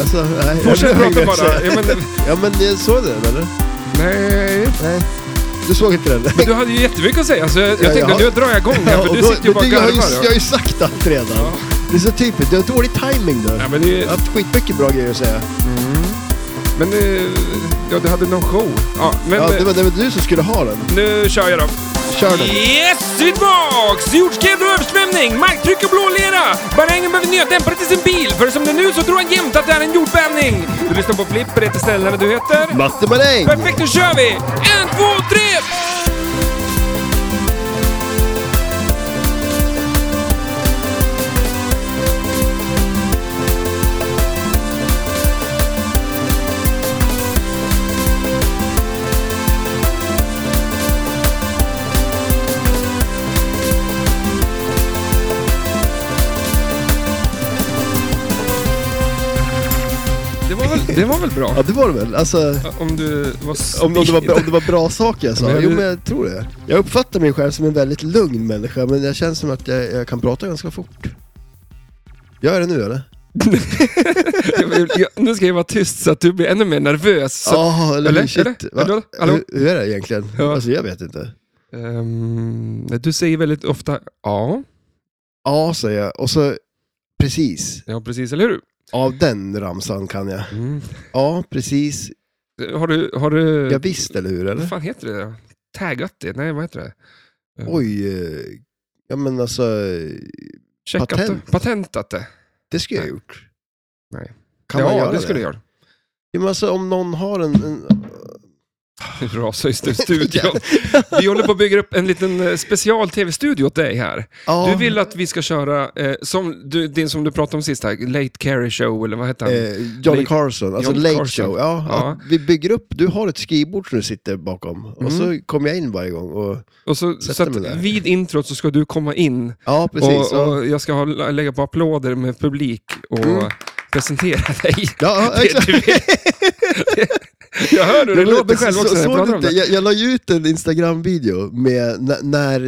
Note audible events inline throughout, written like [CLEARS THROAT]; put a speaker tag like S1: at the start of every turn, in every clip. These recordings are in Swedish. S1: alltså, nej.
S2: Fortsätt
S1: Jag
S2: prata
S1: vill
S2: bara.
S1: säga.
S2: Ja, men,
S1: Ja, men jag såg den eller?
S2: nej.
S1: Nej. Du såg inte den?
S2: Men du hade ju jättemycket att säga, så jag, jag
S1: jag
S2: tänkte
S1: har-
S2: nu drar jag igång här, för
S1: och
S2: du
S1: då-
S2: sitter ju bara och
S1: men du, jag, har ju, jag
S2: garvar.
S1: har ju sagt allt redan.
S2: Ja.
S1: Det är så typiskt. Du har dålig timing då.
S2: Ja, men det,
S1: Jag har haft skitmycket bra grejer att säga.
S2: men eh, ja, du hade någon show. Ja, men
S1: Ja,
S2: eh,
S1: det, var, det var du som skulle ha den.
S2: nu kör jag då.
S1: Kör den.
S2: Yes, vi är tillbaks! Jordskred och översvämning, marktryck och blå lera. Barängen behöver nöddämpare till sin bil, för som det är nu så tror han jämt att det är en jordbävning. Du lyssnar på Flipper, heter Stellan och du heter?
S1: Matte Maräng!
S2: Perfekt, nu kör vi! En, två, tre! Det var väl, det var väl bra?
S1: Ja, det var det väl? Alltså,
S2: Om du var
S1: om, om, det var, om det var bra saker jag sa.
S2: Men jag-
S1: Jo, men jag tror det. Jag uppfattar mig själv som en väldigt lugn människa, men jag känns som att jag, jag kan prata ganska fort. Gör det nu eller?
S2: [LAUGHS] Jag- jag- Nu ska jag vara tyst så att du blir ännu mer nervös. Så,
S1: Ja, eller,
S2: eller?
S1: hur? shit.
S2: Eller?
S1: Va?
S2: Hallå? Hallå?
S1: Hur, hur är det egentligen?
S2: Ja.
S1: Alltså jag vet inte.
S2: Ehm, du säger väldigt ofta ja.
S1: Ja, säger jag. Och så precis.
S2: Ja, precis. Eller hur?
S1: Av den ramsan kan jag.
S2: Mm.
S1: Ja, precis.
S2: Har du... Har du
S1: Jag visst, eller hur? Eller?
S2: vad fan heter det? Taggat det? Nej, vad heter det?
S1: Oj. eh, Ja, men alltså. eh,
S2: Checkat
S1: patent.
S2: det? Patentat det?
S1: Det skulle jag ha gjort.
S2: Nej.
S1: Kan
S2: ja,
S1: man göra
S2: det
S1: det?
S2: skulle jag
S1: Ja, men alltså om någon har en... en...
S2: göra. Rasa
S1: [LAUGHS]
S2: just nu studion. Vi håller på att bygga upp en liten eh, special-tv-studio åt dig här.
S1: Ja,
S2: Du vill att vi ska köra, eh, som du, din som du pratade om sist här, Late Carry Show, eller vad heter han?
S1: eh, Johnny
S2: Late-
S1: Carson, alltså
S2: Johnny
S1: Late
S2: Carson.
S1: Show. Ja,
S2: Ja.
S1: Att vi bygger upp, du har ett skrivbord som du sitter bakom och
S2: Mm.
S1: så kommer jag in varje gång. Och,
S2: Och så,
S1: Sätter
S2: så att
S1: mig där.
S2: vid introt så ska du komma in
S1: ja, precis.
S2: och,
S1: ja.
S2: och jag ska ha, lägga på applåder med publik och
S1: Mm.
S2: presentera [LAUGHS] dig.
S1: ja,
S2: Det-
S1: exakt. [LAUGHS]
S2: du vet. jag hör hur det
S1: Ja, men
S2: låter
S1: precis,
S2: själv
S1: så-
S2: också när jag
S1: såg
S2: pratar
S1: du
S2: om
S1: inte?
S2: det.
S1: Jag, jag la ju ut en Instagram-video med när, när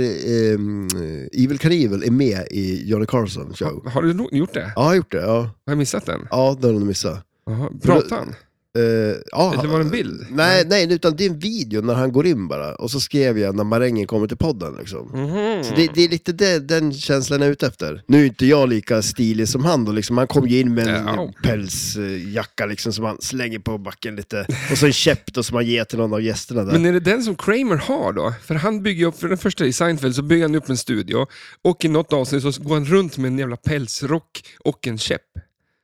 S1: ehm, Evil Knievel är med i Johnny Carson show.
S2: Har- Har du nog gjort det?
S1: Ja, jag har gjort det. Ja,
S2: Har jag missat den?
S1: ja det har du missat.
S2: Jaha, Pratar han?
S1: Eh, ja,
S2: Eller var det en bild?
S1: Nej, nej, utan det är en video när han går in bara. Och så skrev jag när marängen kommer till podden liksom.
S2: Mhm.
S1: Så det, det är lite det, den känslan jag är ute efter. Nu är inte jag lika stilig som han då, liksom. han kom ju in med en
S2: Ja.
S1: pälsjacka liksom, som han slänger på backen lite. Och så en käpp då, som han ger till någon av gästerna där.
S2: Men är det den som Kramer har då? För han bygger upp, för den första i Seinfeld så bygger han upp en studio och i något avsnitt så går han runt med en jävla pälsrock och en käpp.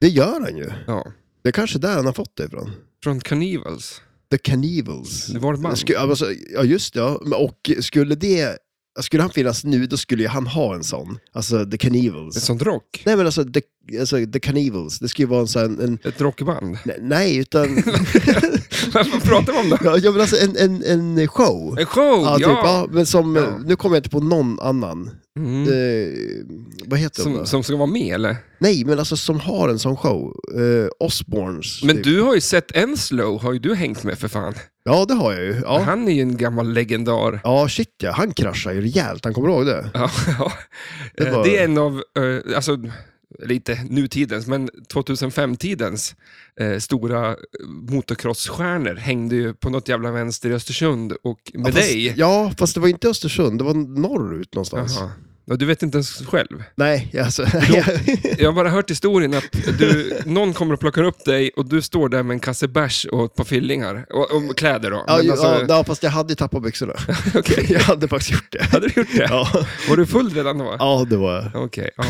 S1: Det gör han ju.
S2: Ja.
S1: Det är kanske där han har fått det ifrån.
S2: Från Carnivals.
S1: The Canivals.
S2: Det var ett band.
S1: Sku, alltså, ja, just det. Ja. Men- Och skulle det... Skulle han finnas nu, då skulle ju han ha en sån. Alltså, The
S2: Ett
S1: Canivals.
S2: sånt rock.
S1: Nej, men alltså, The, alltså, the Canivals. Det skulle ju vara en sån... här- En,
S2: Ett rockband.
S1: ne- nej,
S2: [LAUGHS]
S1: utan...
S2: Vad pratar vi om då?
S1: ja, men alltså, en, en, en show.
S2: En show,
S1: Ja, typ,
S2: ja!
S1: ja, men som,
S2: Ja.
S1: nu kommer jag inte på någon annan.
S2: Mm.
S1: Eh, vad heter de
S2: Som,
S1: då?
S2: som ska vara med eller?
S1: Nej, men alltså som har en sån show. Eh, Osborns.
S2: Men
S1: typ.
S2: du har ju sett Enslow, har ju du hängt med för fan.
S1: Ja, det har jag ju. Ja.
S2: Han är ju en gammal legendar.
S1: Ja, shit ja. Han kraschade ju rejält, han kommer ihåg det?
S2: Ja, [LAUGHS] ja.
S1: Det var-
S2: Eh, Det är en av, eh, alltså lite nutidens, men 2005-tidens eh, stora eh, motocrossstjärnor hängde ju på något jävla vänster i Östersund och med
S1: ja, fast,
S2: dig.
S1: Ja, fast det var inte Östersund, det var norrut någonstans.
S2: Jaha. Ja, du vet inte ens själv.
S1: Nej, alltså... [LAUGHS]
S2: Jag har bara hört historien att du, någon kommer och plockar upp dig och du står där med en kasse bärs och ett par fillingar. Och, och kläder då.
S1: ja,
S2: Men
S1: ju-
S2: alltså,
S1: ja, ja, fast jag hade ju tappat byxorna.
S2: [LAUGHS] okej.
S1: [LAUGHS] Jag hade faktiskt gjort det.
S2: Hade du gjort det?
S1: Ja,
S2: Var du full redan då?
S1: ja det var jag.
S2: Okej, ja.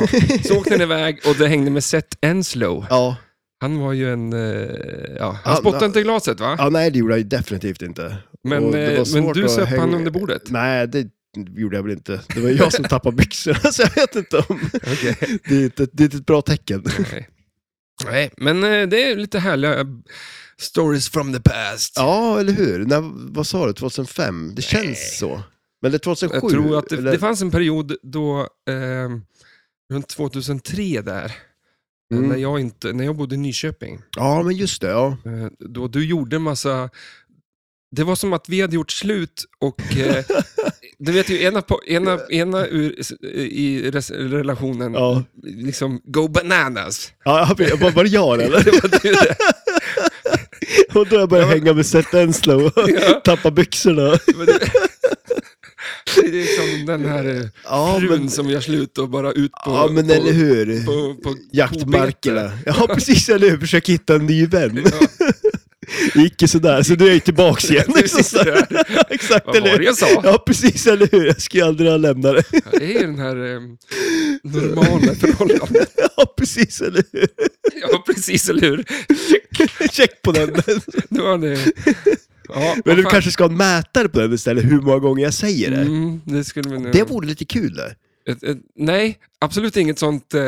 S2: Så åkte den iväg och det hängde med Seth Enslow.
S1: Ja.
S2: Han var ju en... eh, Ja, han
S1: Ja,
S2: spottade
S1: na-
S2: inte i glaset va?
S1: ja, nej det gjorde jag ju definitivt inte.
S2: Men,
S1: Och det var
S2: eh, men
S1: svårt
S2: du
S1: att
S2: söp
S1: hänga-
S2: han under bordet?
S1: Nej, det gjorde jag väl inte. Det var jag som tappade byxorna, [LAUGHS] så jag vet inte om...
S2: Okej.
S1: Det är inte, det är inte ett bra tecken.
S2: Nej. Nej, men eh, det är lite härliga eh, stories from the past.
S1: Ja, eller hur? När, vad sa du? 2005? Det känns så. Men det är 2007?
S2: Jag tror att det,
S1: eller?
S2: det fanns en period då, eh, runt 2003 där,
S1: Mm.
S2: Eh, när, jag inte, när jag bodde i Nyköping,
S1: Ja, men just det. Ja.
S2: eh,
S1: [LAUGHS]
S2: då du gjorde massa... Det var som att vi hade gjort slut och eh, Du vet ju, ena, på, ena, ena ur, i res, relationen,
S1: Ja,
S2: liksom
S1: [LAUGHS]
S2: go bananas. [LAUGHS]
S1: ja jag bara, var det jag eller?
S2: Det var du det.
S1: Och då jag började hänga med Seth Enslow och
S2: [LAUGHS] Ja.
S1: tappa byxorna.
S2: Det var du. Det är liksom den här eh,
S1: Ja,
S2: frun
S1: men,
S2: som gör slut och bara ut på...
S1: ja, men
S2: på,
S1: eller hur?
S2: På, på
S1: [LAUGHS] Jaktmarkerna. Ja, precis, eller hur? Försök hitta en ny vän.
S2: kobete. Ja,
S1: Det [LAUGHS] gick ju sådär, så nu är jag ju tillbaks
S2: [LAUGHS]
S1: igen.
S2: det är precis det där.
S1: [LAUGHS] Exakt,
S2: Vad
S1: eller
S2: var det
S1: hur?
S2: jag sa?
S1: Ja, precis, eller hur? Jag skulle ju aldrig ha lämnat det. [LAUGHS]
S2: Ja, Det är ju den här eh,
S1: [LAUGHS]
S2: normala förhållandet.
S1: Ja, precis, eller hur? [LAUGHS]
S2: Ja, precis, eller hur?
S1: Check på
S2: [LAUGHS]
S1: den.
S2: Det var det. Ja,
S1: Men
S2: vad
S1: du
S2: fan.
S1: kanske ska ha en mätare på den istället, hur många gånger jag säger det.
S2: Mm, det skulle man...
S1: Det vore lite kul det.
S2: ett, ett, nej, absolut inget sånt. Eh,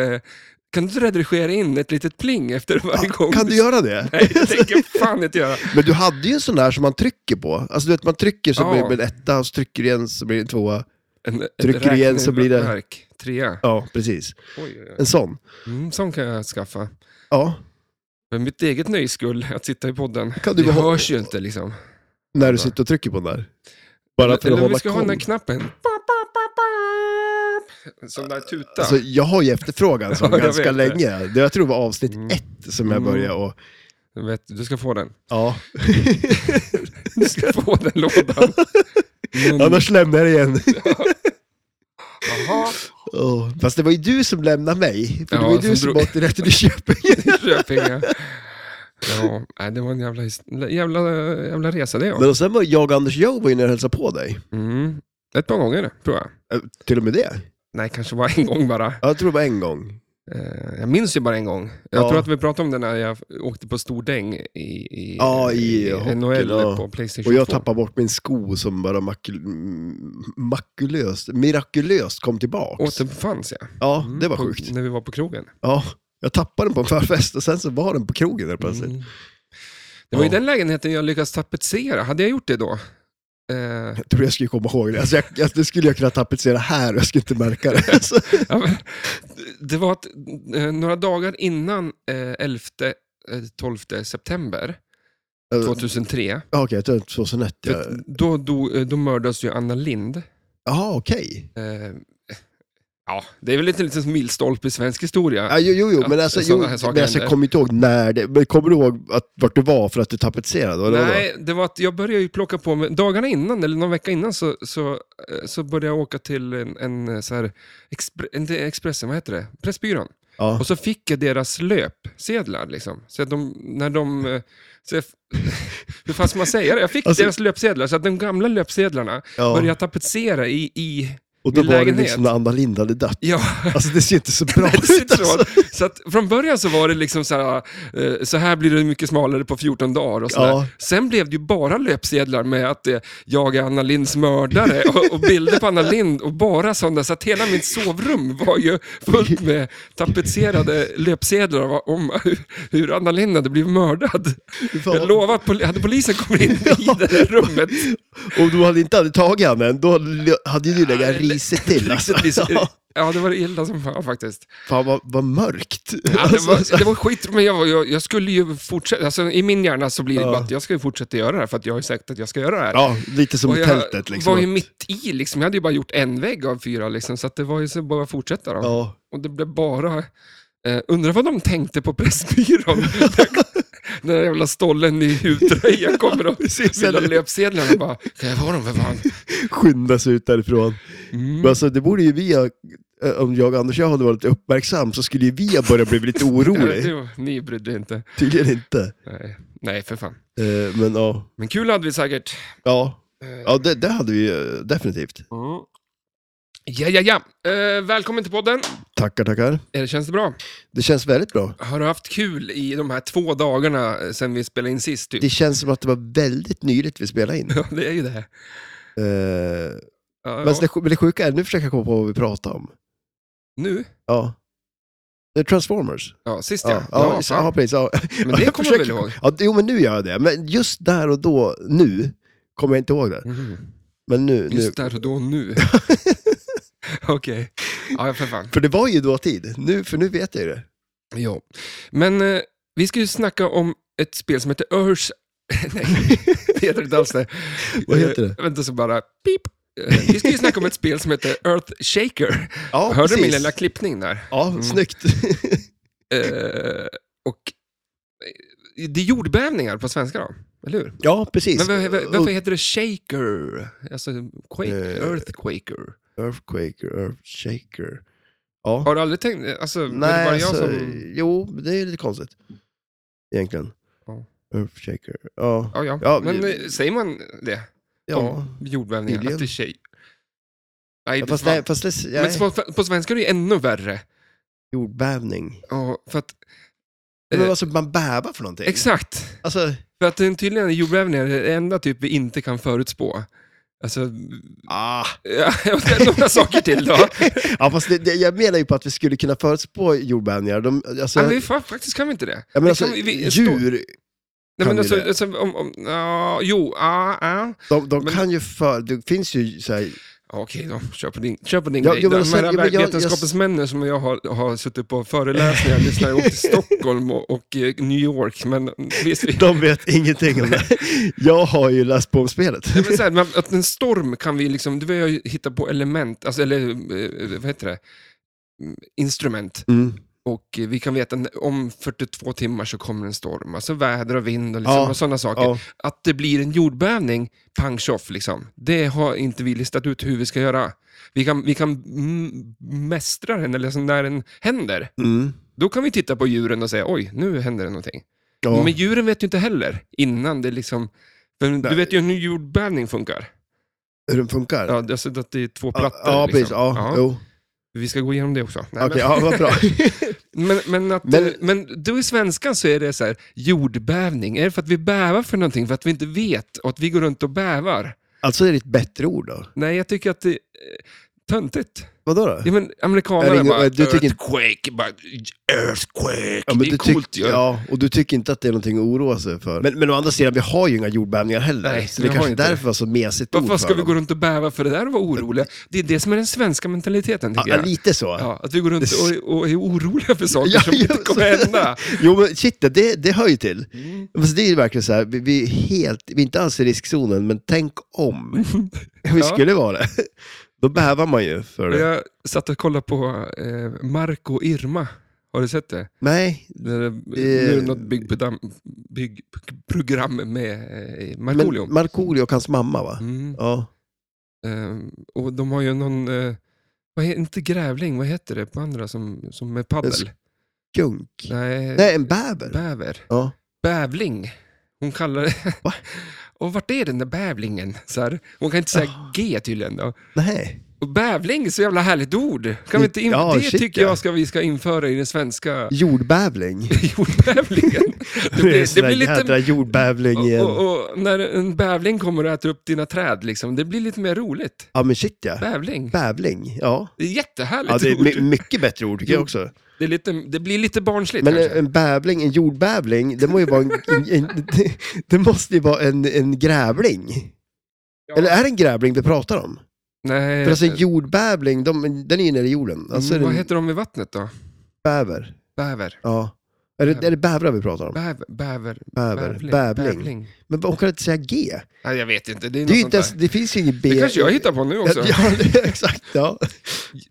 S2: kan du inte redigera in ett litet pling efter varje gång?
S1: Kan du göra det?
S2: [LAUGHS] Nej, det tänker jag fan inte göra.
S1: Men du hade ju en sån där som man trycker på. Alltså du vet, man trycker så
S2: Ja.
S1: blir det en etta, och så trycker du igen så blir det en tvåa.
S2: En, ett
S1: Trycker du igen så blir det-
S2: räkneverk. Trea.
S1: Ja, precis.
S2: Oj, oj, oj.
S1: En sån.
S2: Mm, sån kan jag skaffa.
S1: Ja,
S2: För mitt eget nöjes skull, att sitta i podden.
S1: Kan du
S2: det
S1: behå-
S2: hörs ju inte liksom.
S1: när du sitter och trycker på den där. Bara för
S2: Eller
S1: att
S2: om vi
S1: hålla
S2: ska ha den där
S1: koll.
S2: knappen. Som där tuta.
S1: Alltså, jag har ju
S2: [LAUGHS]
S1: efterfrågan så
S2: Ja, jag
S1: ganska
S2: vet det.
S1: länge. Det. Jag tror det var avsnitt
S2: Mm.
S1: ett som jag
S2: Mm.
S1: började och...
S2: Jag vet, du ska få den.
S1: Ja. [LAUGHS]
S2: Du ska få den lådan. Men,
S1: Annars lämnar jag det igen. [LAUGHS]
S2: Mm. Jaha,
S1: Åh, Fast det var ju du som lämnade mig. För det
S2: Ja,
S1: var ju
S2: som
S1: du som
S2: drog-
S1: åkte rätt till Köping.
S2: Köping, ja. Ja, nej, det var en jävla, his- jävla, jävla resa det ja.
S1: Men och sen var jag och Anders Joe var ju nere och hälsade på dig.
S2: Mm. Ett par gånger tror jag.
S1: Eh, Till och med det.
S2: Nej, kanske bara en gång bara.
S1: Ja, Jag tror det var en gång.
S2: Eh, Jag minns ju bara en gång. Jag
S1: Ja.
S2: tror att vi pratade om det när jag åkte på stordäng i, i,
S1: Ja, i hockeyn,
S2: NHL
S1: ja.
S2: på Playstation
S1: Och jag
S2: 2.
S1: tappade bort min sko som bara makul- m- makulöst, mirakulöst kom tillbaks.
S2: Återfanns jag.
S1: Ja,
S2: Mm,
S1: det var
S2: på,
S1: sjukt.
S2: När vi var på krogen.
S1: Ja, jag tappade den på en förfest och sen så var den på krogen där plötsligt.
S2: Mm. Det var ju
S1: Ja.
S2: den lägenheten jag lyckades tapetsera. Hade jag gjort det då? Eh,
S1: Jag tror jag skulle komma ihåg det. Alltså jag, jag, det skulle jag kunna tapetsera här och jag skulle inte märka det. Alltså,
S2: Ja, men, det var att eh, några dagar innan eh, 11 eh, 12 september 2003,
S1: ja, Okej, jag tror det var 2001.
S2: för
S1: ja.
S2: att då, då, eh, då mördades ju Anna Lind.
S1: Jaha, okej.
S2: Eh, ja, det är väl lite liten milstolpe i svensk historia.
S1: Ja, jo, jo, jo,
S2: Att
S1: men alltså, jo,
S2: sådana här
S1: men
S2: saker
S1: alltså jag
S2: händer.
S1: kommer inte ihåg när det... Men kommer du ihåg att, vart du var för att du tapetserade? Eller vadå?
S2: Nej, det var att jag började ju plocka på mig, dagarna innan, eller någon vecka innan, så, så, eh, så började jag åka till en, en eh, så här, expre, inte Expressen, vad heter det? Pressbyrån.
S1: Ja.
S2: Och så fick jag deras löpsedlar. Liksom. Så att de, när de... eh, Så jag, [LAUGHS] hur fan ska man säga det? Jag fick
S1: Alltså-
S2: deras löpsedlar, så att de gamla löpsedlarna började
S1: Ja.
S2: jag tapetsera i... i
S1: Och då
S2: min
S1: var det
S2: lägenhet.
S1: liksom när Anna Lindh hade dött.
S2: ja,
S1: Alltså det ser inte
S2: [LAUGHS]
S1: så bra
S2: det ser
S1: ut.
S2: inte så.
S1: Alltså.
S2: så att från början så var det liksom så här, eh, så här blir det mycket smalare på 14 dagar och så
S1: Ja.
S2: där. Sen blev det ju bara löpsedlar med att eh, jag är Anna Linds mördare och, och bilder på Anna Lind och bara sådana. Så att hela mitt sovrum var ju fullt med tapetserade löpsedlar av- om hur, hur Anna Lind hade blivit mördad.
S1: Fan,
S2: Jag lovar att poli- hade polisen
S1: [LAUGHS]
S2: kommit in i det där rummet
S1: Om du hade inte hade tagit han än, då hade du legat riset till. Alltså. [LAUGHS] Ja,
S2: Ja, det var illa som fan faktiskt.
S1: Fan vad, vad mörkt.
S2: Ja, det,
S1: Alltså,
S2: var, det var skit, men jag, var- jag, jag skulle ju fortsätta. Alltså, I min hjärna så blir det
S1: Ja.
S2: bara att jag ska ju fortsätta göra det här, för att jag har ju sagt att jag ska göra det här.
S1: ja, lite som
S2: Och jag
S1: tältet liksom.
S2: var ju mitt i, liksom. jag hade ju bara gjort en vägg av fyra, liksom, så att det var ju så bara att fortsätta. Då.
S1: Ja.
S2: Och det blev bara... Eh, undrar vad de tänkte på Pressbyrån? [LAUGHS] När den jävla stollen i huvtröja kommer och
S1: Precis,
S2: vill ha
S1: eller hur?
S2: löpsedlarna. Bara, kan jag ha dem för fan?
S1: Skynda sig ut därifrån.
S2: Mm.
S1: Men alltså det borde ju vi ha, eh, om jag och Anders jag hade varit uppmärksam så skulle ju vi ha börjat bli
S2: [LAUGHS]
S1: lite oroliga.
S2: Ja, det- Ni brydde er inte.
S1: Tydligen inte.
S2: Nej. Nej, för fan.
S1: Eh, Men ja,
S2: Men kul hade vi säkert.
S1: ja.
S2: Eh,
S1: ja det, det hade vi eh, definitivt.
S2: Mm. Ja, ja, ja. Eh, välkommen till podden.
S1: Tackar, tackar.
S2: Eh, känns det bra?
S1: Det känns väldigt bra.
S2: Har du haft kul i de här två dagarna eh, sen vi spelade in sist? Typ?
S1: Det känns som att det var väldigt nyligt vi spelade in.
S2: Ja, [LAUGHS] det är ju det.
S1: Eh,
S2: Ja,
S1: Men
S2: ja.
S1: det, men det sjuka är, nu försöker jag komma på vad vi pratar om.
S2: Nu?
S1: Ja. Det är Transformers.
S2: Ja, sist ja.
S1: Ja, ja, ja,
S2: fan.
S1: precis. Ja.
S2: Men det
S1: [LAUGHS] jag
S2: kommer du väl
S1: försöker-
S2: ihåg?
S1: Ja, jo, men nu gör jag det. Men just där och då, nu, kommer jag inte ihåg det.
S2: Mhm.
S1: Men nu, Mm. nu.
S2: Just där och
S1: [LAUGHS]
S2: då nu. [LAUGHS] Okej. Ja, för fan.
S1: För det var ju dåtid. Nu, för nu vet jag ju det.
S2: Jo. Men eh, vi ska ju snacka om ett spel som heter Urs... [LAUGHS] Nej, det heter inte alls det.
S1: [LAUGHS] Vad heter det?
S2: Eh, vänta så bara... Pip. Eh, Vi ska ju snacka om ett spel som heter Earth Shaker.
S1: Ja,
S2: Hörde du min
S1: precis.
S2: lilla Mm. klippning där?
S1: Ja, snyggt. [LAUGHS]
S2: Eh, och eh, det är jordbävningar på svenska då, eller hur?
S1: ja, precis.
S2: Men var, var, varför heter det shaker? Alltså quake,
S1: Eh.
S2: earthquaker.
S1: Earthquaker, Earthshaker. Ja.
S2: Har du aldrig tänkt, alltså, Nej, det
S1: Nej,
S2: är bara jag
S1: alltså,
S2: som...
S1: jo, det är lite konstigt. Egentligen.
S2: Ja.
S1: Earthshaker. Ja,
S2: Ja, ja.
S1: Ja,
S2: men
S1: vi-
S2: eh, säger man det?
S1: ja.
S2: Jordbävningar,
S1: Tydligen.
S2: att det är tjej? Nej,
S1: ja
S2: det
S1: fast,
S2: fan.
S1: det, fast det, jag,
S2: Men på, på svenska är det ju ännu värre.
S1: jordbävning.
S2: Ja, för att,
S1: Men
S2: eh,
S1: alltså, man bävar för någonting.
S2: exakt.
S1: Alltså,
S2: För att den tydligen är jordbävningar det enda typ vi inte kan förutspå. Alltså, [LAUGHS]
S1: ah.
S2: ja, och det är några saker till då.
S1: ja, fast det, det, jag menar ju på att vi skulle kunna förutspå jordbävningar. De, alltså,
S2: Ja, vi, fa- faktiskt kan vi inte det.
S1: jag
S2: vi
S1: menar, alltså,
S2: kan- vi- vi-
S1: djur,
S2: Nej,
S1: kan
S2: men
S1: vi
S2: alltså,
S1: det?
S2: alltså, om, om, ja, jo, ja, ja.
S1: de, de
S2: Men-
S1: kan ju för... Det finns ju så här,
S2: Ja, Okej då, kör på din, kör på din
S1: Ja,
S2: grej.
S1: jo, men
S2: De
S1: sen-
S2: här
S1: ja, men jag-
S2: vetenskapens männen som jag har, har suttit
S1: [LAUGHS]
S2: på föreläsningar, lyssnat åkt till Stockholm och, och eh, New York, men mm, visst, vi-
S1: de vet ingenting om det. [LAUGHS] Jag har ju läst på om
S2: [LAUGHS]
S1: spelet.
S2: Nej, men så här, man, att en storm kan vi liksom, du vill ju hitta på element, alltså, eller eh, vad heter det, Mm, instrument.
S1: Mm.
S2: Och eh, vi kan veta n- om 42 timmar så kommer en storm, alltså väder och vind och, liksom,
S1: Ja,
S2: och sådana saker.
S1: Ja.
S2: Att det blir en jordbävning, pang tjoff, liksom. det har inte vi listat ut hur vi ska göra. Vi kan, vi kan mm, mästra den, eller liksom när den händer.
S1: Mm.
S2: Då kan vi titta på djuren och säga, oj, nu händer det någonting.
S1: Ja.
S2: Men djuren vet ju inte heller innan det liksom... Men du
S1: Nej.
S2: vet ju hur en jordbävning funkar.
S1: Hur den funkar?
S2: Ja, alltså att det är två
S1: Ja,
S2: plattor.
S1: ja,
S2: liksom.
S1: precis. Ja,
S2: Ja.
S1: Jo.
S2: Vi ska gå igenom det också. Nej,
S1: Okej, ja, vad
S2: [LAUGHS]
S1: bra.
S2: men, men, men, att,
S1: Men-
S2: men, men då i svenskan så är det så här, jordbävning. Är det för att vi bävar för någonting, för att vi inte vet och att vi går runt och bävar?
S1: alltså är det ett bättre ord då?
S2: Nej, jag tycker att det är eh, töntigt.
S1: Vadå då?
S2: Ja, men
S1: Är det
S2: amerikanare
S1: ingen-
S2: bara,
S1: du tycker inte-
S2: earthquake, bara, earthquake.
S1: men
S2: det är
S1: du tyck-
S2: coolt ju.
S1: Ja, och du tycker inte att det är någonting att oroa sig för. Men, men å andra sidan, vi har ju inga jordbävningar heller.
S2: Nej,
S1: så det
S2: vi har
S1: kanske är
S2: inte det.
S1: därför var så mesigt ord
S2: Varför ska
S1: för
S2: vi
S1: dem.
S2: gå runt och bäva för det där och vara oroliga? Det är det som är den svenska mentaliteten,
S1: Ja,
S2: tycker
S1: ja,
S2: jag.
S1: lite så.
S2: Ja, att vi går runt och, och är oroliga för saker
S1: Ja,
S2: som inte
S1: ja,
S2: kommer
S1: så- [LAUGHS]
S2: hända.
S1: Jo, men shit, det, det hör ju till. Fast det är ju verkligen så här, vi, vi, är helt, vi är inte alls i riskzonen, men tänk
S2: [LAUGHS]
S1: om vi
S2: Ja.
S1: skulle vara det. Då bävar man ju för
S2: Och
S1: det.
S2: Jag satt och kollade på eh, Marco och Irma. Har du sett det?
S1: Nej,
S2: det är, nu är
S1: Eh.
S2: det något byggprogram, byggprogram med eh, Markoolio.
S1: men Markoolio och hans mamma va?
S2: Mm.
S1: Ja.
S2: Eh, och de har ju någon, eh, vad heter, inte grävling, vad heter det på andra som, som med
S1: En
S2: paddel?
S1: sk- Gunk.
S2: Nej,
S1: Nej, en bäver.
S2: bäver.
S1: Ja.
S2: Bävling. Hon kallar det...
S1: Va?
S2: [LAUGHS] Och vart är den där bävlingen? Så här, hon kan inte
S1: Ah.
S2: säga G tydligen då.
S1: Nej.
S2: Och bävling, är så jävla härligt ord. Kan vi inte in-
S1: Ja,
S2: det
S1: shit,
S2: tycker
S1: ja.
S2: jag ska, vi ska införa i den svenska
S1: Jordbävling.
S2: jordbävlingen. [LAUGHS]
S1: Det
S2: Det
S1: är en
S2: blir,
S1: sån
S2: det
S1: där
S2: blir
S1: jädra
S2: lite...
S1: jordbävling igen.
S2: Och, och, och när en bävling kommer och äter upp dina träd, liksom, det blir lite mer roligt.
S1: Ja men shit ja.
S2: Bävling.
S1: Bävling, ja.
S2: Det är jättehärligt
S1: ja det är
S2: ord.
S1: my- mycket bättre ord tycker jag också.
S2: Det, är lite, det blir lite barnsligt
S1: Men eh, en,
S2: kanske.
S1: en bävling, en jordbävling, det, må ju vara en,
S2: [LAUGHS]
S1: en, en, det måste ju vara en, en grävling.
S2: Ja.
S1: Eller är det en grävling vi pratar om?
S2: Nej,
S1: För alltså en jordbävling, de, den är ju nere i jorden. Alltså
S2: mm, vad
S1: är det en
S2: heter de i vattnet då?
S1: bäver.
S2: Bäver.
S1: Ja. Är det, är det bävrar vi pratar om?
S2: Bäver. Bäver.
S1: Bäver.
S2: Bävling.
S1: Bävling. Men hon kan inte säga G.
S2: Nej, jag vet inte. Det, är
S1: Det, är ju
S2: något
S1: inte ens,
S2: sånt
S1: det finns ju inget B.
S2: där. det kanske jag hittar på nu också.
S1: [LAUGHS] Ja, det, exakt. Ja.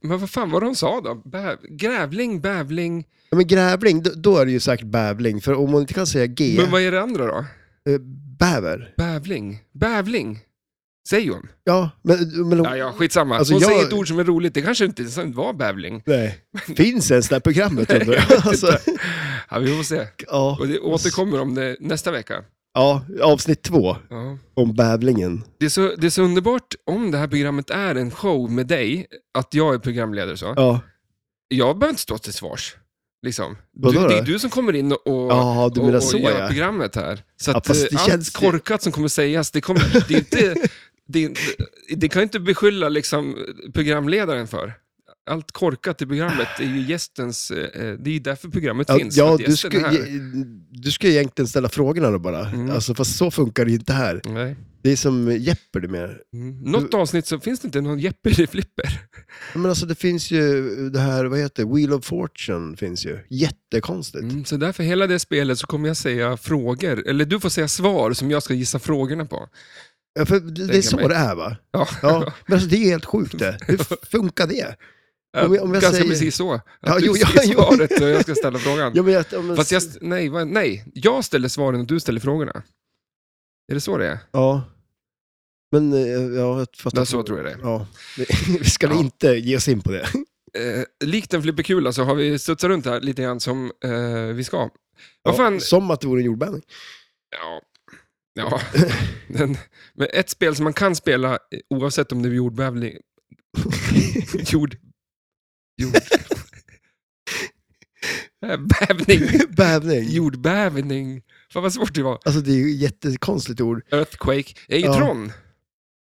S2: Men vad fan var det de sa då? Bäv, grävling, bävling.
S1: Ja, men grävling, då, då är det ju säkert bävling. För om man inte kan säga G,
S2: Men vad är det andra då?
S1: eh, bäver.
S2: Bävling. Bävling. Säger hon.
S1: Ja, men... men
S2: Ja, ja, skitsamma.
S1: Alltså,
S2: hon
S1: jag-
S2: säger ett ord som är roligt. Det kanske inte ens var bävling.
S1: Nej. Finns ens det här programmet undrar
S2: [LAUGHS]
S1: jag. Alltså,
S2: Ja, vi får se.
S1: ja,
S2: Och det återkommer om det nästa vecka.
S1: ja, avsnitt två
S2: Ja.
S1: om bävlingen.
S2: Det, är så, det är så underbart om det här programmet är en show med dig, att jag är programledare så.
S1: Ja,
S2: Jag behöver inte stå till svars. Liksom. Du,
S1: Vadå
S2: det är
S1: då?
S2: du som kommer in och, och,
S1: ja du
S2: och,
S1: menar
S2: och
S1: så
S2: gör
S1: ja.
S2: programmet här. Så
S1: Ja,
S2: att,
S1: fast
S2: eh,
S1: det
S2: allt
S1: känns ju-
S2: korkat som kommer sägas, det, kommer, det, är inte, det, är inte- det kan ju inte beskylla liksom, programledaren för. Allt korkat i programmet är ju gästens, eh, det är ju därför programmet
S1: Ja,
S2: finns. för
S1: ja
S2: att
S1: du,
S2: gästen
S1: ska,
S2: är här.
S1: du ska egentligen ställa frågorna då bara.
S2: Mm.
S1: Alltså, fast så funkar det ju inte här.
S2: Nej.
S1: Det är som Jeopardy mer.
S2: Mm. Något avsnitt så finns det inte någon Jeopardy Flipper.
S1: Men alltså det finns ju det här, vad heter det, Wheel of Fortune finns ju. Jättekonstigt.
S2: Mm. Så därför hela det spelet så kommer jag säga frågor, eller du får säga svar som jag ska gissa frågorna på.
S1: Ja, för det, det är
S2: Tänka
S1: så
S2: mig.
S1: det är va?
S2: Ja. [LAUGHS]
S1: Ja, men alltså, det är helt sjukt det. Hur funkar det? om jag- om jag
S2: Ganska
S1: säger-
S2: precis så. Att
S1: Ja,
S2: du
S1: jo, ja,
S2: skriver
S1: [LAUGHS] jo.
S2: svaret och jag ska ställa frågan.
S1: Ja, men jag, ja, men,
S2: Fast jag, nej, vad- nej, jag ställer svaren och du ställer frågorna. Är det så det är?
S1: Ja. Men eh, ja, jag fattar.
S2: Ja, så tror jag det är.
S1: Ja. Vi [LAUGHS] ska
S2: Ja.
S1: inte ge oss in på det.
S2: Eh, likt en flipperkula så har vi studsat runt här lite grann som eh, vi ska. Vad
S1: Ja,
S2: fan,
S1: Som att det vore en jordbävning.
S2: ja.
S1: [LAUGHS]
S2: ja. Den, men ett spel som man kan spela eh, oavsett om det är jordbävning... [LAUGHS] Jord... Jord... Eh, Bävning.
S1: [LAUGHS] Bävning.
S2: Jordbävning. Fan vad svårt det var.
S1: Alltså det är ju ett jättekonstigt ord.
S2: Earthquake. Det är ju
S1: Ja.
S2: Tron.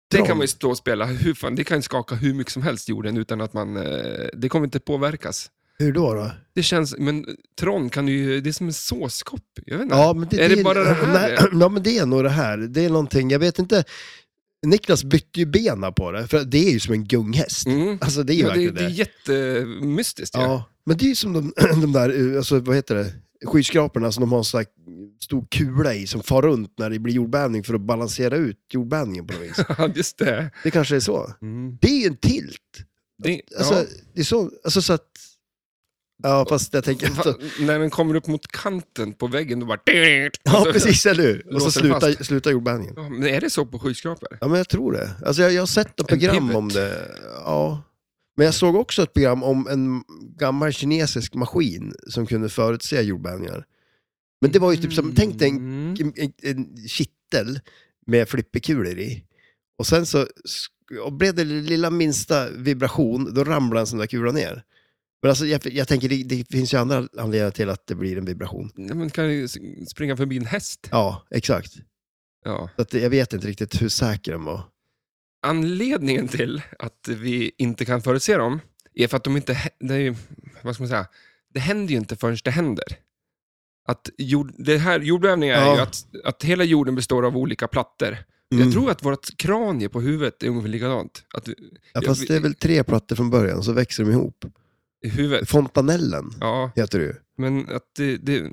S2: Det
S1: Tron.
S2: kan man ju stå och spela. Hur fan, det kan ju skaka hur mycket som helst jorden utan att man... Eh, det kommer inte påverkas.
S1: Hur då? då?
S2: Det känns... Men Tron kan ju... Det är som en såskopp. Jag vet inte.
S1: Ja, men
S2: Är det bara det
S1: [CLEARS THROAT]
S2: här
S1: Nej, ja, men det är nog det här. Det är någonting, jag vet inte. Niklas bytte ju bena på det, för det är ju som en gunghäst.
S2: Mm.
S1: Alltså det är ju
S2: Ja, det,
S1: verkligen
S2: det
S1: det.
S2: är jättemystiskt. Ja.
S1: Ja, men det är ju som de, [CLEARS THROAT] de där, eh, alltså, vad heter det, skyskraporna som de har en sån här stor kula i som far runt när det blir jordbävning för att balansera ut jordbävningen på något
S2: [LAUGHS]
S1: vis.
S2: Ja, just det.
S1: Det kanske är så.
S2: Mm.
S1: Det är ju en tilt.
S2: det
S1: Alltså,
S2: ja.
S1: det är så, alltså så att... Ja, fast jag tänker...
S2: Va, när den kommer upp mot kanten på väggen, då bara... [LAUGHS]
S1: ja,
S2: Så-
S1: precis, eller hur? Och så
S2: Låser
S1: slutar, slutar jordbävningen.
S2: Ja, men är det så på skyskrapor?
S1: Ja, men jag tror det. Alltså jag, jag har sett ett
S2: En
S1: program
S2: pivot.
S1: om det. Ja. Men jag såg också ett program om en gammal kinesisk maskin som kunde förutse jordbävningar. Men det var ju typ som, tänk dig en,
S2: Mm.
S1: en, en kittel med flipperkulor i. Och sen så sk- och blev det lilla minsta vibration, då ramlade en sån där kula ner. Men alltså jag, jag tänker, det, det finns ju andra anledningar till att det blir en vibration.
S2: Ja, men kan ju s- springa förbi en häst.
S1: Ja, exakt.
S2: Ja.
S1: Så att, jag vet inte riktigt hur säker den var.
S2: Anledningen till att vi inte kan förutse dem är för att de inte... hä- Det, är ju, vad ska man säga, det händer ju inte förrän det händer. Att jord, det här, jordbävningar är
S1: Ja.
S2: ju att, att hela jorden består av olika plattor.
S1: Mm.
S2: Jag tror att vårt kranie på huvudet är ungefär likadant. Att vi-
S1: Ja,
S2: Ja,
S1: fast
S2: vi-
S1: det är väl tre plattor från början, så växer de ihop.
S2: i huvudet.
S1: Fontanellen
S2: Ja,
S1: heter
S2: [LAUGHS]
S1: det ju.
S2: men att det... det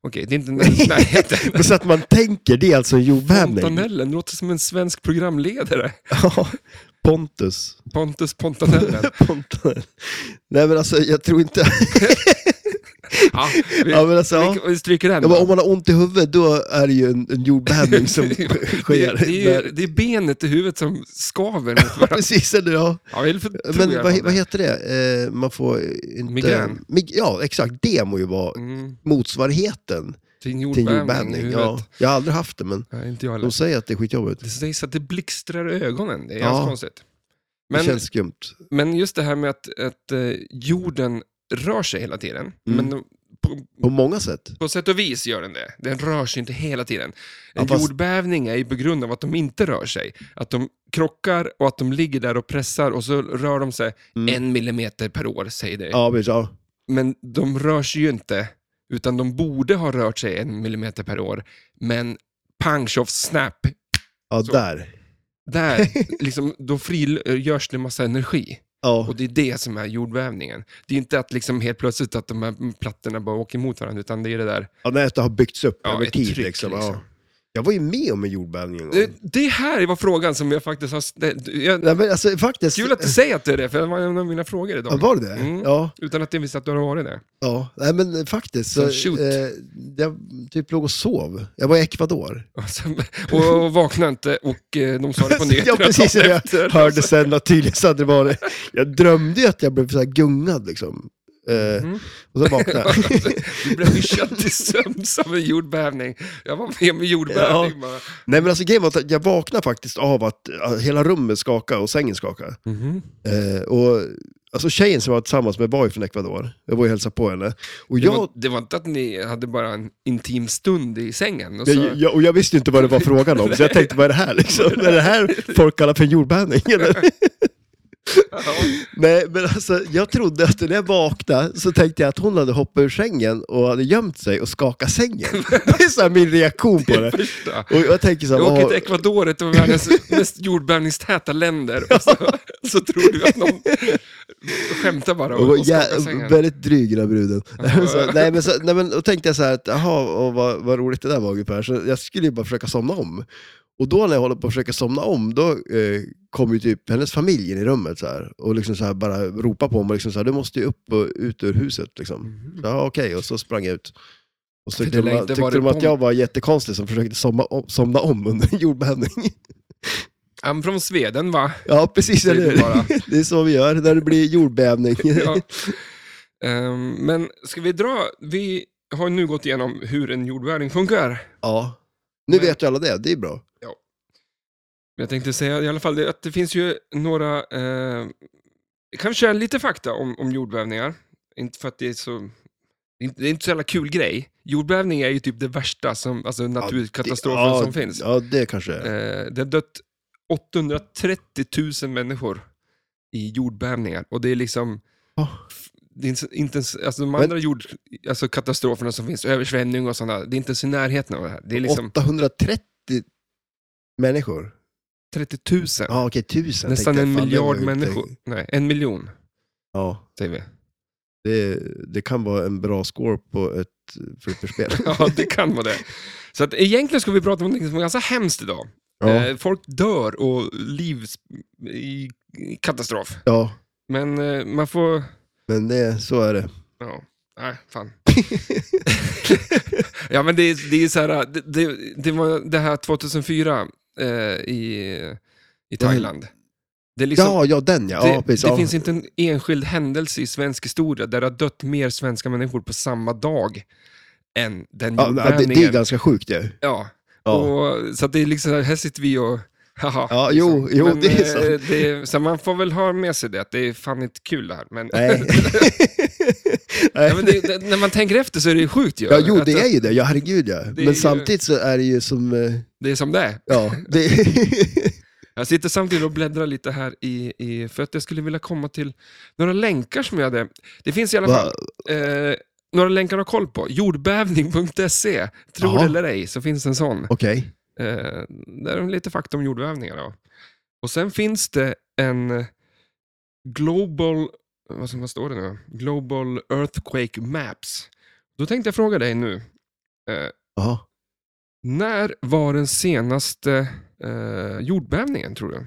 S2: Okej,
S1: [LAUGHS]
S2: det är inte nä- närheten.
S1: Men Så att man tänker, det är alltså en jordbävning.
S2: Pontanellen låter som en svensk programledare.
S1: [LAUGHS] Ja,
S2: [LAUGHS]
S1: Pontus.
S2: Pontus Pontanellen.
S1: [LAUGHS] Fontanell. Nej men alltså, jag tror inte...
S2: Ja, vi,
S1: Ja, men alltså, ja.
S2: vi, vi stryker den.
S1: Ja, men om
S2: då.
S1: man har ont i huvudet, då är det ju en, en
S2: [LAUGHS]
S1: jordbävning som
S2: det,
S1: sker.
S2: det, är, ju-
S1: Där.
S2: det är benet i huvudet som skaver mot varandra.
S1: [LAUGHS] Precis, eller ja.
S2: Ja, eller för, tror
S1: Men
S2: jag
S1: vad,
S2: det.
S1: vad heter det? Eh, man får inte...
S2: Migrän.
S1: Mig, ja, exakt. Det må ju vara
S2: Mm,
S1: motsvarigheten
S2: till en
S1: till en
S2: jordbävning, i
S1: jordbävning.
S2: huvudet.
S1: Ja. Jag har aldrig haft det, men
S2: Nej, inte jag heller.
S1: de säger att det är skitjobbigt.
S2: Det sägs att det blixtrar i ögonen. Det är
S1: Ja.
S2: ganska konstigt. Men,
S1: Det känns skumt.
S2: men just det här med att, att eh, jorden rör sig hela tiden.
S1: Mm.
S2: Men de- på,
S1: På många sätt.
S2: på sätt och vis gör den det. Den rör sig inte hela tiden.
S1: Ja,
S2: En
S1: fast-
S2: jordbävning är ju på grund av att de inte rör sig. Att de krockar och att de ligger där och pressar och så rör de sig
S1: Mm.
S2: en millimeter per år, säger det.
S1: Ja, precis. Ja.
S2: Men de rör sig ju inte, utan de borde ha rört sig en millimeter per år. Men pang, tjoff, snap,
S1: Ja,
S2: Så.
S1: där. [LAUGHS]
S2: där, liksom, då frigörs det massa energi.
S1: Ja.
S2: Och det är det som är jordbävningen. Det är inte att liksom helt plötsligt att de här plattorna bara åker emot varandra, utan det är det där.
S1: ja, när det har byggts upp
S2: Ja,
S1: över
S2: ett
S1: tid.
S2: tryck,
S1: liksom. Ja.
S2: liksom.
S1: Jag var ju med om en jordbävning en gång.
S2: Det, Eh, det här var frågan som jag faktiskt har... ställt. Jag,
S1: Nej, men alltså faktiskt.
S2: kul att du säger att det är det, för det var en av mina frågor
S1: ja,
S2: idag.
S1: var det det?
S2: Mm.
S1: Ja,
S2: Utan att jag visste att du har varit det.
S1: ja. Nej, men eh, faktiskt.
S2: Så
S1: Så,
S2: shoot.
S1: eh, jag typ låg och sov. Jag var i Ecuador.
S2: Och sen- Och, och vaknade inte och eh, de sa det på nyheterna.
S1: [LAUGHS] ja, precis.
S2: dagen
S1: Jag
S2: efter.
S1: hörde sen att tydligen så hade det varit... Jag drömde ju att jag blev så här gungad liksom. Eh,
S2: Mm.
S1: Och så vaknade jag.
S2: [LAUGHS]
S1: [LAUGHS]
S2: Du blev hyschad till [LAUGHS] sömns av en jordbävning. Jag var med om en jordbävning bara.
S1: Nej men alltså grejen var att jag vaknade faktiskt av att eh, hela rummet skakade och sängen skakade.
S2: Mhm.
S1: Eh, och, alltså tjejen som jag var tillsammans med var ju från Ecuador. Jag var ju och hälsade på henne. Och
S2: Det,
S1: jag,
S2: var, det var inte att ni hade bara en intim stund i sängen? Och så,
S1: jag, jag, och jag visste inte vad det var frågan om, så jag tänkte vad är det här liksom? Är det här folk kallar för en jordbävning? Eller?
S2: [LAUGHS] ja,
S1: Nej, men alltså jag trodde att när jag vaknade så tänkte jag att hon hade hoppat ur sängen och hade gömt sig och skakat
S2: [LAUGHS]
S1: sängen. Det är så här min reaktion på det.
S2: första.
S1: Och jag tänker så här,
S2: Jag åker
S1: vad-
S2: till Ecuador, ett av världens mest jordbävningstäta länder. Och så, så tror du att någon skämtar bara och,
S1: Och,
S2: och
S1: ja,
S2: skakar sängen.
S1: väldigt dryg den här
S2: [LAUGHS]
S1: bruden. så, nej, men så, nej, men då tänkte jag så här att, jaha, och vad, vad roligt det där var ungefär. Så jag skulle ju bara försöka somna om. Och då när jag håller på att försöka somna om, då eh, kommer ju typ hennes familj in i rummet så här, och liksom så här bara ropa på mig. Liksom så här, du måste ju upp och ut ur huset. Liksom.
S2: Mhm.
S1: Så, Ja, okej, och så sprang jag ut. Och så
S2: Jag
S1: tyckte
S2: lär
S1: de,
S2: inte
S1: tyckte
S2: varit
S1: de att
S2: på-
S1: jag var jättekonstig som försökte somna om, somna om under [LAUGHS] en jordbävning.
S2: Han från Sveden va?
S1: Ja, precis.
S2: Det är
S1: Eller?
S2: det bara.
S1: hur? [LAUGHS] Det är så vi gör när det blir jordbävning.
S2: [LAUGHS] Ja. Ehm, men ska vi dra, vi har nu gått igenom hur en jordbävning funkar.
S1: Ja. Nu
S2: Men-
S1: vet ju alla det, det är bra.
S2: Jag tänkte säga i alla fall det, att det finns ju några, eh, kanske lite fakta om, om jordbävningar. Inte för att det är så, det är inte- det är inte så jävla kul grej. Jordbävning är ju typ det värsta, som, alltså naturkatastrofen
S1: ja,
S2: som finns.
S1: Ja, det kanske är.
S2: Eh, det har dött 830 000 människor i jordbävningar. Och det är liksom,
S1: Ja.
S2: det är inte, inte ens, alltså de
S1: Men-
S2: andra jord, alltså katastroferna som finns, översvämning och sådana, det är inte ens i närheten av det här. Det är liksom
S1: 830 människor.
S2: 30 000.
S1: Ja, okej, tusen.
S2: Nästan
S1: tänkte jag. Fan, det
S2: en
S1: var
S2: miljard
S1: ju inte-
S2: människor. Nej, en miljon
S1: Ja,
S2: säger vi. [LAUGHS]
S1: det, det kan vara en bra score på ett
S2: [LAUGHS]
S1: flipperspel.
S2: Ja, det kan vara det. Så att egentligen ska vi prata om något som är ganska hemskt idag.
S1: ja.
S2: Eh, folk dör och liv sp- i, i katastrof.
S1: ja,
S2: Men eh, man får...
S1: men det, så är det.
S2: Ja, nej,
S1: [LAUGHS]
S2: fan. ja, men det, är- det är så här, det, det, det var det här 2004 eh, i, i Thailand. Det, är liksom,
S1: Mm. ja, ja, den ja.
S2: det,
S1: ja, precis,
S2: det
S1: ja.
S2: finns inte en enskild händelse i svensk historia där det har dött mer svenska människor på samma dag än den
S1: ja, men det, det är
S2: jordbävningen.
S1: ganska sjukt ju.
S2: Ja,
S1: Ja.
S2: och, så att det är liksom, så här, här sitter vi och [LAUGHS] haha.
S1: Ja, jo, jo,
S2: Men,
S1: det är
S2: eh,
S1: sant.
S2: det är- så man får väl ha med sig det, att det är fan inte kul det här. Men,
S1: [LAUGHS] Nej. Nej.
S2: [LAUGHS] Ja, men det, det, när man tänker efter så är det ju sjukt ju.
S1: Ja, jo,
S2: Att
S1: det är ju det. Ja, herregud ja.
S2: är
S1: Men
S2: ju-
S1: samtidigt så är det ju som, eh,
S2: det är som det är.
S1: ja,
S2: [LAUGHS]
S1: det,
S2: Jag sitter samtidigt och bläddrar lite här i, i, för att jag skulle vilja komma till några länkar som jag hade. Det finns i alla fall
S1: va,
S2: eh, några länkar att ha koll på. Jordbävning.se, tror
S1: Jaha.
S2: det eller ej, så finns en sån.
S1: okej.
S2: Eh, där är lite fakta om jordbävningar. Då. Och sen finns det en eh, Global, vad, som, vad står det nu? Global Earthquake Maps. Då tänkte jag fråga dig nu. Eh,
S1: Jaha.
S2: När var den senaste eh, jordbävningen, tror du?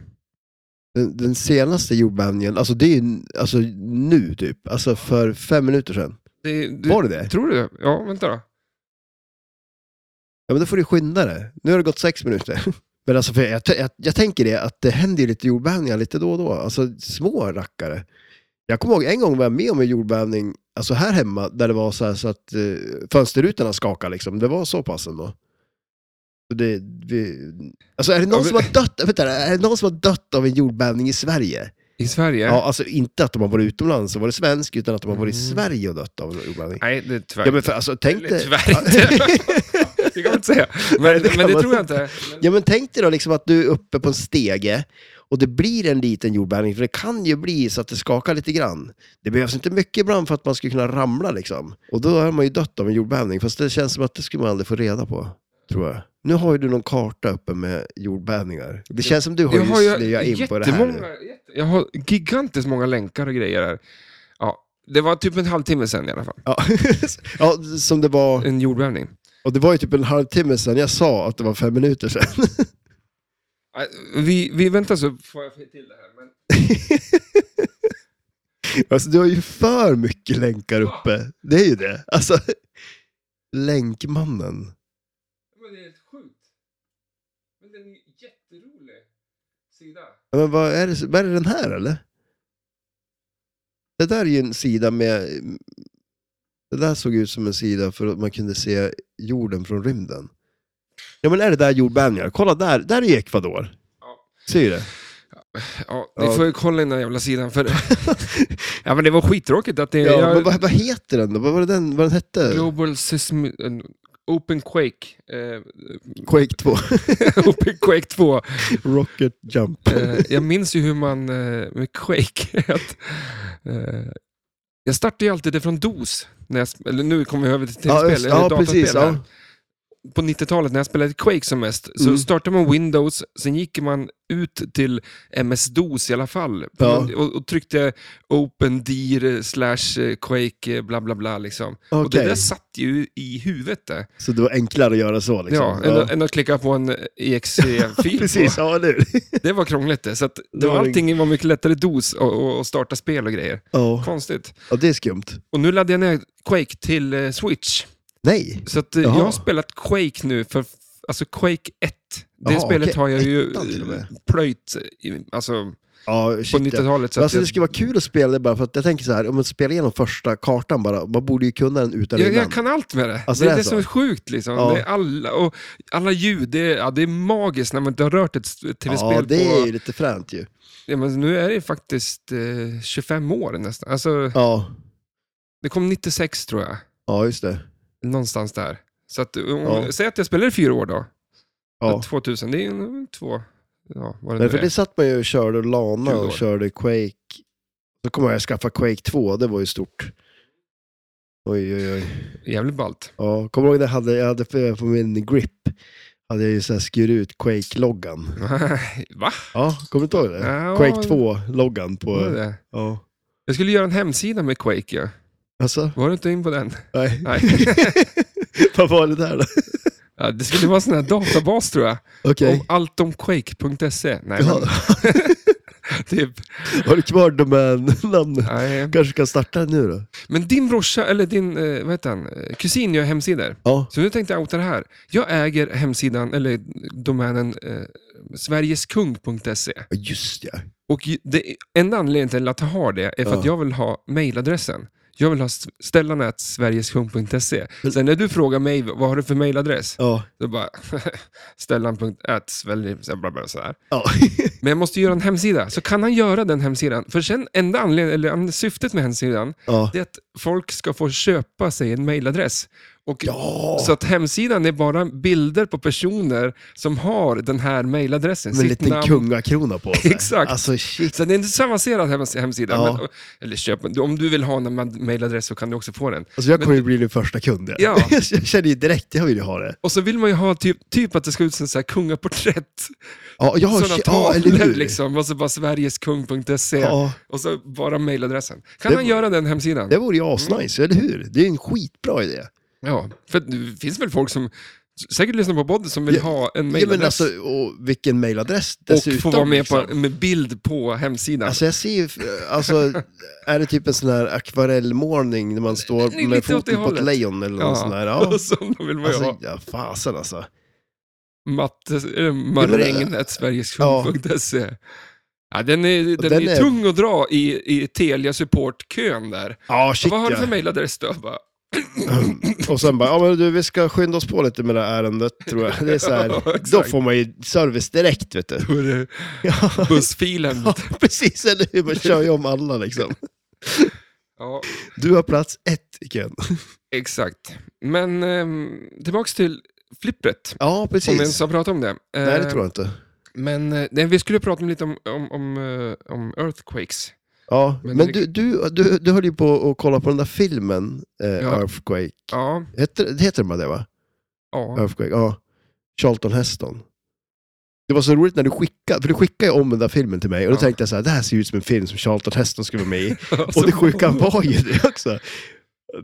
S1: Den, den senaste jordbävningen, alltså det är ju alltså, nu typ, alltså för fem minuter sedan.
S2: Det, du
S1: Var det det?
S2: Tror du det? Ja, vänta då.
S1: Ja men då får du skynda dig. Nu har det gått sex minuter. [LAUGHS] Men alltså, för jag, jag, jag tänker det, att det händer ju lite jordbävningar lite då och då. Alltså små rackare. Jag kommer ihåg en gång var jag med om en jordbävning, alltså här hemma, där det var så, här, så att eh, fönsterrutorna skakade liksom. Det var så pass ändå. Så Det, vi, alltså är det någon
S2: Ja,
S1: som har dött, vänta, är det någon som har dött av en jordbävning i Sverige?
S2: I Sverige?
S1: Ja, alltså inte att de har varit utomlands och varit svensk, utan att de har varit i
S2: Mm.
S1: Sverige och dött av en jordbävning.
S2: Nej, det är tyvärr
S1: Ja men för, alltså tänk
S2: Eller
S1: dig... [LAUGHS]
S2: tyvärr [LAUGHS] inte. det kan man inte säga. Men,
S1: Nej, det
S2: det,
S1: kan
S2: men det
S1: man
S2: tror jag
S1: inte.
S2: inte.
S1: Ja men tänk dig då liksom att du är uppe på en stege och det blir en liten jordbävning, för det kan ju bli så att det skakar lite grann. Det behövs inte mycket ibland för att man ska kunna ramla liksom. Och då har man ju dött av en jordbävning, fast det känns som att det skulle man aldrig få reda på, tror jag. Nu har ju du någon karta uppe med jordbävningar. Det känns som du har,
S2: Jag har
S1: ju
S2: ju
S1: snöat in på det här.
S2: jättemånga,
S1: nu.
S2: jätte- jag har gigantiskt många länkar och grejer här. Ja, det var typ en halvtimme sedan i alla fall,
S1: Ja. [LAUGHS] ja, som det var...
S2: en jordbävning.
S1: Och det var ju typ en halvtimme sedan jag sa att det var fem minuter sedan. [LAUGHS]
S2: Nej, Vi, vi väntar så får jag till det här. Men...
S1: Alltså du har ju för mycket länkar uppe. Det är ju det. Alltså, [LAUGHS] länkmannen.
S2: Men det är helt sjukt. Men det är en jätterolig sida.
S1: Ja, Men vad är, det, vad är det den här eller? Det där är ju en sida med... Det där såg ut som en sida för att man kunde se jorden från rymden. Ja men är det där jordbävningar? Kolla där, där är ju Ecuador.
S2: Ja.
S1: Ser du det?
S2: Ja, ni
S1: Ja.
S2: får ju kolla in den här jävla
S1: [LAUGHS]
S2: sidan. För... ja, men det var skittråkigt att det...
S1: Ja,
S2: jag...
S1: Men vad, vad heter den då? Vad var det den, vad den hette?
S2: Global Seism... eh, Open Quake. Eh, [LAUGHS]
S1: Quake 2.
S2: Open Quake 2.
S1: Rocket Jump.
S2: Eh, jag minns ju hur man eh, med Quake... [LAUGHS] att, eh, jag startade ju alltid det från DOS. När jag, sp- eller nu kommer jag över till
S1: Ja,
S2: tv-spel,
S1: just-
S2: eller
S1: ja
S2: dataspel.
S1: precis.
S2: här.
S1: Ja.
S2: på 90-talet när jag spelade Quake som mest, så
S1: Mm.
S2: startade man Windows, sen gick man ut till MS-DOS i alla fall. på
S1: Ja.
S2: någon- Och, och tryckte Open dir slash eh, Quake eh, bla bla bla liksom. Och det
S1: Okej.
S2: där satt ju i huvudet eh. det.
S1: Så det var enklare att göra så liksom.
S2: Ja, än, att- än att klicka på en eh,
S1: [LAUGHS]
S2: EXE-fil.
S1: Precis,
S2: på.
S1: ja eller hur?
S2: Det var krångligt det. Så att det
S1: Det
S2: var
S1: var
S2: allting var mycket lättare i DOS och, och, och starta spel och grejer.
S1: Ja,
S2: Konstigt.
S1: Ja, det är skumt.
S2: Och nu laddade jag ner Quake till eh, Switch.
S1: Nej,
S2: Så att, eh, jag
S1: Jaha.
S2: har spelat Quake nu, för alltså Quake 1. Det
S1: Jaha,
S2: spelet
S1: okej.
S2: har jag ju
S1: Ettan till och med.
S2: plöjt i- alltså,
S1: ja,
S2: på
S1: shit, ja.
S2: 90-talet. Så att
S1: Alltså, det
S2: jag,
S1: skulle vara kul att spela det bara för att jag tänker så här, om man spelar igenom första kartan bara, man borde ju kunna den utan
S2: jag,
S1: innan.
S2: jag kan allt med det.
S1: Alltså,
S2: det
S1: det
S2: är
S1: är
S2: det
S1: så.
S2: som är sjukt. Liksom.
S1: Ja.
S2: Det är alla, och alla ljud, det är, ja, det är magiskt när man inte har rört ett s- tv-spel
S1: ja, det är
S2: på...
S1: ju lite fränt ju.
S2: Ja, men nu är det faktiskt eh, 25 år nästan. Alltså,
S1: Ja,
S2: det kom 96 tror jag,
S1: ja just det.
S2: någonstans där. Så att, om,
S1: Ja.
S2: Säg att jag spelar i fyra år då,
S1: Ja.
S2: 2000, det är ju en- eh, två... Ja, vad det
S1: Nej,
S2: nu
S1: för
S2: är.
S1: det satt man ju och körde och
S2: Kul
S1: Lana
S2: år.
S1: och körde Quake. Så kommer jag att skaffa Quake 2, det var ju stort. Oj, oj, oj.
S2: Jävligt ballt. [LAUGHS]
S1: Ja, kommer du ihåg när jag hade, jag hade på- på min grip, hade jag ju så här skurit ut Quake-loggan.
S2: Va?
S1: Ja, kommer du inte ihåg det?
S2: Ja,
S1: Quake 2-loggan
S2: Vad är
S1: på...
S2: det?
S1: Ja.
S2: Jag skulle göra en hemsida med Quake. Ja.
S1: Alltså?
S2: Var du inte in på den? [LAUGHS]
S1: Nej.
S2: Nej.
S1: [LAUGHS] Vad var det där då?
S2: Ja, det skulle vara en sån här databas tror jag.
S1: Okej.
S2: Om alltomquake.se. Nej, men,
S1: Ja,
S2: [LAUGHS] typ,
S1: har du kvar domännamnet?
S2: nej.
S1: kanske kan starta nu då?
S2: men din brorsa, eller din eh, vad heter han? Eh, kusin gör hemsidor.
S1: Ja.
S2: Så nu tänkte jag outa det här. Jag äger hemsidan, eller domänen, eh, sverigeskung.se.
S1: Ja, Just ja.
S2: Och ju- det, enda anledningen till att jag har det är för att
S1: Ja.
S2: jag vill ha mejladressen. Jag vill ha s- stellanet sverigeskung.se. Sen när du frågar mig vad har du för mejladress,
S1: Ja.
S2: Då bara, [LAUGHS] Stellan.at, bla bla sådär.
S1: ja. [LAUGHS]
S2: Men jag måste göra en hemsida, så kan han göra den hemsidan. För sen, enda anledningen, eller an- syftet med hemsidan,
S1: ja.
S2: det är att folk ska få köpa sig en mailadress. Och,
S1: ja.
S2: Så att hemsidan är bara bilder på personer som har den här mailadressen.
S1: Med en liten kungakrona på sig.
S2: Exakt.
S1: Alltså shit.
S2: Så det är en sammanserad hems- hemsida.
S1: Ja.
S2: Men, eller köp, en- om du vill ha en ma- mailadress så kan du också få den.
S1: Alltså jag kommer ju bli din första kund.
S2: Ja.
S1: [LAUGHS] jag känner ju direkt, jag vill ju ha det.
S2: Och så vill man ju ha typ, typ att det ska ut som så här kungaporträtt.
S1: Ja, jag har
S2: sådana
S1: shit, ja, eller
S2: tavlor
S1: hur?
S2: liksom, och så bara sverigeskung.se
S1: Ja,
S2: och så bara mailadressen. Kan
S1: Det-
S2: han göra den hemsidan?
S1: det vore ju asnice, eller hur? Det är ju en skitbra idé.
S2: Ja, för det finns väl folk som säkert lyssnar på podden som vill
S1: Ja,
S2: ha en
S1: Ja, men
S2: mailadress
S1: alltså, och vilken mailadress
S2: och få vara med,
S1: liksom.
S2: på, med bild på hemsidan.
S1: Alltså jag ser ju, alltså,
S2: [LAUGHS]
S1: är det typ en sån här akvarellmålning när man
S2: Det
S1: står
S2: är
S1: med
S2: lite åt det
S1: foten på ett
S2: hållet.
S1: lejon eller
S2: Ja.
S1: något sån här?
S2: [LAUGHS]
S1: Ja.
S2: så då vill man ju
S1: Alltså,
S2: ha
S1: ja, fasen alltså.
S2: matte, eh, maränget, sverigeskung.se. Ja, den är, den
S1: den
S2: är
S1: är-
S2: tung att dra i, i Telia Support-kön där.
S1: Ja, shit
S2: Vad har du för
S1: ja.
S2: mailadress då? Bara,
S1: [CLEARS THROAT] Och sen bara, ja men du, vi ska skynda oss på lite med det här ärendet tror jag. Det är så här,
S2: [LAUGHS] Ja, exakt.
S1: då får man ju service direkt vet du.
S2: då är det
S1: Ja,
S2: Bussfilen.
S1: ja [LAUGHS] precis, eller hur? Man kör ju om alla liksom.
S2: Ja.
S1: Du har plats ett i kön.
S2: Exakt. Men ehm, tillbaks till flippret.
S1: Ja,
S2: Om vi ens
S1: precis.
S2: har pratat om det.
S1: Nej, det tror jag inte.
S2: Men eh, nej, vi skulle prata om lite om, om, om, eh, om earthquakes.
S1: Ja,
S2: men
S1: men
S2: det-
S1: du, du, du, du höll ju på att kolla på den där filmen, eh,
S2: Ja.
S1: Earthquake.
S2: Ja,
S1: Heter, heter den bara det va?
S2: ja.
S1: Earthquake, ja. Charlton Heston. Det var så roligt när du skickade, för du skickade ju om den där filmen till mig och då
S2: Ja.
S1: tänkte jag så här, det här ser ju ut som en film som Charlton Heston skulle vara med i.
S2: [LAUGHS] Alltså,
S1: och det
S2: [LAUGHS]
S1: sjuka var ju det också.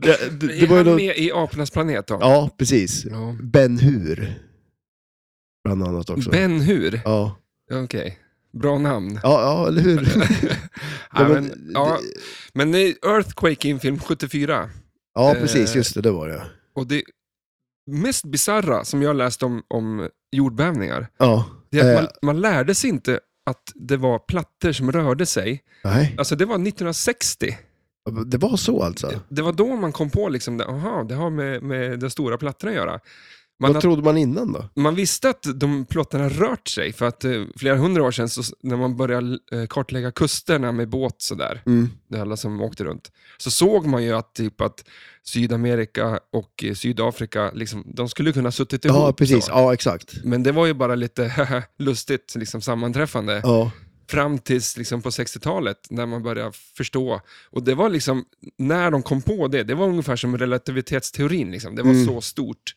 S1: Det, det, det
S2: är
S1: var ju
S2: han
S1: någon,
S2: med i Apornas planet då?
S1: ja, precis.
S2: Ja.
S1: Ben Hur. Bland annat också.
S2: Ben Hur.
S1: Ja.
S2: Okej. Bra namn.
S1: Ja, ja, eller
S2: [LAUGHS]
S1: hur?
S2: ja,
S1: Ja,
S2: men,
S1: men,
S2: ja,
S1: det-
S2: men det är Earthquake i en film 74.
S1: ja,
S2: eh,
S1: precis. Just det, det var det.
S2: Och det mest bizarra som jag läst om, om jordbävningar,
S1: Ja.
S2: det är att
S1: Eh,
S2: man, man lärde sig inte att det var plattor som rörde sig.
S1: Nej,
S2: Alltså det var 1960.
S1: det var så alltså.
S2: Det var då man kom på liksom, det, aha, det har med, med den stora plattan att göra. Man,
S1: Vad trodde man innan då?
S2: man visste att de plattorna rört sig, för att eh, flera hundra år sedan, så, s- när man började eh, kartlägga kusterna med båt sådär,
S1: Mm.
S2: det är alla som åkte runt, så såg man ju att, typ, att Sydamerika och eh, Sydafrika, liksom, de skulle kunna ha suttit ihop.
S1: Ja, precis.
S2: Så.
S1: Ja, exakt.
S2: Men det var ju bara lite [LAUGHS] lustigt liksom, sammanträffande.
S1: Ja.
S2: fram tills liksom på 60-talet när man började förstå. Och det var liksom, när de kom på det, det var ungefär som relativitetsteorin. Liksom. Det var
S1: Mm.
S2: så stort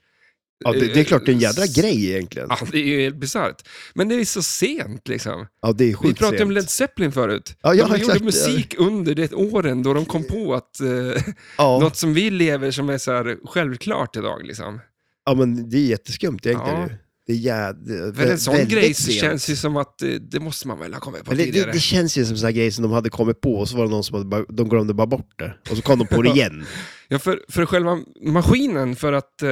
S1: Ja, det, det är klart det är en jädra grej egentligen.
S2: Eh, Ja, det är ju helt bisarrt. Men det är så sent liksom.
S1: Ja, det är
S2: Vi
S1: sjukt
S2: pratade om
S1: sent.
S2: Led Zeppelin förut.
S1: Ja, ja,
S2: de
S1: exakt.
S2: gjorde musik under det åren då de kom på att eh,
S1: Ja,
S2: något som vi lever som är så här självklart idag. Liksom.
S1: ja, men det är jätteskumt egentligen
S2: Ja.
S1: ju. Det är jädra,
S2: Men en sån grej så
S1: sent.
S2: känns ju som att eh, det måste man väl ha kommit på
S1: Men det, det,
S2: tidigare.
S1: det känns ju som sådana grejer som de hade kommit på och så var det någon som hade, bara- de glömde bara bort det. Och så kom de på
S2: [LAUGHS]
S1: det igen.
S2: Ja, för, för själva maskinen, för att eh,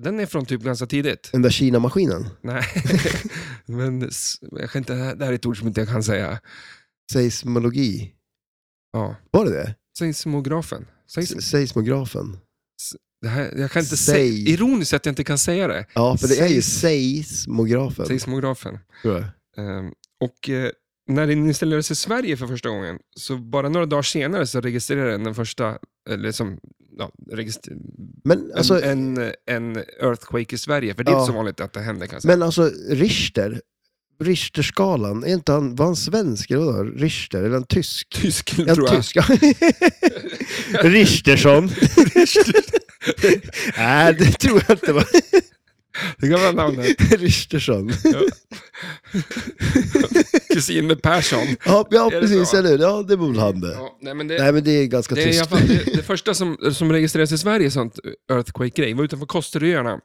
S2: den är från typ ganska tidigt.
S1: Den där Kina-maskinen.
S2: Nej, men s- jag kan inte, det här är ett ord som inte jag kan säga.
S1: Seismologi.
S2: Ja.
S1: Var det det?
S2: Seismografen. Seis,
S1: Se- Seismografen.
S2: det här, jag kan inte säga,
S1: Sei-
S2: ironiskt att jag inte kan säga det.
S1: Ja, för det är ju
S2: Seis-
S1: seismografen.
S2: Seismografen.
S1: tror jag.
S2: Ehm, Och eh, när den installerades i Sverige för första gången, så bara några dagar senare så registrerade den den första, eller som, ja, registr-
S1: Men
S2: en,
S1: alltså,
S2: en, en earthquake i Sverige. För det är
S1: Ja.
S2: inte så vanligt att det händer kan jag säga. [LAUGHS]
S1: men alltså Richter, Richterskalan, är inte han, var han svensk eller vadå? Richter, eller en tysk?
S2: Tysk,
S1: En
S2: tror jag.
S1: tysk.
S2: [LAUGHS]
S1: Richtersson. Nej, det tror jag inte. va?
S2: Det kan vara namnet.
S1: Richtersson.
S2: Kusin med Persson.
S1: [LAUGHS] Ja, ja
S2: Är det
S1: precis,
S2: så?
S1: eller hur? Ja, det var väl han det.
S2: Ja, nej, men det,
S1: Nej, men det är ganska
S2: det, är i alla
S1: tyst.
S2: fall, det, det första som, som registrerades i Sverige, sånt earthquake-grej, var utanför Kosteröarna.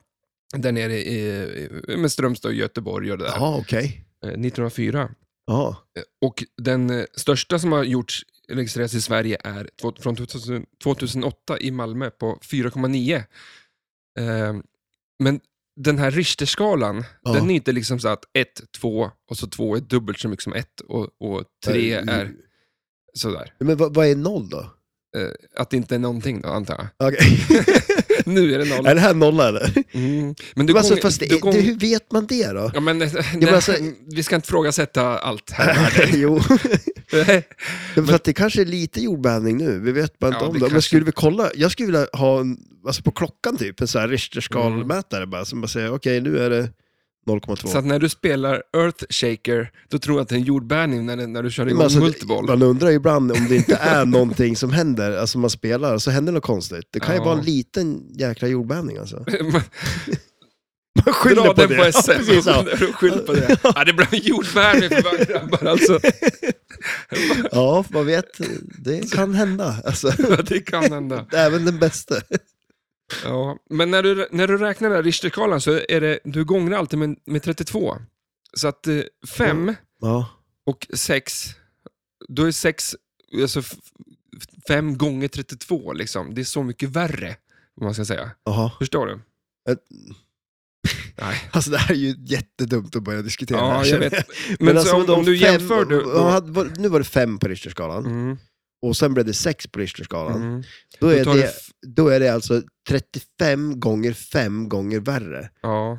S2: Där nere i, i- med Strömstad och Göteborg och det där.
S1: Jaha, okej.
S2: eh, 1904.
S1: Ja.
S2: Och den eh, största som har gjorts registreras i Sverige är två- från 2000 2008 i Malmö på 4,9. Eh, Men den här Richterskalan,
S1: Ja.
S2: den är inte liksom så att 1, 2 och så 2 är dubbelt så mycket som 1 och, och 3
S1: Eh,
S2: är sådär.
S1: Men vad, vad är noll då?
S2: Eh, Att det inte är någonting då, antar jag. [LAUGHS]
S1: Okej.
S2: Nu är det noll.
S1: är det här nolla eller?
S2: Mm. Men
S1: Men
S2: du
S1: alltså,
S2: gånger-
S1: fast det,
S2: du gånger-
S1: det, hur vet man det då?
S2: Ja, [LAUGHS] men,
S1: men alltså-
S2: vi ska inte frågasätta
S1: [LAUGHS]
S2: allt här.
S1: jo,
S2: Nej.
S1: men, för att det kanske är lite jordbävning nu, vi vet bara inte
S2: Ja,
S1: om
S2: det
S1: det. Men
S2: kanske-
S1: skulle vi kolla, jag skulle vilja ha en, alltså på klockan typ, en sån här Richterskalmätare
S2: Mm.
S1: bara, som bara säger okej nu är det 0,2.
S2: [LAUGHS] Så att när du spelar Earthshaker, då tror jag att det är en jordbävning när, den- när du kör
S1: Men
S2: igång
S1: alltså,
S2: multiboll. [LAUGHS]
S1: Man undrar ju ibland om det inte är [LAUGHS] någonting som händer, alltså man spelar, så händer något konstigt. Det kan ju
S2: Ja.
S1: vara en liten jäkla jordbävning
S2: [LAUGHS]
S1: alltså. Man
S2: Dra
S1: skyller på
S2: den
S1: det. [LAUGHS]
S2: på
S1: Ja,
S2: SM
S1: precis,
S2: [LAUGHS]
S1: ja.
S2: och skyll
S1: [LAUGHS]
S2: på det. Ja, det blev en jordbävning för våra grabbar alltså. [LAUGHS]
S1: Ja, man vet. Det kan hända. Alltså,
S2: Det kan hända.
S1: även den bästa.
S2: Ja. Men när du, när du räknar den här Richterskalan så är det, du gångrar alltid med, med 32. Så att 5
S1: Mm. Ja.
S2: och 6, då är 6, alltså 5 gånger 32 liksom. Det är så mycket värre, om man ska säga.
S1: Aha.
S2: Förstår du?
S1: Ett-
S2: [LAUGHS] Nej.
S1: Alltså det här är ju jättedumt att börja diskutera. det
S2: Ja,
S1: här,
S2: jag
S1: känner
S2: vet. Men, så
S1: alltså,
S2: om,
S1: de
S2: om du
S1: fem-
S2: jämför... Du,
S1: ja, hade- var- nu var det fem på Richterskalan
S2: mm,
S1: och sen blev det sex på Richterskalan.
S2: mm.
S1: Då,
S2: Då
S1: är
S2: tar det...
S1: det,
S2: f-
S1: då är det alltså 35 gånger fem gånger värre.
S2: Ja.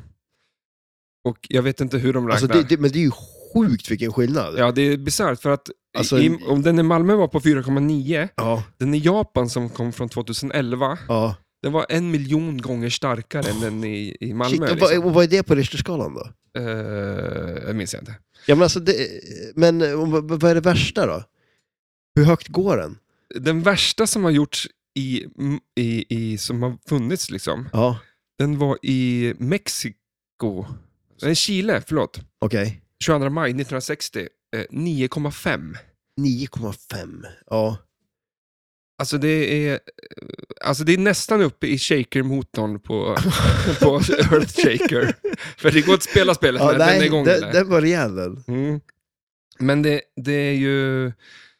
S2: Och jag vet inte hur de räknar.
S1: Alltså, det, det, men det är ju sjukt vilken skillnad.
S2: Ja, det är bisarrt för att
S1: Alltså-
S2: i, om den i Malmö var på 4,9,
S1: ja.
S2: den i Japan som kom från 2011,
S1: ja.
S2: den var en miljon gånger starkare än den i, i Malmö.
S1: Shit, och,
S2: liksom.
S1: vad, och vad är det på Richterskalan då?
S2: Eh, det minns jag inte.
S1: Ja, men alltså det, men och, vad, vad är det värsta då? Hur högt går den?
S2: Den värsta som har gjorts i, i, i, som har funnits, liksom,
S1: Ja,
S2: den var i Mexiko. Nej, Chile, förlåt.
S1: okej.
S2: 22 maj 1960, eh, 9,5.
S1: 9,5. Ja.
S2: Alltså det är eh, alltså det är nästan uppe i shaker-motorn på, [LAUGHS] på Earth Shaker. För det går inte att spela spelet
S1: ja
S2: när den är igång.
S1: den,
S2: eller?
S1: den var rejäl den.
S2: Mm. Men det, det är ju...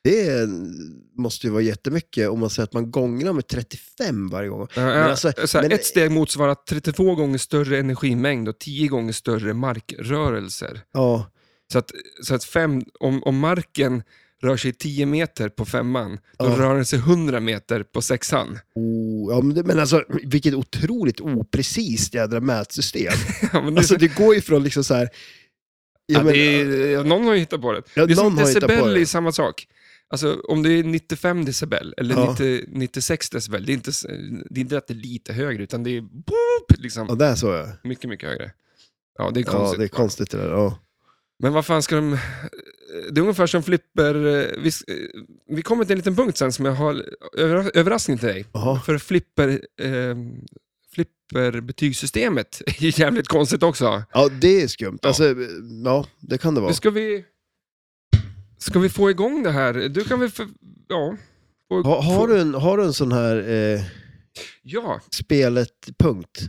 S1: Det är- måste ju vara jättemycket om man säger att man gångrar med 35 varje gång.
S2: Ja, ja,
S1: alltså,
S2: så här,
S1: men-
S2: ett steg motsvarar 32 gånger större energimängd och 10 gånger större markrörelser.
S1: Ja,
S2: Så att, så att fem, om, om marken rör sig 10 meter på femman, då
S1: Ja.
S2: rör den sig 100 meter på sexan. [LAUGHS]
S1: oh, ja men, det, men alltså vilket otroligt oprecist jädra
S2: [LAUGHS]
S1: mätsystem.
S2: Ja, men det,
S1: alltså det går ju från liksom så här...
S2: Ja,
S1: men,
S2: det är, någon har ju hittat på det.
S1: Ja,
S2: det är som
S1: någon har hittat på
S2: decibel
S1: det.
S2: är samma sak. Alltså, om det är 95 decibel eller
S1: Ja.
S2: 90, 96 decibel, det är, inte, s- det är inte att det är lite högre, utan det är boop, liksom,
S1: ja, där såg jag.
S2: mycket, mycket högre. Ja, det är
S1: Ja,
S2: konstigt.
S1: det är konstigt det där. Ja.
S2: Men vad fan ska de... Det är ungefär som flipper... eh, Vi, s- eh, vi kommer till en liten punkt sen som jag har över, överraskning till dig.
S1: Jaha.
S2: För flipper... Eh, flipp, papperbetygssystemet [LAUGHS] är jävligt konstigt också.
S1: Ja, det är skumt.
S2: Ja.
S1: Alltså, ja, det kan det vara.
S2: Nu ska vi... Ska vi få igång det här? Du kan väl... För, ja. få-
S1: Ha,
S2: få-
S1: har, du en, har du en sån här eh,
S2: Ja,
S1: spelet-punkt?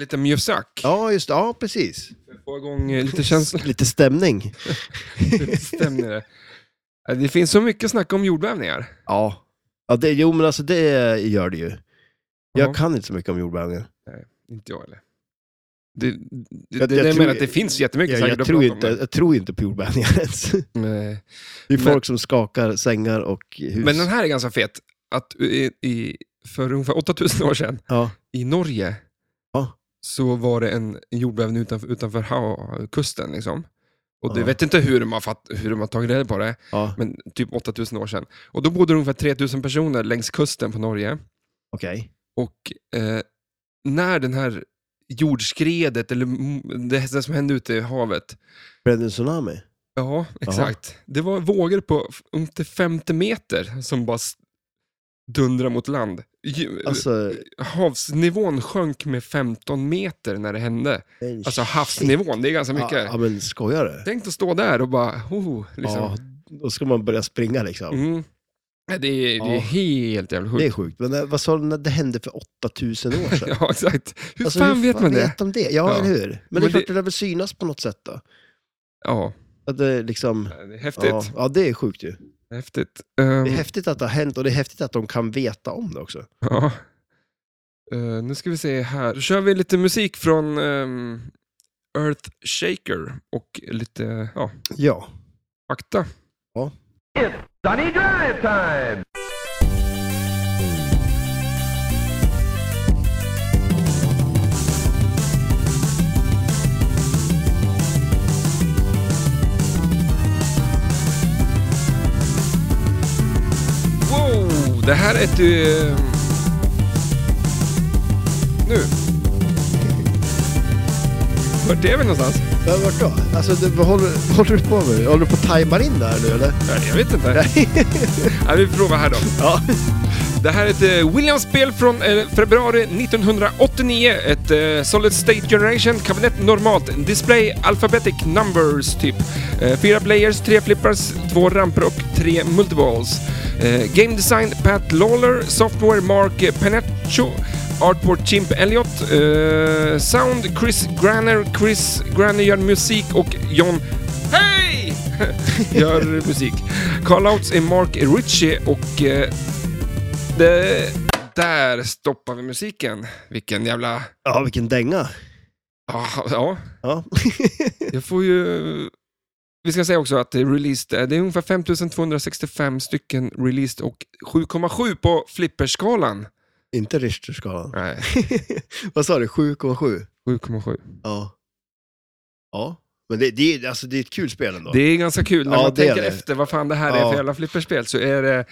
S2: lite mjusack.
S1: Ja, just det. Ja, precis.
S2: Få igång eh,
S1: [LAUGHS]
S2: lite känsla.
S1: Lite stämning.
S2: Stämmer det? Eh, Det finns så mycket snack om jordbävningar.
S1: Ja. ja det, jo, men alltså det gör det ju. Jag
S2: Ja.
S1: kan inte så mycket om jordbävningar.
S2: Inte jag eller? Det, det,
S1: Jag-
S2: det,
S1: jag
S2: jag
S1: tror-
S2: menar att det finns jättemycket
S1: Jag,
S2: säkert
S1: jag,
S2: att
S1: tror
S2: prata om,
S1: inte, jag tror inte på jordbävningar [LAUGHS] ens.
S2: men- Nej.
S1: Det är
S2: Men-
S1: folk som skakar sängar och hus.
S2: Men den här är ganska fet. Att i, i, för ungefär 8000 år sedan
S1: Ja.
S2: i Norge
S1: Ja.
S2: så var det en en jordbävning utanför, utanför ha- kusten. Liksom. Och det
S1: Ja.
S2: vet inte hur de, har fatt, hur de har tagit reda på det,
S1: ja.
S2: men typ 8000 år sedan. Och då bodde det ungefär 3000 personer längs kusten på Norge.
S1: Okej.
S2: Och eh, när den här jordskredet, eller m- det, det som hände ute i havet,
S1: Blev det en tsunami?
S2: Eh, ja, exakt. Det var vågor på f- upp till 50 meter som bara s- dundrade mot land. Ju-
S1: Alltså,
S2: Havsnivån sjönk med 15 meter när det hände.
S1: en
S2: Alltså
S1: shit.
S2: havsnivån, det är ganska mycket.
S1: Ja, ja, men skojar du?
S2: Tänk att stå där och bara, oh, liksom.
S1: Ja, då ska man börja springa liksom.
S2: Mm. Nej, Det, är, det är
S1: Ja.
S2: helt jävla
S1: Det
S2: sjukt. [LAUGHS]
S1: är sjukt. Men eh, vad sa du, när det hände för 8000 år sedan?
S2: Ja, exakt. Hur
S1: Alltså,
S2: fan vet man det?
S1: vet de det? Ja,
S2: Ja.
S1: eller hur? Men,
S2: Men
S1: det är klart,
S2: det-
S1: det lär väl synas på något sätt då.
S2: Ja,
S1: Att det liksom...
S2: det är häftigt.
S1: Ja, ja, det är sjukt ju.
S2: häftigt. Ehm,
S1: Det är häftigt att det har hänt och det är häftigt att de kan veta om det också.
S2: ja. Eh, nu ska vi se här. Då kör vi lite musik från ehm, Earth Shaker och lite ja,
S1: Ja.
S2: fakta.
S3: It's Sunny Drive Time!
S2: Wow, det här är ett... eh, nu. Vart är vi någonstans?
S1: Men vart då? Alltså, du, vad håller, håller du på med? Håller du på att tajma in det här nu eller?
S2: Nej, Jag vet inte. Nej, vi provar här då.
S1: [LAUGHS] Ja.
S2: Det här är ett eh, Williams spel från eh, februari 1989. Ett eh, Solid State Generation, kabinett normalt, display, alphabetic numbers typ. Eh, fyra players, tre flippers, två ramper och tre multiballs. Eh, game design Pat Lawler, software Mark Penaccio, artwork Chimp Elliott, eh, sound Chris Granner, Chris Granner gör musik och John Hej! [LAUGHS] gör musik. Callouts är Mark Ritchie och eh, det, där stoppar vi musiken. Vilken jävla...
S1: ja, vilken dänga.
S2: Ja, ja,
S1: [LAUGHS] Ja.
S2: jag får ju... Vi ska säga också att det är released, eh, det är ungefär 5265 stycken released och 7,7 på flipperskalan.
S1: Inte Richterskalan. [LAUGHS]
S2: Nej,
S1: vad sa du? 7,7?
S2: 7,7.
S1: Ja. Ja. Men det, det, är- alltså, det är ett kul spel ändå.
S2: Det är ganska kul när
S1: Ja,
S2: man
S1: det är
S2: tänker
S1: det.
S2: efter vad fan det här är
S1: Ja.
S2: för jävla flipperspel. Så är det...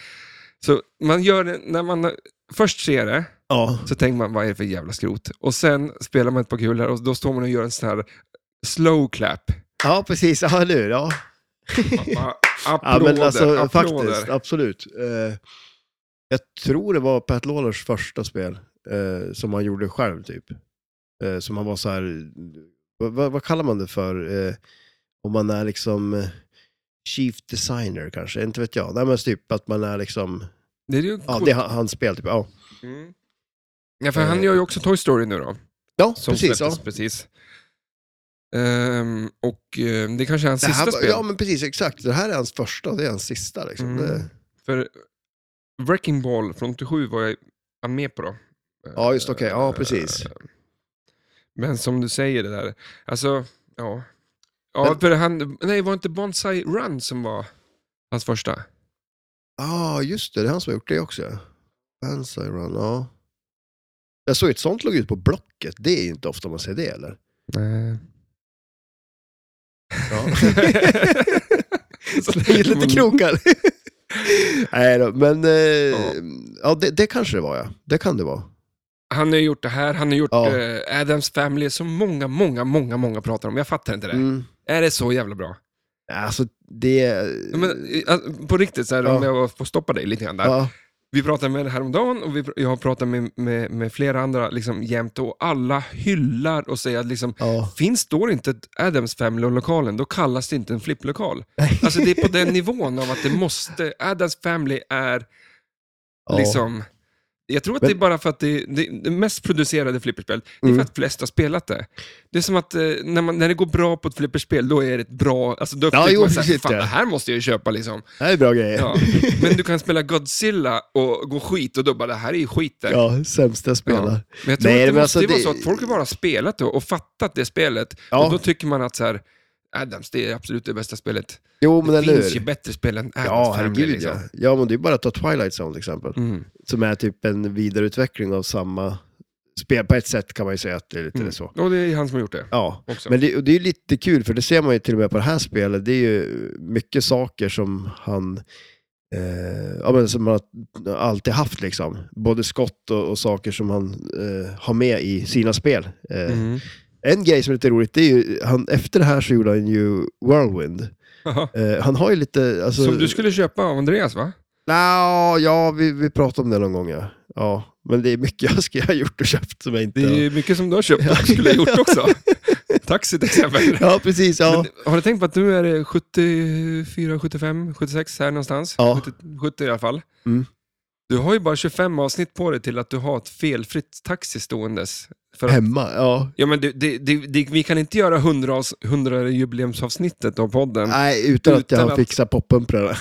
S2: Så man gör det, när man först ser det,
S1: Ja.
S2: så tänker man vad är det för jävla skrot? Och sen spelar man ett par kulor och då står man och gör en sån här slow clap.
S1: ja, precis. Ja, eller hur? Ja.
S2: Bara
S1: Ja,
S2: Applåder,
S1: men alltså
S2: applåder.
S1: faktiskt, absolut. Eh, jag tror det var Pat Lawlers första spel eh, som han gjorde själv typ. Eh, som han var så här, vad, vad, vad kallar man det för? Eh, om man är liksom eh, chief designer kanske, inte vet jag. Nej men typ att man är liksom,
S2: Det är ju
S1: ja
S2: coolt.
S1: det är han- hans spel typ. Ja,
S2: Mm. Ja, för han gör ju också Toy Story nu då.
S1: ja
S2: Som
S1: Eh, precis. Ja.
S2: släpptes precis. Ehm, och ehm, det kanske är hans
S1: Det här,
S2: sista
S1: var-
S2: spel.
S1: ja men precis, exakt. Det här är hans första, det är hans sista liksom.
S2: Mm.
S1: Det,
S2: För Wrecking Ball från 87 var jag jag med på då.
S1: ja just okej, ja
S2: Ehm,
S1: precis.
S2: Men som du säger det där, alltså, ja. Ja,
S1: Men-
S2: för han, nej, var inte Bonsai Run som var hans första?
S1: Ja, ah, just det. Det är han som har gjort det också. ja. Banzai Run, ja. Jag såg ett sånt låg ut på Blocket. Det är ju inte ofta man ser det, eller?
S2: Nej.
S1: [LAUGHS]
S2: [LAUGHS]
S1: Ja. Slänger
S2: [LAUGHS]
S1: lite krokar. [LAUGHS] Nej då, men eh, ja. det, det kanske det var, ja. Det kan det vara.
S2: Han har gjort det här, han har gjort
S1: Ja.
S2: eh, Adams Family som många, många, många, många pratar om. Jag fattar inte det.
S1: Mm.
S2: Är det så jävla bra?
S1: Alltså, det...
S2: Ja, Men, eh, på riktigt, så här, om
S1: Ja.
S2: jag får stoppa dig lite grann där.
S1: ja,
S2: Vi pratade med henne häromdagen och vi, pr- jag har pratat med, med, med flera andra liksom, jämt och alla hyllar och säger att liksom,
S1: Ja.
S2: finns står inte ett Adams Family-lokalen, då kallas det inte en flipplokal.
S1: [LAUGHS]
S2: Alltså det är på den nivån av att det måste, Adams Family är
S1: Ja.
S2: liksom, jag tror att
S1: Men-
S2: det är bara för att det, det, det mest producerade flipperspelet, det är
S1: Mm.
S2: för att flest har spelat det. Det är som att eh, när, man, när det går bra på ett flipperspel, då är det ett bra, alltså då upptäcker
S1: jo,
S2: man så här,
S1: precis,
S2: fan
S1: ja.
S2: det här måste jag ju köpa liksom.
S1: Det här är bra grejer.
S2: Ja. Men du kan spela Godzilla och gå skit och då bara, det här är ju skit där.
S1: Ja, sämsta spelare.
S2: Men jag tror
S1: Nej,
S2: att det
S1: men alltså,
S2: måste vara
S1: det-
S2: så att folk har bara spelat det och fattat det spelet.
S1: Ja.
S2: Och då tycker man att så här, Adams, det är absolut det bästa spelet.
S1: Jo, men
S2: det
S1: eller
S2: finns ju
S1: hur?
S2: bättre spel än Adams
S1: Ja,
S2: Family.
S1: herregud
S2: liksom.
S1: ja. Ja, men det är bara att ta Twilight Zone till exempel.
S2: Mm.
S1: Som är typ en vidareutveckling av samma spel. På ett sätt kan man ju säga att det är lite
S2: Mm.
S1: så.
S2: Och det är han som har gjort det.
S1: Ja,
S2: Också.
S1: men det, och det är ju lite kul för det ser man ju till och med på det här spelet. Det är ju mycket saker som han eh, ja, men som han alltid haft liksom. Både skott och, och saker som han eh, har med i sina spel. Eh, [LAUGHS]
S2: Mm.
S1: En grej som är lite roligt, det är ju, han, efter det här så gjorde han ju Whirlwind.
S2: Jaha.
S1: Eh, han har ju lite, alltså...
S2: Som du skulle köpa av Andreas va?
S1: Nå, ja, vi, vi pratade om det någon gång ja. ja. Men det är mycket [LAUGHS] jag skulle ha gjort och köpt som jag inte
S2: Det är
S1: har.
S2: ju mycket som du har köpt och skulle ha gjort också.
S1: [LAUGHS]
S2: Taxi till exempel.
S1: Ja, precis. Ja.
S2: Men, har du tänkt på att nu är det 74, 75, 76 här någonstans?
S1: Ja.
S2: 70, 70 i alla fall.
S1: Mm.
S2: Du har ju bara 25 avsnitt på dig till att du har ett felfritt taxi ståendes. För att,
S1: Hemma, ja.
S2: ja, men det, det, det, det, vi kan inte göra 100, avs- 100 jubileumsavsnittet av podden.
S1: Nej, utan att jag
S2: Mm. Utan
S1: har
S2: att-
S1: fixat poppumprarna.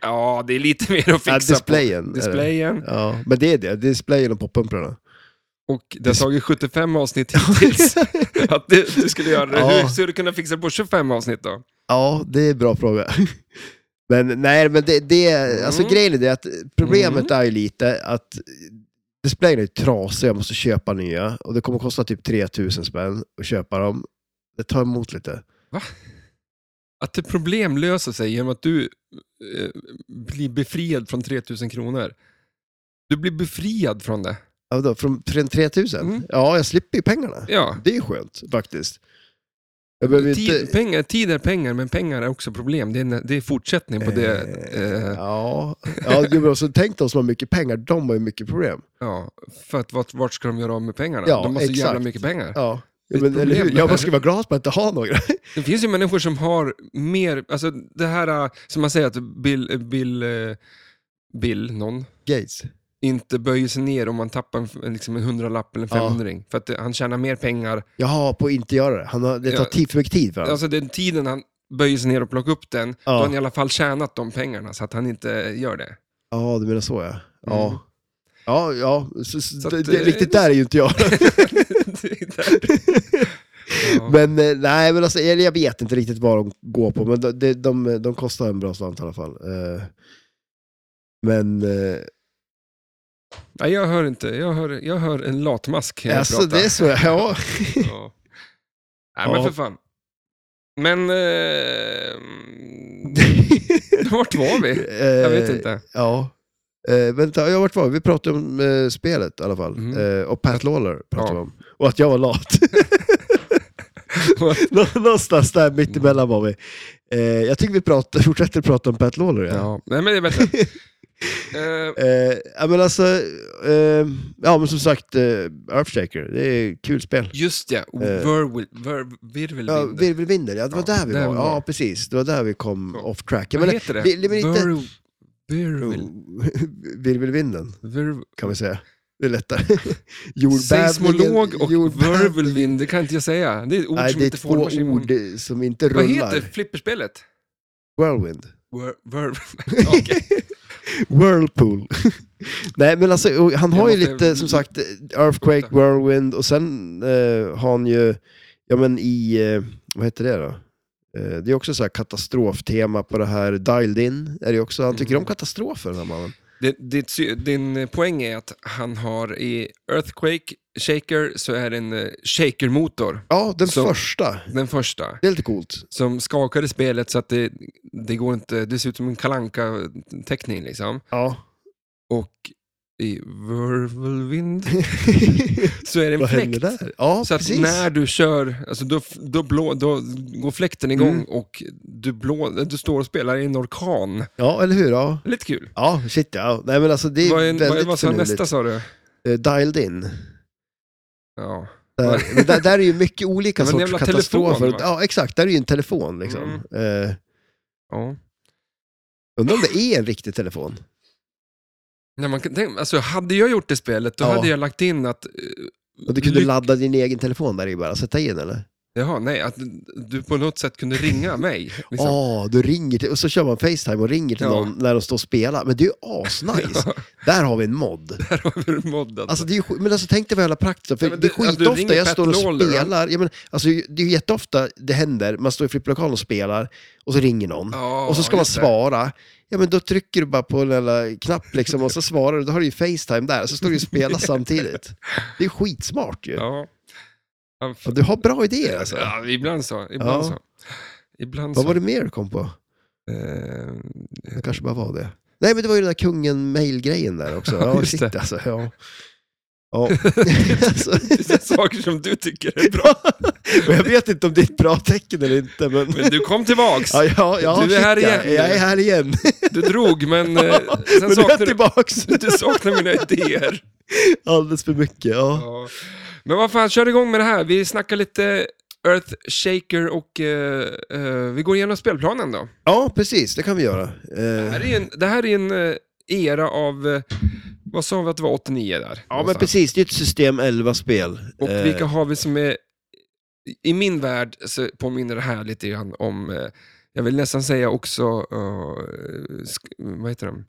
S2: Ja, det är lite mer att fixa
S1: Ja, displayen. är
S2: på.
S1: det.
S2: Displayen.
S1: Ja, men det är det. Displayen och
S2: [LAUGHS]
S1: poppumprarna.
S2: Och det har tagit 75 avsnitt hittills. att du, du skulle göra det.
S1: Ja.
S2: Hur skulle du kunna fixa på 25 avsnitt då?
S1: Ja, det är en bra fråga. Men nej, men det, det alltså
S2: Mm.
S1: grejen är det att problemet är ju lite att displayen är ju trasig, jag måste köpa nya och det kommer kosta typ 3000 spänn att köpa dem. Det tar emot lite.
S2: Att det problem löser sig genom att du eh, blir befriad från 3000 kronor. Du blir befriad från det.
S1: Ja, vadå, från, från 3000?
S2: Mm.
S1: Ja, jag slipper ju pengarna.
S2: Ja.
S1: Det är ju skönt faktiskt. Jag behöver ju
S2: Tid,
S1: inte...
S2: pengar, tid är pengar, men pengar är också problem. Det är, en- det är fortsättning på det.
S1: Eh,
S2: Eh,
S1: Ja, ja jo, men också, tänk de som har mycket pengar, de har ju mycket problem.
S2: ja, för att vart, vart ska de göra av med pengarna?
S1: Ja,
S2: de har så jävla
S1: exakt.
S2: mycket pengar.
S1: Ja,
S2: Det är
S1: ja men,
S2: ett
S1: eller hur?
S2: problem.
S1: Jag bara ska vara glad på att inte ha några.
S2: Det finns ju människor som har mer, alltså det här eh, som man säger att Bill, Bill, eh, Bill någon,
S1: Gates.
S2: inte böjer sig ner om man tappar en, en- liksom en hundralapp eller en
S1: Ja.
S2: femhundring. För att eh, han tjänar mer pengar.
S1: Jaha, på att inte göra det. Han har, det tar
S2: Ja.
S1: tid, för mycket tid för honom.
S2: Alltså den tiden han böjer sig ner och plockar upp den, då
S1: Ja.
S2: har han i alla fall tjänat de pengarna så att han inte
S1: [LAUGHS]
S2: gör det.
S1: Ja, du menar så ja. Ja,
S2: Mm.
S1: ja, ja. Så, så,
S2: Så att,
S1: det, det,
S2: eh,
S1: riktigt där är ju inte jag.
S2: Det är där. ja.
S1: men eh, nej, men alltså, eller jag vet inte riktigt vad de går på, men de, de, de, de kostar en bra slant i alla fall. Eh, Men, eh,
S2: Nej, jag hör inte. Jag hör, jag hör en latmask här
S1: alltså
S2: prata.
S1: det är så, [LAUGHS] ja.
S2: Ja. Nej, men
S1: Ja.
S2: för fan. Men... Eh, vart var vi? [LAUGHS] Jag vet
S1: Eh,
S2: inte.
S1: Ja. Eh, vänta, jag vart var vi? Vi pratade om eh, spelet i alla fall.
S2: Mm.
S1: Eh, och Pat Lawler pratade
S2: Ja.
S1: vi om. Och att jag var lat.
S2: [LAUGHS]
S1: [LAUGHS] Nå- Någonstans där mittemellan var vi. Eh, jag tycker vi pratar, fortsätter prata om Pat Lawler. Ja.
S2: Ja. Nej, men det är bättre.
S1: [LAUGHS]
S2: Eh,
S1: Eh, ja, men alltså, eh, ja men som sagt, eh, Earthshaker, det är ett kul spel.
S2: just ja, Whirlwind- Vir-
S1: Eh. Ja,
S2: virvelvind.
S1: virvelvinder, ja det var
S2: Ja,
S1: där vi
S2: där
S1: var.
S2: vi var.
S1: Ja, precis. Det var där vi kom
S2: Så.
S1: off track. Jag
S2: Vad
S1: menar,
S2: heter det?
S1: vi- det är väl inte-
S2: Vir- virvel-
S1: [LAUGHS] Virvelvinden,
S2: vir-
S1: kan vi säga. Det är lättare. [LAUGHS] Jordbävningen-
S2: Seismolog och
S1: jordbäv-
S2: virvelvind, det kan inte jag säga. Det är
S1: [LAUGHS]
S2: ord
S1: Nej,
S2: som
S1: det är
S2: inte
S1: två
S2: formar sig. i mun.
S1: ord som inte
S2: Vad
S1: rullar.
S2: heter flipperspelet?
S1: Whirlwind.
S2: Whir- vir- Okej.
S1: Whirlpool. [LAUGHS] Nej, men alltså, och han
S2: Jag
S1: har ju
S2: måste-
S1: lite, som sagt, Earthquake, Whirlwind och sen eh, har han ju, ja men i, eh, vad heter det då? Eh, det är också så här katastroftema på det här, Dialed In är det ju också. Han tycker
S2: Mm.
S1: om katastrofer, den här mannen.
S2: [LAUGHS] Det- ditt sy- Din eh, poäng är att han har i Earthquake Shaker så är det en eh, shakermotor,
S1: Ja, den
S2: Så-
S1: första.
S2: den första,
S1: Det är lite coolt.
S2: som skakade spelet så att det,
S1: [LAUGHS]
S2: det går inte, det ser ut som en kalanka teckning liksom.
S1: Ja.
S2: Och i
S1: [LAUGHS]
S2: virvelvind, så är det en
S1: Vad
S2: fläkt.
S1: händer där? Ja,
S2: Så att
S1: precis.
S2: när du kör, alltså då, då, blå, då går fläkten igång
S1: Mm.
S2: och du, blå, du står och spelar i en orkan.
S1: Ja, eller hur? Ja,
S2: Lite kul.
S1: ja shit ja. Nej, men alltså det är
S2: Vad är- vad är-
S1: väldigt
S2: vad sa
S1: finurligt.
S2: nästa sa du?
S1: Eh, dialed in.
S2: Ja.
S1: Där, Eh, men där, där är ju mycket olika
S2: [LAUGHS] Det var en
S1: sorts
S2: jävla telefon,
S1: katastrofer.
S2: va? Mm.
S1: ja, exakt. Där är ju en telefon liksom. Eh,
S2: ja.
S1: undrar om det är en riktig telefon?
S2: Nej, man, kan tänka- alltså, hade jag gjort det spelet, då
S1: Ja.
S2: hade jag lagt in att... eh,
S1: Och du kunde
S2: lyck-
S1: ladda din egen telefon där i bara, sätta in eller?
S2: Jaha, nej, att du på något sätt kunde
S1: [LAUGHS]
S2: ringa mig.
S1: Ja,
S2: [LAUGHS] Liksom.
S1: Ah, du ringer till, och så kör man Facetime och ringer till
S2: Ja.
S1: någon när de står och spelar. Men det är ju
S2: [LAUGHS]
S1: asnice. Där har vi en mod.
S2: Där har vi det moddat.
S1: Alltså, det är ju, sk- men alltså tänk dig vad jävla praktiskt, för
S2: Ja, men
S1: det
S2: du- alltså,
S1: är
S2: du ringer
S1: skitofta jag
S2: Pat
S1: står och
S2: Lawler, va?
S1: spelar. Ja, men, alltså, det är ju jätteofta det händer, man står i flipplokalen och spelar och så ringer någon.
S2: Ja,
S1: och så ska man
S2: just det.
S1: svara. Ja, men då trycker du bara på en jävla knapp liksom, och så svarar du. Då har du ju Facetime där, så står du och
S2: [LAUGHS]
S1: spelar samtidigt. Det är skitsmart ju.
S2: Ja. Ja,
S1: Och du har bra idéer alltså.
S2: ja, ibland så. Ibland
S1: Ja.
S2: så. Ibland
S1: Vad
S2: så.
S1: var det mer du kom på? [LAUGHS]
S2: Eh,
S1: Det kanske bara var det. Nej, men det var ju den där kungen mail-grejen där också. Ja,
S2: Just
S1: shit
S2: det.
S1: alltså. Ja.
S2: [LAUGHS]
S1: Ja. alltså.
S2: det är saker som du tycker är bra.
S1: Och jag vet inte om det är ett bra tecken eller inte, men...
S2: Men du kom tillbaks.
S1: Ja, ja, ja,
S2: Du är
S1: shit,
S2: här
S1: ja.
S2: igen.
S1: Jag är här igen.
S2: Du drog, men eh, sen
S1: Men nu är jag
S2: saknar du,
S1: tillbaks.
S2: du saknar mina idéer.
S1: Alldeles för mycket, ja.
S2: Ja. Men vad fan, kör igång med det här. Vi snackar lite Earthshaker och eh, eh, vi går igenom spelplanen då.
S1: Ja, precis. Det kan vi göra.
S2: Det
S1: Eh,
S2: här är en, det här är en eh, era av, eh, vad sa vi att det var, 89 där?
S1: Ja, men precis. Eh. Det är ett system 11-spel.
S2: Och vilka har vi som är... I min värld så påminner det här lite grann om, eh, jag vill nästan säga också, eh, sk- vad heter de?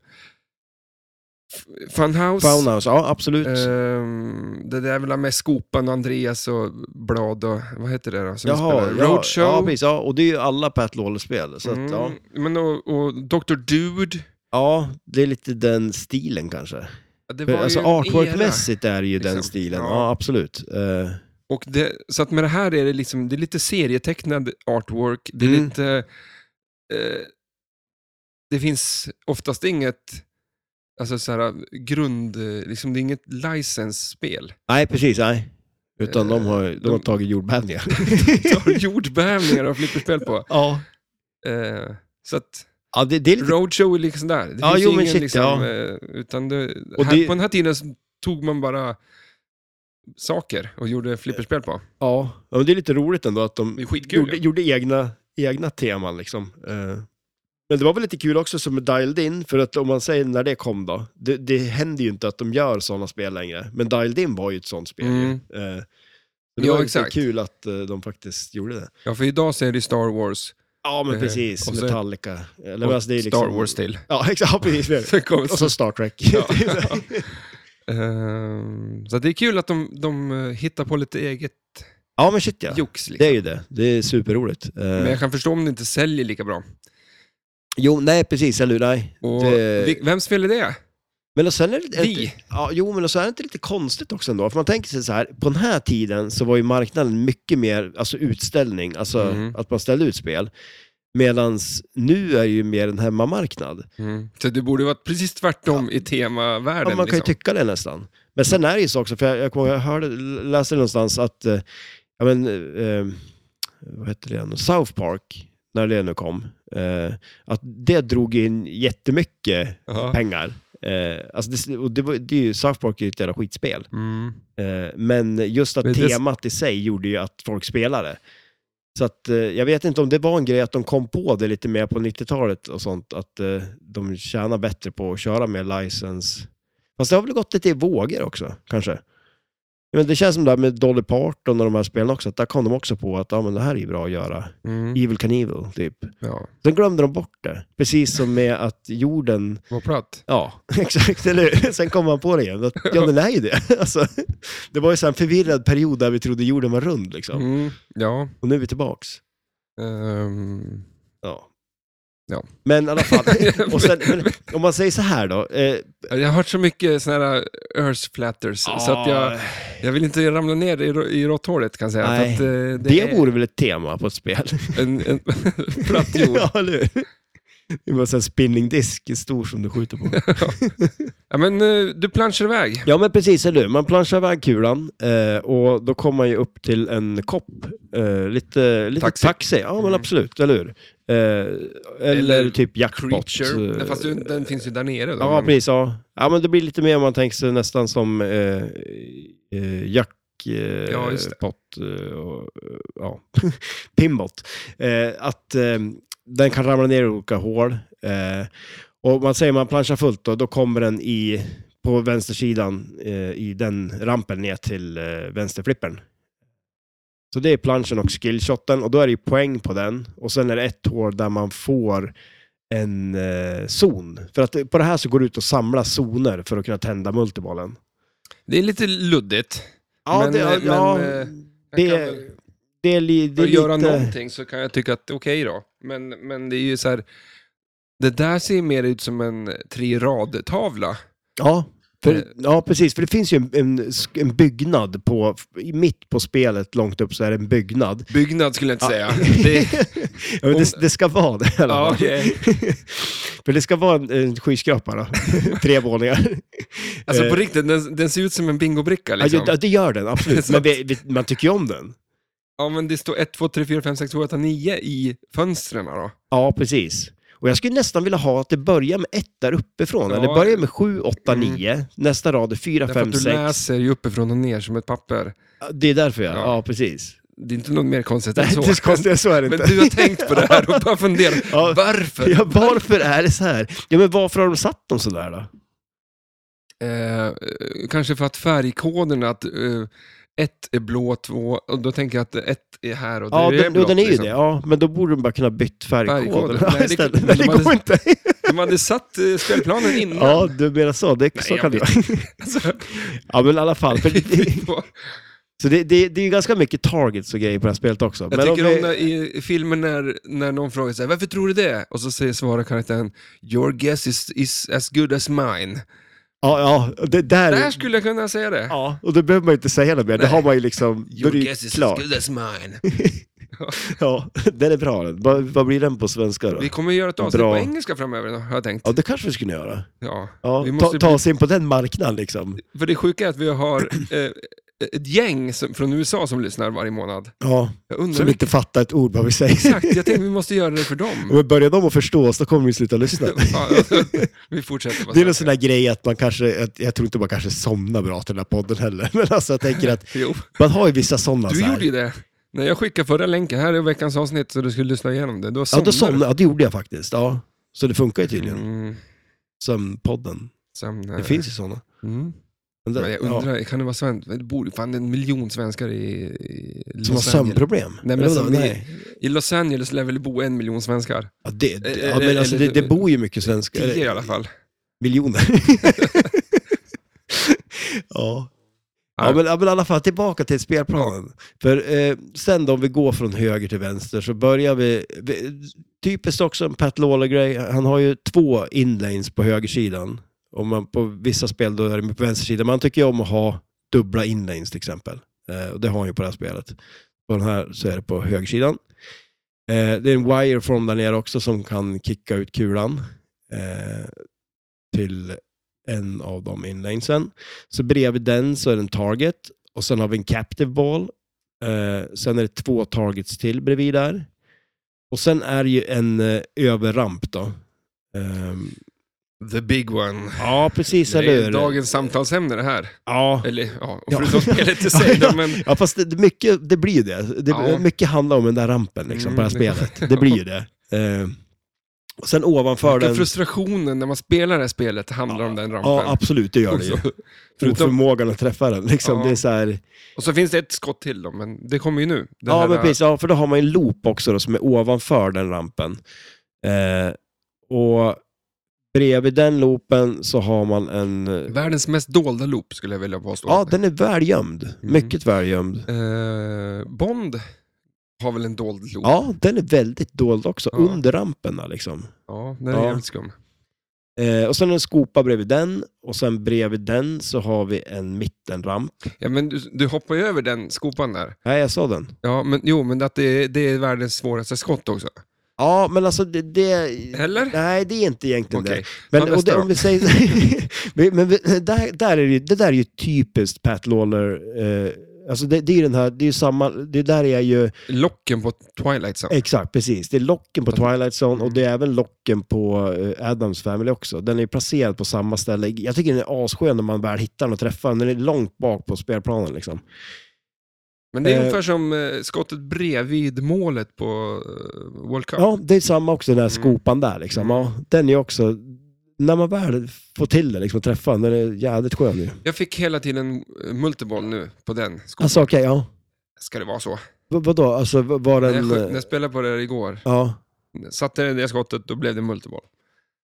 S2: F- Funhouse.
S1: Foundhouse, ja absolut.
S2: Eh, Ehm, det där är väl med Skopan och Andreas och Blad och vad heter det då? Som
S1: Jaha,
S2: spelar?
S1: ja,
S2: Roadshow.
S1: Ja, precis. Ja, och det är ju alla Pat Lawler-spel. Så att,
S2: Mm,
S1: ja.
S2: men och, och Dr. Dude.
S1: ja, det är lite den stilen kanske.
S2: Det var
S1: För, alltså
S2: ju en era.
S1: artworkmässigt är det ju den
S2: liksom.
S1: stilen,
S2: Ja.
S1: ja, absolut. Eh,
S2: Och det, så att med det här är det, liksom, det är lite serietecknad artwork. Det är
S1: Mm.
S2: lite... Eh, det finns oftast inget alltså så här, grund... eh, Liksom, det är inget
S1: [LAUGHS]
S2: licensspel.
S1: nej, precis, nej. Utan
S2: Eh,
S1: de, har, de, har
S2: de-
S1: tagit
S2: [LAUGHS]
S1: jordbävningar.
S2: Det har jordbävningar och flipperspel på.
S1: ja.
S2: Eh, så att
S1: ja, det, det är lite...
S2: roadshow är liksom där. Det
S1: Ja,
S2: finns
S1: jo,
S2: ingen
S1: men shit,
S2: liksom...
S1: ja.
S2: eh, Utan det,
S1: Och
S2: här,
S1: det-
S2: På den här tiden så tog man bara saker och gjorde flipperspel
S1: Eh,
S2: på.
S1: Ja. ja, men det är lite roligt ändå att
S2: Det är
S1: de
S2: skitkul.
S1: gjorde, gjorde egna, egna teman liksom. Eh, Men det var väl lite kul också som med Dialed In, för att om man säger när det kom då, det, det händer ju inte att de gör sådana spel längre, men Dialed In var ju ett sånt spel. ju.
S2: Mm.
S1: Eh, så det
S2: Ja,
S1: var
S2: exakt.
S1: exakt. kul att eh, de faktiskt gjorde det.
S2: Ja, för idag så är det Star Wars
S1: Ja, men
S2: Eh,
S1: precis.
S2: och så-
S1: Metallica. Eller,
S2: och
S1: men alltså, det är liksom,
S2: Star
S1: [LAUGHS]
S2: Wars till.
S1: Ja, exakt. Ja,
S2: [LAUGHS]
S1: precis.
S2: Så kom-
S1: Och så Star Trek. [LAUGHS]
S2: Ja. [LAUGHS] Ehm, så det är kul att de, de eh, hittar på lite eget
S1: ja, men shit ja.
S2: jox. Liksom.
S1: Det är ju det. Det är superroligt. Eh,
S2: Men jag kan förstå om det inte säljer lika bra.
S1: Jo, nej precis, eller hur? Nej.
S2: Och
S1: Det-
S2: vi- Vems fel är det?
S1: Men och sen är det,
S2: Vi.
S1: Ja, jo, men och så är det inte lite konstigt också ändå? För man tänker sig så här, på den här tiden så var ju marknaden mycket mer alltså utställning, alltså
S2: Mm.
S1: att man ställde ut spel. Medan nu är ju mer en hemmamarknad.
S2: Mm. Så det borde varit precis tvärtom i temavärlden.
S1: Ja, man kan ju
S2: liksom.
S1: tycka det nästan. Men sen är det ju så också, för jag, jag, kommer ihåg, jag hörde, läste någonstans att, eh, ja men, eh, vad heter det igen, South Park, när det nu kom, eh, att det drog in jättemycket
S2: Ja.
S1: pengar. Eh, alltså det, och det, var, det är ju, South Park är ju ett jävla skitspel.
S2: Mm.
S1: Eh, men just att
S2: Men det-
S1: temat i sig gjorde ju att folk spelade. Så att, eh, jag vet inte om det var en grej att de kom på det lite mer på 90-talet och sånt, att eh, de tjänar bättre på att köra med license. Fast det har väl gått lite i vågor också, kanske. Men det känns som det här med Dolly Parton och de här spelen också, att där kom de också på att ah, men det här är ju bra att göra.
S2: Mm.
S1: Evil Knievel, typ.
S2: Ja,
S1: Sen glömde de bort det. Precis som med att jorden
S2: vad platt.
S1: Ja, [LAUGHS] exakt. Eller hur? Sen kom man på det igen. Att, ja, den är ju det. [LAUGHS] Alltså, det var ju så här en förvirrad period där vi trodde jorden var rund. Liksom.
S2: Mm. Ja.
S1: Och nu är vi tillbaks.
S2: Ehm,
S1: Ja.
S2: Ja.
S1: Men i alla
S2: [LAUGHS]
S1: fall. [LAUGHS] Och sen, men, om man säger så här då. Eh,
S2: jag har hört så mycket sådana här uh, earth flatters, så att jag, jag vill inte ramla ner i, rå- i råtthålet kan jag säga.
S1: Ah. Nej.
S2: För att, eh, det
S1: det
S2: är [LAUGHS]
S1: vore väl ett tema på ett spel? [LAUGHS]
S2: en, en platt jord.
S1: ja, eller hur? Det var en sån här spinning disk, stor som du skjuter på.
S2: Ja, men eh, du planschar iväg.
S1: Ja men precis, eller hur? Man planschar iväg kulan eh, och då kommer man ju upp till en kopp. Eh, lite, lite
S2: Taxi.
S1: taxi. Ja men
S2: Mm.
S1: absolut, eller hur? Eh, eller,
S2: Eller
S1: typ jackpot.
S2: Creature.
S1: Eh,
S2: Nej, Fast du, den finns ju där nere. Då.
S1: Ja
S2: Men-
S1: precis, ja. ja men det blir lite mer om man tänker sig nästan som eh, eh, jack eh,
S2: Ja, just det.
S1: pot, eh, och, eh, ja. [LAUGHS] Pinbot. Eh, att eh, den kan ramla ner i olika hål. Eh, och man säger man planschar fullt då, då kommer den i, på vänstersidan eh, i den rampen ner till eh, vänsterflippern. Så det är planschen och skillshoten och då är det ju poäng på den. Och sen är det ett hål där man får en eh, zon. För att eh, på det här så går det ut och samla zoner för att kunna tända multibollen.
S2: Det är lite luddigt.
S1: Ja,
S2: Men,
S1: det,
S2: eh,
S1: ja,
S2: men, eh, Jag
S1: det,
S2: kan
S1: det,
S2: väl-
S1: är li, det
S2: För
S1: är
S2: att göra
S1: lite...
S2: någonting så kan jag tycka att det är okej då. Men, men det är ju så här, det där ser ju mer ut som en eh, tre i rad-tavla.
S1: Ja,
S2: Eh.
S1: för, ja, precis. För det finns ju en, en, sk- en byggnad på, i mitt på spelet, långt upp, så är det en byggnad.
S2: Byggnad skulle jag inte
S1: Ja.
S2: säga.
S1: [LAUGHS]
S2: Det,
S1: Ja, men det, det ska vara det i alla
S2: ja,
S1: fall.
S2: okej.
S1: [LAUGHS] För det ska vara en, en skyskrapa
S2: [LAUGHS]
S1: då. Tre våningar.
S2: Alltså på
S1: Eh,
S2: riktigt, den, den ser ut som en bingobricka liksom.
S1: ja, alltså- det gör den, absolut.
S2: [LAUGHS] Så
S1: Men
S2: att-
S1: vi, vi, man tycker ju om den.
S2: Ja, men det står 1, 2, 3, 4, 5, 6, 7, 8, 9 i fönstren då.
S1: Ja, precis. Och jag skulle nästan vilja ha att det börjar med ett där uppifrån.
S2: Ja.
S1: Eller börjar med sju, åtta,
S2: Mm.
S1: nio. Nästa rad är fyra,
S2: Därför
S1: fem,
S2: att du
S1: sex.
S2: läser ju uppifrån och ner som ett papper.
S1: Det är därför jag,
S2: Ja.
S1: ja, precis.
S2: Det är inte något mer konstigt än
S1: Nej,
S2: så.
S1: det är konstigt, så är det
S2: [LAUGHS] Men
S1: inte.
S2: du har tänkt på det här och bara funderat,
S1: [LAUGHS] Ja.
S2: varför?
S1: Ja, varför är det så här? Ja, men varför har de satt dem så där då?
S2: Eh, eh, kanske för att färgkoderna, att eh, ett är blå, två, och då tänker jag att ett är här och det
S1: Ja,
S2: är
S1: den,
S2: blått.
S1: jo, den är ju
S2: liksom.
S1: det. Ja, men då borde de bara kunna bytt
S2: Färgkoden.
S1: färgkoden
S2: Nej,
S1: ja,
S2: det-
S1: istället.
S2: men
S1: Men
S2: de
S1: det
S2: hade-
S1: går inte.
S2: De hade satt eh, spelplanen innan. [LAUGHS]
S1: Ja, du menar så. Det, så
S2: jag
S1: kan det
S2: vet
S1: vara.
S2: Alltså,
S1: Ja, men i alla
S2: [LAUGHS]
S1: fall. För det,
S2: på-
S1: så det, det, det är ju ganska mycket targets och grejer på det här spelet också.
S2: jag
S1: Men
S2: tycker
S1: vi-
S2: om när, i i filmer när, när någon frågar sig varför tror du det? Och så säger svarar karaktären “Your guess is, is as good as mine”.
S1: Ja, ja, det där...
S2: Där skulle jag kunna säga det.
S1: Ja, och då behöver man ju inte säga något mer. Det
S2: Nej.
S1: har man ju liksom... Då är
S2: “Your
S1: det ju
S2: guess is
S1: klart.
S2: as good
S1: [LAUGHS]
S2: as mine”.
S1: Ja, [LAUGHS] den är bra den. Vad, vad blir den på svenska då?
S2: Vi kommer göra ett avsnitt
S1: Bra.
S2: på engelska framöver, har jag tänkt.
S1: Ja, det kanske vi skulle göra.
S2: Ja.
S1: Ja,
S2: Vi
S1: ta,
S2: måste
S1: ta oss in på den marknaden liksom.
S2: För det sjuka är att vi har eh, ett gäng som, från USA som lyssnar varje månad.
S1: Ja,
S2: Jag undrar
S1: som
S2: vilka-
S1: inte fattar ett ord vad vi säger.
S2: [LAUGHS] Exakt, jag tänkte vi måste göra det
S1: [LAUGHS]
S2: för dem.
S1: Men börjar de att förstå oss, då kommer vi sluta
S2: [LAUGHS]
S1: lyssna.
S2: Fan, alltså, vi fortsätter bara
S1: Det är någon
S2: så
S1: sån
S2: här.
S1: där grej att man kanske, att jag tror inte man kanske somnar bra till den här podden heller. [LAUGHS] Men alltså jag tänker att
S2: Jo,
S1: man har ju vissa sådana.
S2: du
S1: så Alltså, här.
S2: gjorde ju det. När jag skickade förra länken, här är veckans avsnitt, så du skulle lyssna igenom det. Då
S1: Ja,
S2: somnade
S1: då
S2: du.
S1: somnade, ja, det gjorde jag faktiskt. Ja. Så det funkar ju tydligen.
S2: Mm,
S1: Som podden.
S2: sömnare.
S1: Det finns ju sådana.
S2: Mm.
S1: Men det-
S2: Men jag
S1: ja,
S2: undrar, kan det vara svensk? Det bor ju fan en miljon svenskar i, i Los
S1: som har
S2: Angeles.
S1: sömnproblem.
S2: Nej, men
S1: Eller vadå?
S2: som i- I Los Angeles lär väl bo en miljon svenskar?
S1: Ja, det, det,
S2: Eh,
S1: ja, men
S2: eller-
S1: alltså, det, det bor ju mycket svenskar.
S2: Tio i alla fall.
S1: Miljoner. ja. Ja
S2: Ja.
S1: men, ja, men i alla fall tillbaka till spelplanen. För eh, sen då, om vi går från höger till vänster så börjar vi, vi typiskt också en Pat Lawler-grej, han har ju två inlanes på högersidan. Om man, på vissa spel då är det på vänstersidan, man tycker ju om att ha dubbla inlanes till exempel. Eh, och det har han ju på det här spelet. På den här så är det på högersidan. Eh, det är en wireform där nere också som kan kicka ut kulan eh, till en av de inlanesen. Så bredvid den så är det en target och sen har vi en captive ball. Eh, sen är det två targets till bredvid där. Och sen är det ju en eh, överramp då. Ehm,
S2: The big one.
S1: ja, precis.
S2: Det
S1: eller
S2: är
S1: hur?
S2: dagens samtalsämne det här.
S1: Ja.
S2: Eller ja,
S1: Ja.
S2: förutom
S1: [LAUGHS]
S2: spelet i sig då, men...
S1: Ja, fast det, det- mycket, det blir ju det. det
S2: Ja.
S1: Mycket handlar om den där rampen liksom, på det här
S2: Mm.
S1: spelet. Det blir ju det. Ehm, och sen ovanför
S2: Vilken
S1: den...
S2: frustrationen när man spelar det här spelet handlar om den rampen.
S1: Ja, absolut, det gör
S2: och,
S1: det ju.
S2: så, förutom,
S1: Oförmågan att träffa den. Liksom.
S2: Ja.
S1: Det är så här...
S2: och så finns det ett skott till då, men det kommer ju nu. Den
S1: Ja,
S2: här-
S1: men precis. Ja, för då har man ju en loop också då, som är ovanför den rampen. Eh, och bredvid den loopen så har man en... eh,
S2: Världens mest dolda loop skulle jag vilja påstå.
S1: Ja, den är välgömd.
S2: Mm.
S1: Mycket välgömd.
S2: Eh, Bond har väl en dold loop?
S1: Ja, den är väldigt dold också.
S2: Ja.
S1: Under rampen där, liksom.
S2: Ja, den är
S1: Ja.
S2: jävligt skum.
S1: Eh, och sen en skopa bredvid den. Och sen bredvid den så har vi en mittenramp.
S2: Ja, men du, du hoppar ju över den skopan där.
S1: Nej, jag sa den.
S2: Ja, men jo, men att det, är- det är världens svåraste skott också.
S1: Ja, men alltså det... det
S2: Eller?
S1: Nej, det är inte egentligen
S2: Okej.
S1: det. Men,
S2: Ja,
S1: och det,
S2: nästa
S1: om vi säger, [LAUGHS] men men vi- där, där är det, ju- det där är ju typiskt Pat Lawler. Eh, alltså det, det är ju den här, det är ju samma, det Eh, där är ju,
S2: Locken på Twilight Zone.
S1: exakt precis, det är locken på
S2: Mm.
S1: Twilight Zone och det är även locken på eh, Adams Family också. Den är ju placerad på samma ställe. Jag tycker den är asskön när man väl hittar den och träffar den. Den är långt bak på spelplanen liksom.
S2: Men det är
S1: Eh.
S2: ungefär som eh, skottet bredvid målet på eh, World Cup.
S1: Ja, det är samma också den här
S2: Mm.
S1: skopan där liksom. Ja, den är också, när man väl får till den liksom och träffar den, den är jävligt skön ju.
S2: Jag fick hela tiden eh, multiboll nu på den. Sko-
S1: Alltså okej, ja.
S2: Ska det vara så?
S1: V- vadå, alltså v- var
S2: När jag,
S1: den...
S2: skjut- när jag spelade på det här igår,
S1: Ja,
S2: satte jag det skottet, då blev det multiboll.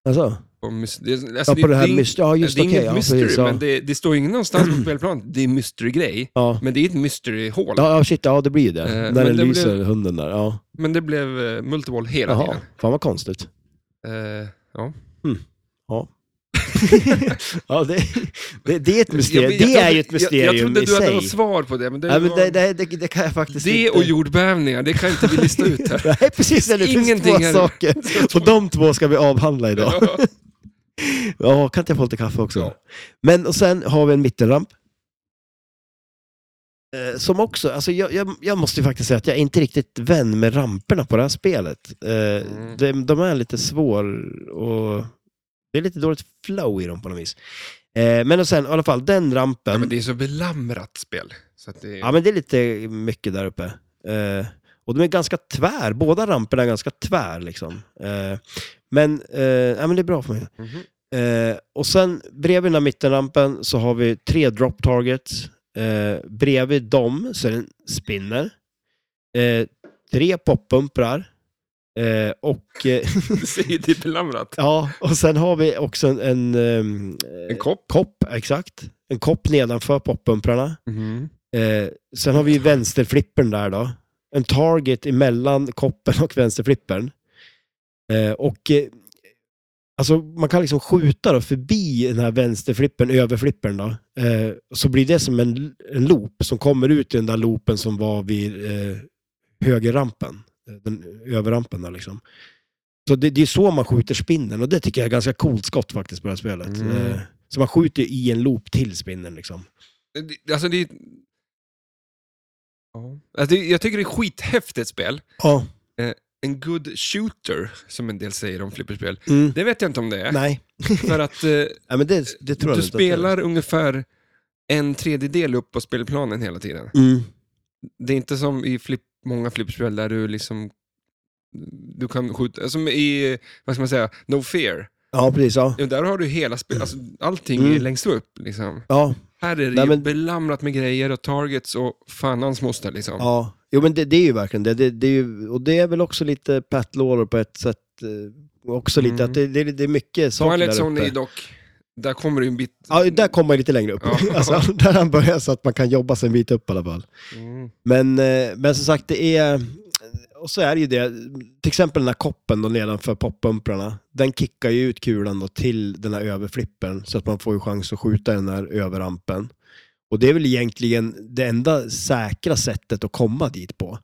S1: alltså.
S2: På mys- det, är-
S1: Ja,
S2: alltså,
S1: på det här
S2: är ing-
S1: mystery. Ja, just
S2: det är
S1: okej.
S2: inget
S1: ja,
S2: mystery,
S1: precis, ja.
S2: men det, det står ju ingen någonstans på spelplanen. Det är mystery-grej,
S1: Ja.
S2: men det är ett mystery-hål.
S1: Ja, ja, shit, ja det blir ju det.
S2: Eh, men
S1: När den
S2: det blev-
S1: lyser, hunden där. Ja.
S2: Men det blev eh, multiboll hela
S1: Jaha,
S2: tiden.
S1: fan vad
S2: [LAUGHS]
S1: konstigt.
S2: Eh, ja.
S1: Ja. ja, det, det, det är ett mysterium.
S2: Jag- jag
S1: det är
S2: trodde-
S1: ju ett
S2: Jag,
S1: mysterium
S2: jag trodde
S1: i
S2: du hade
S1: sig.
S2: något svar på det, men det,
S1: Nej, men
S2: var-
S1: det, det, det, det kan jag faktiskt
S2: det
S1: inte.
S2: och jordbävningar, det kan inte vi lista
S1: [LAUGHS]
S2: ut här.
S1: Nej, precis. Det finns
S2: Ingenting
S1: två
S2: är-
S1: saker. Och de två ska vi avhandla idag.
S2: Ja.
S1: Ja, kan inte jag få lite kaffe också?
S2: Ja.
S1: Men och sen har vi en mittenramp. Eh, Som också, alltså jag, jag, jag måste ju faktiskt säga att jag är inte riktigt vän med ramperna på det här spelet. Eh,
S2: Mm.
S1: De, de är lite svår och det är lite dåligt flow i dem på något vis. Eh, Men och sen i alla fall, den rampen.
S2: Ja, men det är så belamrat spel. Så att det,
S1: det är lite mycket där uppe. Eh, Och de är ganska tvär, båda ramperna är ganska tvär liksom. Eh, Men, eh, ja, men det är bra för mig.
S2: Mhm. [LAUGHS]
S1: Eh, och sen bredvid den här mittenrampen så har vi tre drop targets. Eh, bredvid dem så är det en spinner. Eh, tre poppumprar. Eh, och, eh, [LAUGHS]
S2: Du säger det är belamrat.
S1: ja, och sen har vi också en, en, ehm,
S2: En
S1: eh,
S2: kopp.
S1: kopp, exakt. En kopp nedanför poppumprarna. Eh, sen har vi ju vänsterflippern där då. En target emellan koppen och vänsterflippern. Eh, och eh, alltså man kan liksom skjuta då förbi den här vänsterflippern, överflippern då. Eh, så blir det som en, en loop som kommer ut i den där loopen som var vid eh, högerrampen. Eh, Den överrampen där liksom. Så det, det är så man skjuter spinnen och det tycker jag är ganska coolt skott faktiskt på det här spelet.
S2: Mm.
S1: Eh, så man skjuter i en loop till spinnen liksom.
S2: Det- Alltså det är... Ja. Alltså, det- jag tycker det är skithäftigt spel.
S1: Ja.
S2: En good shooter, som en del säger om flipperspel.
S1: Mm.
S2: Det vet jag inte om det är.
S1: Nej.
S2: För att eh,
S1: Ja, men [LAUGHS] det, det tror jag
S2: du
S1: inte att det är.
S2: spelar ungefär en tredjedel upp på spelplanen hela tiden.
S1: Mm.
S2: Det är inte som i flip, många flipperspel där du liksom... Du kan skjuta... Som i, vad ska man säga, No Fear.
S1: Ja, precis. Ja.
S2: Ja, där har du hela spelet, alltså, allting
S1: Mm.
S2: är längst upp. Liksom.
S1: Ja,
S2: Här är det
S1: Nej,
S2: ju
S1: men-
S2: belamrat med grejer och targets och fan hans moster liksom.
S1: ja. Jo, men det, det är ju verkligen det. det, det är ju, och det är väl också lite Pat Lawler på ett sätt. eh, Också lite
S2: Mm.
S1: att det, det, det är mycket saker
S2: Twilight
S1: där
S2: Zone är ju
S1: uppe.
S2: dock, där kommer det ju en bit...
S1: Ja, där kommer man lite längre upp.
S2: Ja.
S1: [LAUGHS] alltså, där han börjar så att man kan jobba sig en bit upp i alla fall.
S2: Mm.
S1: Men, eh, men som sagt, det är... Och så är det ju det, till exempel den här koppen då nedanför poppumprarna, den kickar ju ut kulan då till den här överflippen så att man får ju chans att skjuta den här överrampen. Och det är väl egentligen det enda säkra sättet att komma dit på.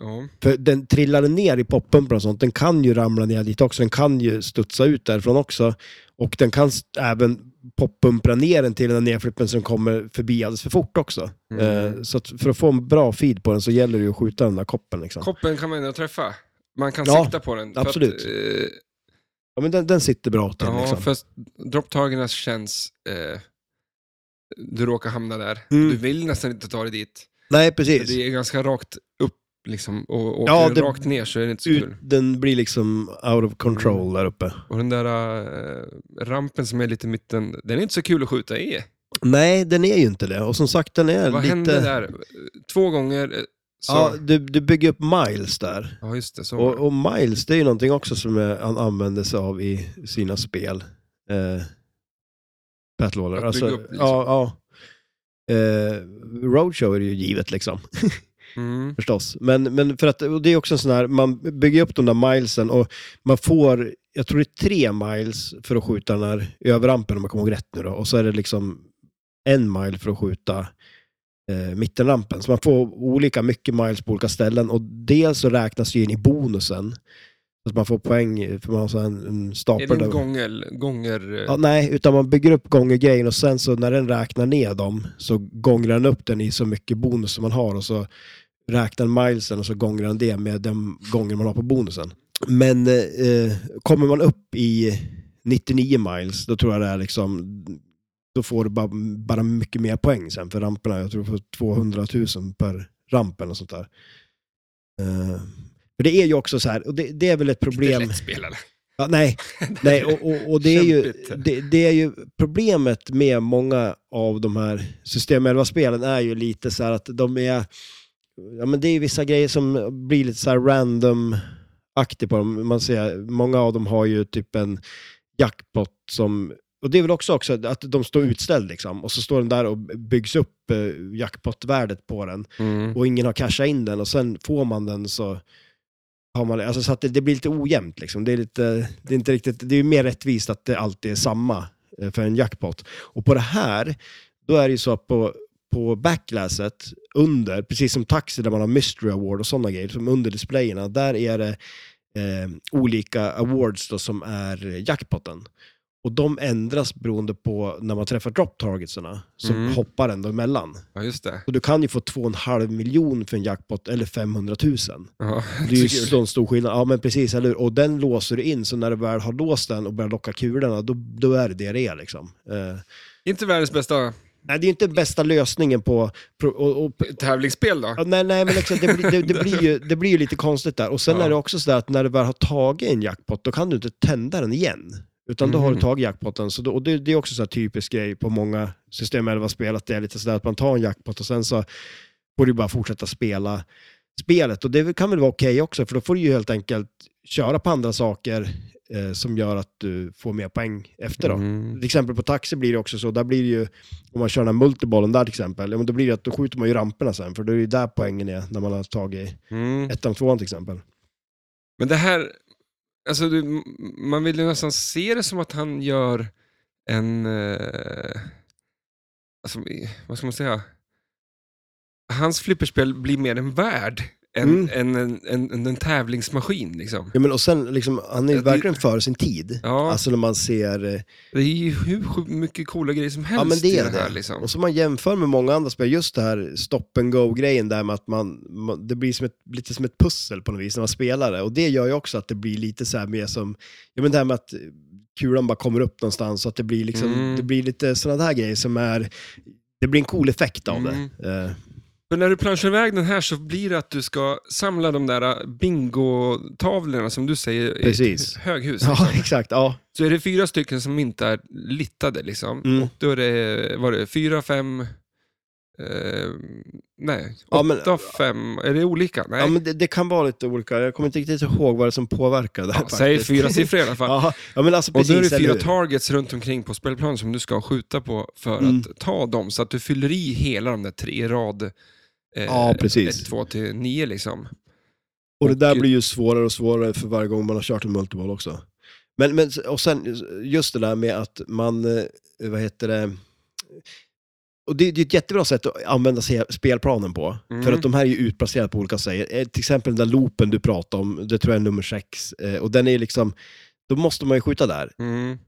S2: Ja.
S1: För den trillar den ner i poppumpan och sånt, den kan ju ramla ner dit också. Den kan ju studsa ut därifrån också. Och den kan s- även poppumpra ner den till den här nerflippen som kommer förbi alldeles för fort också.
S2: Mm.
S1: Eh, så att för att få en bra feed på den så gäller det ju att skjuta den där koppen. Liksom.
S2: Koppen kan man ändå träffa. Man kan
S1: Ja,
S2: sikta på den. för
S1: absolut.
S2: Att, eh,
S1: Ja, men den, den sitter bra till.
S2: ja,
S1: liksom.
S2: för att dropptagarna känns... Eh, du råkar hamna där.
S1: Mm.
S2: Du vill nästan inte ta dig dit.
S1: Nej,
S2: För
S1: precis.
S2: Det är ganska rakt upp liksom, och åker
S1: Ja,
S2: du
S1: det-
S2: rakt ner så är det inte så
S1: Ut,
S2: kul.
S1: den blir liksom out of control
S2: Mm.
S1: där uppe.
S2: Och den där eh, rampen som är lite i mitten, den är inte så kul att skjuta i.
S1: Nej, den är ju inte det. Och som sagt, den är
S2: Vad
S1: lite...
S2: hände där? Två gånger eh, så...
S1: Ja,
S2: Ja,
S1: du, du bygger upp miles där.
S2: just det. Så. var
S1: Och,
S2: det.
S1: och Miles, det är ju någonting också som eh, han använder sig av i sina spel. Eh, Pat Lawler.
S2: Att
S1: Alltså,
S2: bygga upp, liksom.
S1: ja, ja. Eh, Roadshow är det ju givet liksom,
S2: Mm.
S1: förstås. Men, men för att, och det är också en sån här, man bygger upp de där milesen och man får, jag tror det är tre miles för att skjuta den här överrampen om jag kommer ihåg rätt nu då. Och så är det liksom en mile för att skjuta eh, mittenrampen. Så man får olika mycket miles på olika ställen och dels så räknas det in i bonusen. Så att man får poäng, för man har så här en, en
S2: Är
S1: stapel.
S2: det en
S1: där-
S2: gånger... gånger eh,
S1: Ja, nej, utan man bygger upp gångergrejen och sen så när den räknar ner dem så gångrar den upp den i så mycket bonus som man har och så räknar den milesen och så gångrar den det med de gånger man har på bonusen. Men eh, kommer man upp i 99 miles, då tror jag det är liksom, då får du bara, bara mycket mer poäng sen för ramperna. Jag tror du får 200 000 per ramp eller sånt där. Eh, för det är ju också så här, och det, det är väl ett
S2: Inte
S1: problem.
S2: lättspel [LAUGHS] eller?
S1: Ja, nej, [LAUGHS] nej och, och, och det, är ju,
S2: Kämpigt.
S1: det, det är ju problemet med många av de här System 11-spelen är ju lite så här att de är, ja men det är ju vissa grejer som blir lite så här random-aktigt på dem. Man ser, många av dem har ju typ en jackpot som, och det är väl också, också att de står utställd liksom, och så står den där och byggs upp eh, jackpotvärdet på den
S2: Mm.
S1: och ingen har cashat in den och sen får man den så har man alltså så att det, det blir lite ojämnt liksom. Det är lite, det är inte riktigt, det är ju mer rättvist att det alltid är samma eh, för en jackpot. Och på det här, då är det ju så att på, på backlasset under, precis som Taxi där man har Mystery Award och sådana grejer, som under displayerna, där är det eh, olika awards då som är eh, jackpotten. Och de ändras beroende på när man träffar drop targetsarna, så
S2: Mm.
S1: hoppar den då emellan.
S2: Ja, just det.
S1: Och du kan ju få 2,5 miljon för en jackpot eller 500 000.
S2: Ja, [LAUGHS]
S1: Det är ju
S2: så kul.
S1: sån stor skillnad. Ja, men precis, eller hur? Och den låser du in, så när du väl har låst den och börjar locka kulorna, då, då är det det det är liksom. Eh,
S2: Inte världens bästa
S1: nej, det är ju inte bästa lösningen på... pro- Och, och,
S2: tävlingsspel då?
S1: ja, nej, nej, men liksom, det, blir, det, det, blir ju, det blir ju lite konstigt där. Och sen
S2: Ja.
S1: är det också så där att när du väl har tagit en jackpot, då kan du inte tända den igen. Utan då har du
S2: Mhm.
S1: tagit jackpotten. Så då, och det, det är också så här typisk grej på många System 11-spel, att det är lite sådär att man tar en jackpot och sen så får du bara fortsätta spela spelet. Och det kan väl vara okej också, för då får du ju helt enkelt köra på andra saker eh, som gör att du får mer poäng efter. Då.
S2: Mm.
S1: Till exempel på taxi blir det också så, där blir det ju, om man kör den här multibollen där till exempel, ja, men då blir det att då skjuter man ju ramperna sen, för då är det ju där poängen är, när man har tagit
S2: Mm.
S1: ettan, tvåan till exempel.
S2: Men det här, alltså du, m- man vill ju nästan se det som att han gör en, eh, alltså, i- vad ska man säga? Hans flipperspel blir mer en värld än
S1: Mm.
S2: en, en, en, en, en tävlingsmaskin. Liksom.
S1: Ja, men och sen, liksom, han är ju
S2: Ja, det-
S1: verkligen före sin tid.
S2: Ja,
S1: Alltså när man ser, eh,
S2: det är ju hur sju- mycket coola grejer som helst
S1: ja men det
S2: i
S1: är
S2: det här.
S1: det.
S2: Liksom.
S1: Och så man jämför med många andra spel, just det här stop and go-grejen där med att man, man det blir som ett, lite som ett pussel på något vis när man spelar det. Och det gör ju också att det blir lite så här mer som, ja men det här med att kulan bara kommer upp någonstans så att det blir liksom,
S2: Mm.
S1: det blir lite sådana där grejer som är, det blir en cool effekt av
S2: Mm.
S1: det. Eh,
S2: För när du planschar iväg den här så blir det att du ska samla de där eh, bingotavlorna som du säger
S1: Precis.
S2: i ett höghus.
S1: ja, [LAUGHS] exakt. Ja.
S2: Så är det fyra stycken som inte är littade liksom.
S1: Mm.
S2: Och då är det, var det fyra, fem, eh, nej,
S1: Ja, men-
S2: åtta, fem, är det olika? Nej,
S1: ja, men det, det kan vara lite olika. Jag kommer inte riktigt ihåg vad det är som påverkar det här
S2: Ja, säg
S1: faktiskt.
S2: fyra siffror i alla
S1: [LAUGHS]
S2: fall.
S1: Ja, ja, men alltså
S2: och
S1: precis,
S2: då är det
S1: eller
S2: fyra
S1: hur?
S2: targets runt omkring på spelplanen som du ska skjuta på för
S1: Mm.
S2: att ta dem, så att du fyller i hela de där tre i rad. Eh,
S1: Ja, precis.
S2: ett, två till nio liksom.
S1: Och det där
S2: Och-
S1: blir ju svårare och svårare för varje gång man har kört en multiball också. Men, men och sen just det där med att man, eh, vad heter det, och det, det är ett jättebra sätt att använda se- spelplanen på.
S2: Mm.
S1: För att de här är ju utplacerade på olika sätt. Eh, Till exempel den där loopen du pratade om, det tror jag är nummer sex. Eh, Och den är ju liksom, då måste man ju skjuta där,
S2: Mm.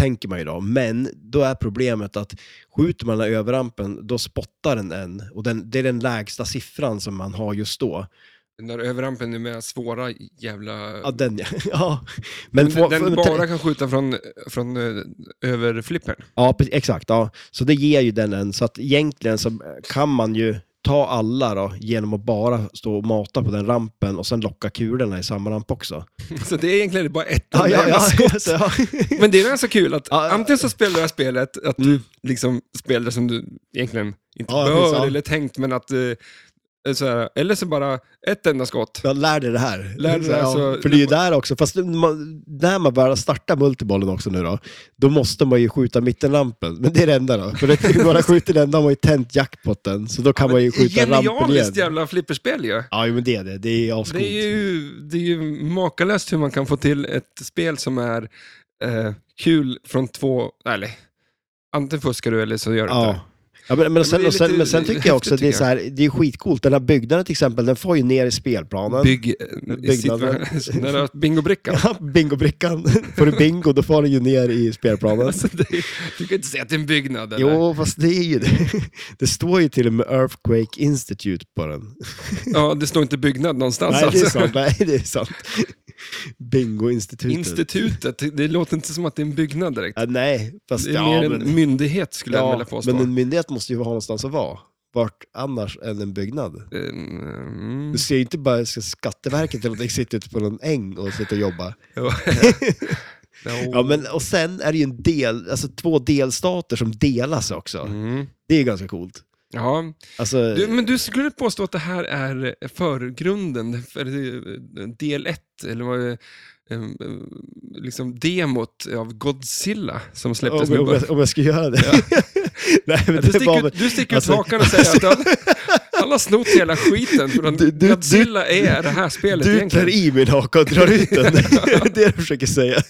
S1: tänker man ju då. Men då är problemet att skjuter man den här överrampen, då spottar den en. Och den, det är den lägsta siffran som man har just då.
S2: Den där överrampen är med svåra jävla...
S1: Ja, den ja. [LAUGHS] ja. Men,
S2: men
S1: få-
S2: den
S1: få-
S2: bara kan skjuta från, från eh, överflippern.
S1: Ja, precis, exakt. Ja. Så det ger ju den en. Så att egentligen så kan man ju ta alla då, genom att bara stå och mata på den rampen och sen locka kulorna i samma ramp också.
S2: [LAUGHS] Så det är egentligen bara ett
S1: Ja,
S2: enda
S1: ja,
S2: jävla
S1: [LAUGHS] ja,
S2: skott.
S1: så,
S2: [LAUGHS]
S1: ja.
S2: Men det är ganska kul att
S1: Ja, ja.
S2: antingen så spelar du det här spelet, att du
S1: Mm.
S2: liksom spelar det som du egentligen inte
S1: Ja,
S2: bör
S1: precis, ja.
S2: eller tänkt, men att... eh, Så här, eller så bara ett enda skott.
S1: Jag lär dig det här.
S2: Lär dig det här,
S1: Ja,
S2: så-
S1: För det är ju där också, fast man, när man börjar starta multibollen också nu då, då måste man ju skjuta mittenlampen. Men det är det enda då. För det är bara skjuter den, då har man ju tänt jackpotten. Så då kan man ju skjuta rampen igen.
S2: Genialiskt jävla flipperspel ju.
S1: Ja, jo, men det är det. Det är ju ascoolt.
S2: Det är, ju, det är ju makalöst hur man kan få till ett spel som är eh, kul från två, eller antingen fuskar du eller så gör du inte
S1: Ja.
S2: det.
S1: Ja, men, men, sen,
S2: det är
S1: och sen,
S2: lite
S1: men sen tycker jag också att det är,
S2: häftigt,
S1: så här, det är skitcoolt. Den här byggnaden till exempel, den får ju ner i spelplanen.
S2: Bygg... eh,
S1: Byggnaden.
S2: [LAUGHS] sitt- Den där bingobrickan.
S1: Ja, [LAUGHS] bingobrickan. [LAUGHS] Får du bingo, då får den ju ner i
S2: [LAUGHS]
S1: spelplanen.
S2: Alltså, det, du kan inte säga att det är en byggnad. Eller?
S1: Jo, fast det är ju det. [LAUGHS] Det står ju till och med Earthquake Institute på den.
S2: Ja, det står inte byggnad någonstans.
S1: Nej, det är
S2: alltså.
S1: sant. Nej, det är sant. Bingoinstitutet.
S2: Institutet, det låter inte som att det är en byggnad direkt.
S1: ja, nej, fast...
S2: Det är
S1: ja,
S2: mer
S1: men-
S2: en myndighet skulle jag vilja påstå.
S1: men en myndighet måste ju ha någonstans att vara. Vart annars än en byggnad?
S2: Mm.
S1: Du ser ju inte bara ska Skatteverket eller någonting sitta ute på någon äng och sitta och jobba.
S2: Ja.
S1: [LAUGHS] Ja, men, och sen är det ju en del, alltså två delstater som delas också.
S2: Mm.
S1: Det är ju ganska coolt.
S2: Ja.
S1: Alltså,
S2: Du, men du skulle påstå att det här är förgrunden, för eh, del ett eller vad eh, eh, liksom demot av Godzilla som släpptes
S1: om,
S2: nu.
S1: om, jag, om jag ska göra [LAUGHS] det. Nej, men
S2: Du
S1: det var
S2: sticker,
S1: väl-
S2: ut, du sticker
S1: alltså-
S2: ut hakan och säger att han, han har snott hela skiten från
S1: Du- du-
S2: Godzilla är det här spelet
S1: Du
S2: egentligen.
S1: tar i min haka och drar ut
S2: [LAUGHS]
S1: den. [LAUGHS] det är det du försöker säga.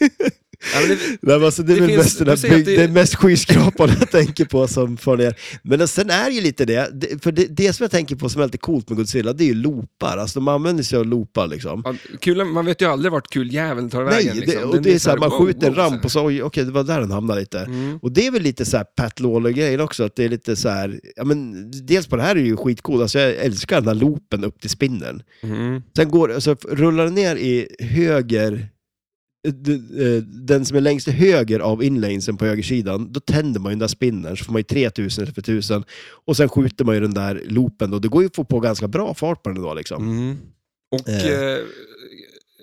S2: Ja, men det,
S1: Nej, men alltså, det är
S2: Det
S1: väl
S2: finns-
S1: mest, den
S2: du
S1: här
S2: säger att
S1: bygg,
S2: det-
S1: det... är mest skyskrapan jag tänker på som får ner. Men sen är ju lite det, det- för det, det som jag tänker på som är lite coolt med Godzilla, det är ju loopar. Alltså de använder sig av loopar liksom.
S2: ja, kulan, man vet ju aldrig vart kuljäveln tar
S1: Nej,
S2: vägen.
S1: det,
S2: liksom.
S1: och
S2: Den
S1: det är så här, man
S2: wow,
S1: skjuter en
S2: wow, så här.
S1: ramp och så, oj, okej, det var där den hamnade lite.
S2: Mm.
S1: Och det är väl lite så här Pat Lawler-grejen också, att det är lite så här, ja men dels på det här är ju skitcoolt, alltså jag älskar den här loopen upp till spinnen.
S2: Mm.
S1: Sen går, alltså, rullar den ner i höger, d- eh, den som är längst till höger av inlanesen på högersidan, då tänder man ju den där spinnen, så får man ju 3000 eller för 1000. Och sen skjuter man ju den där loopen då, det går ju att få på ganska bra fart på den då liksom.
S2: Mm. Och
S1: Eh.
S2: eh,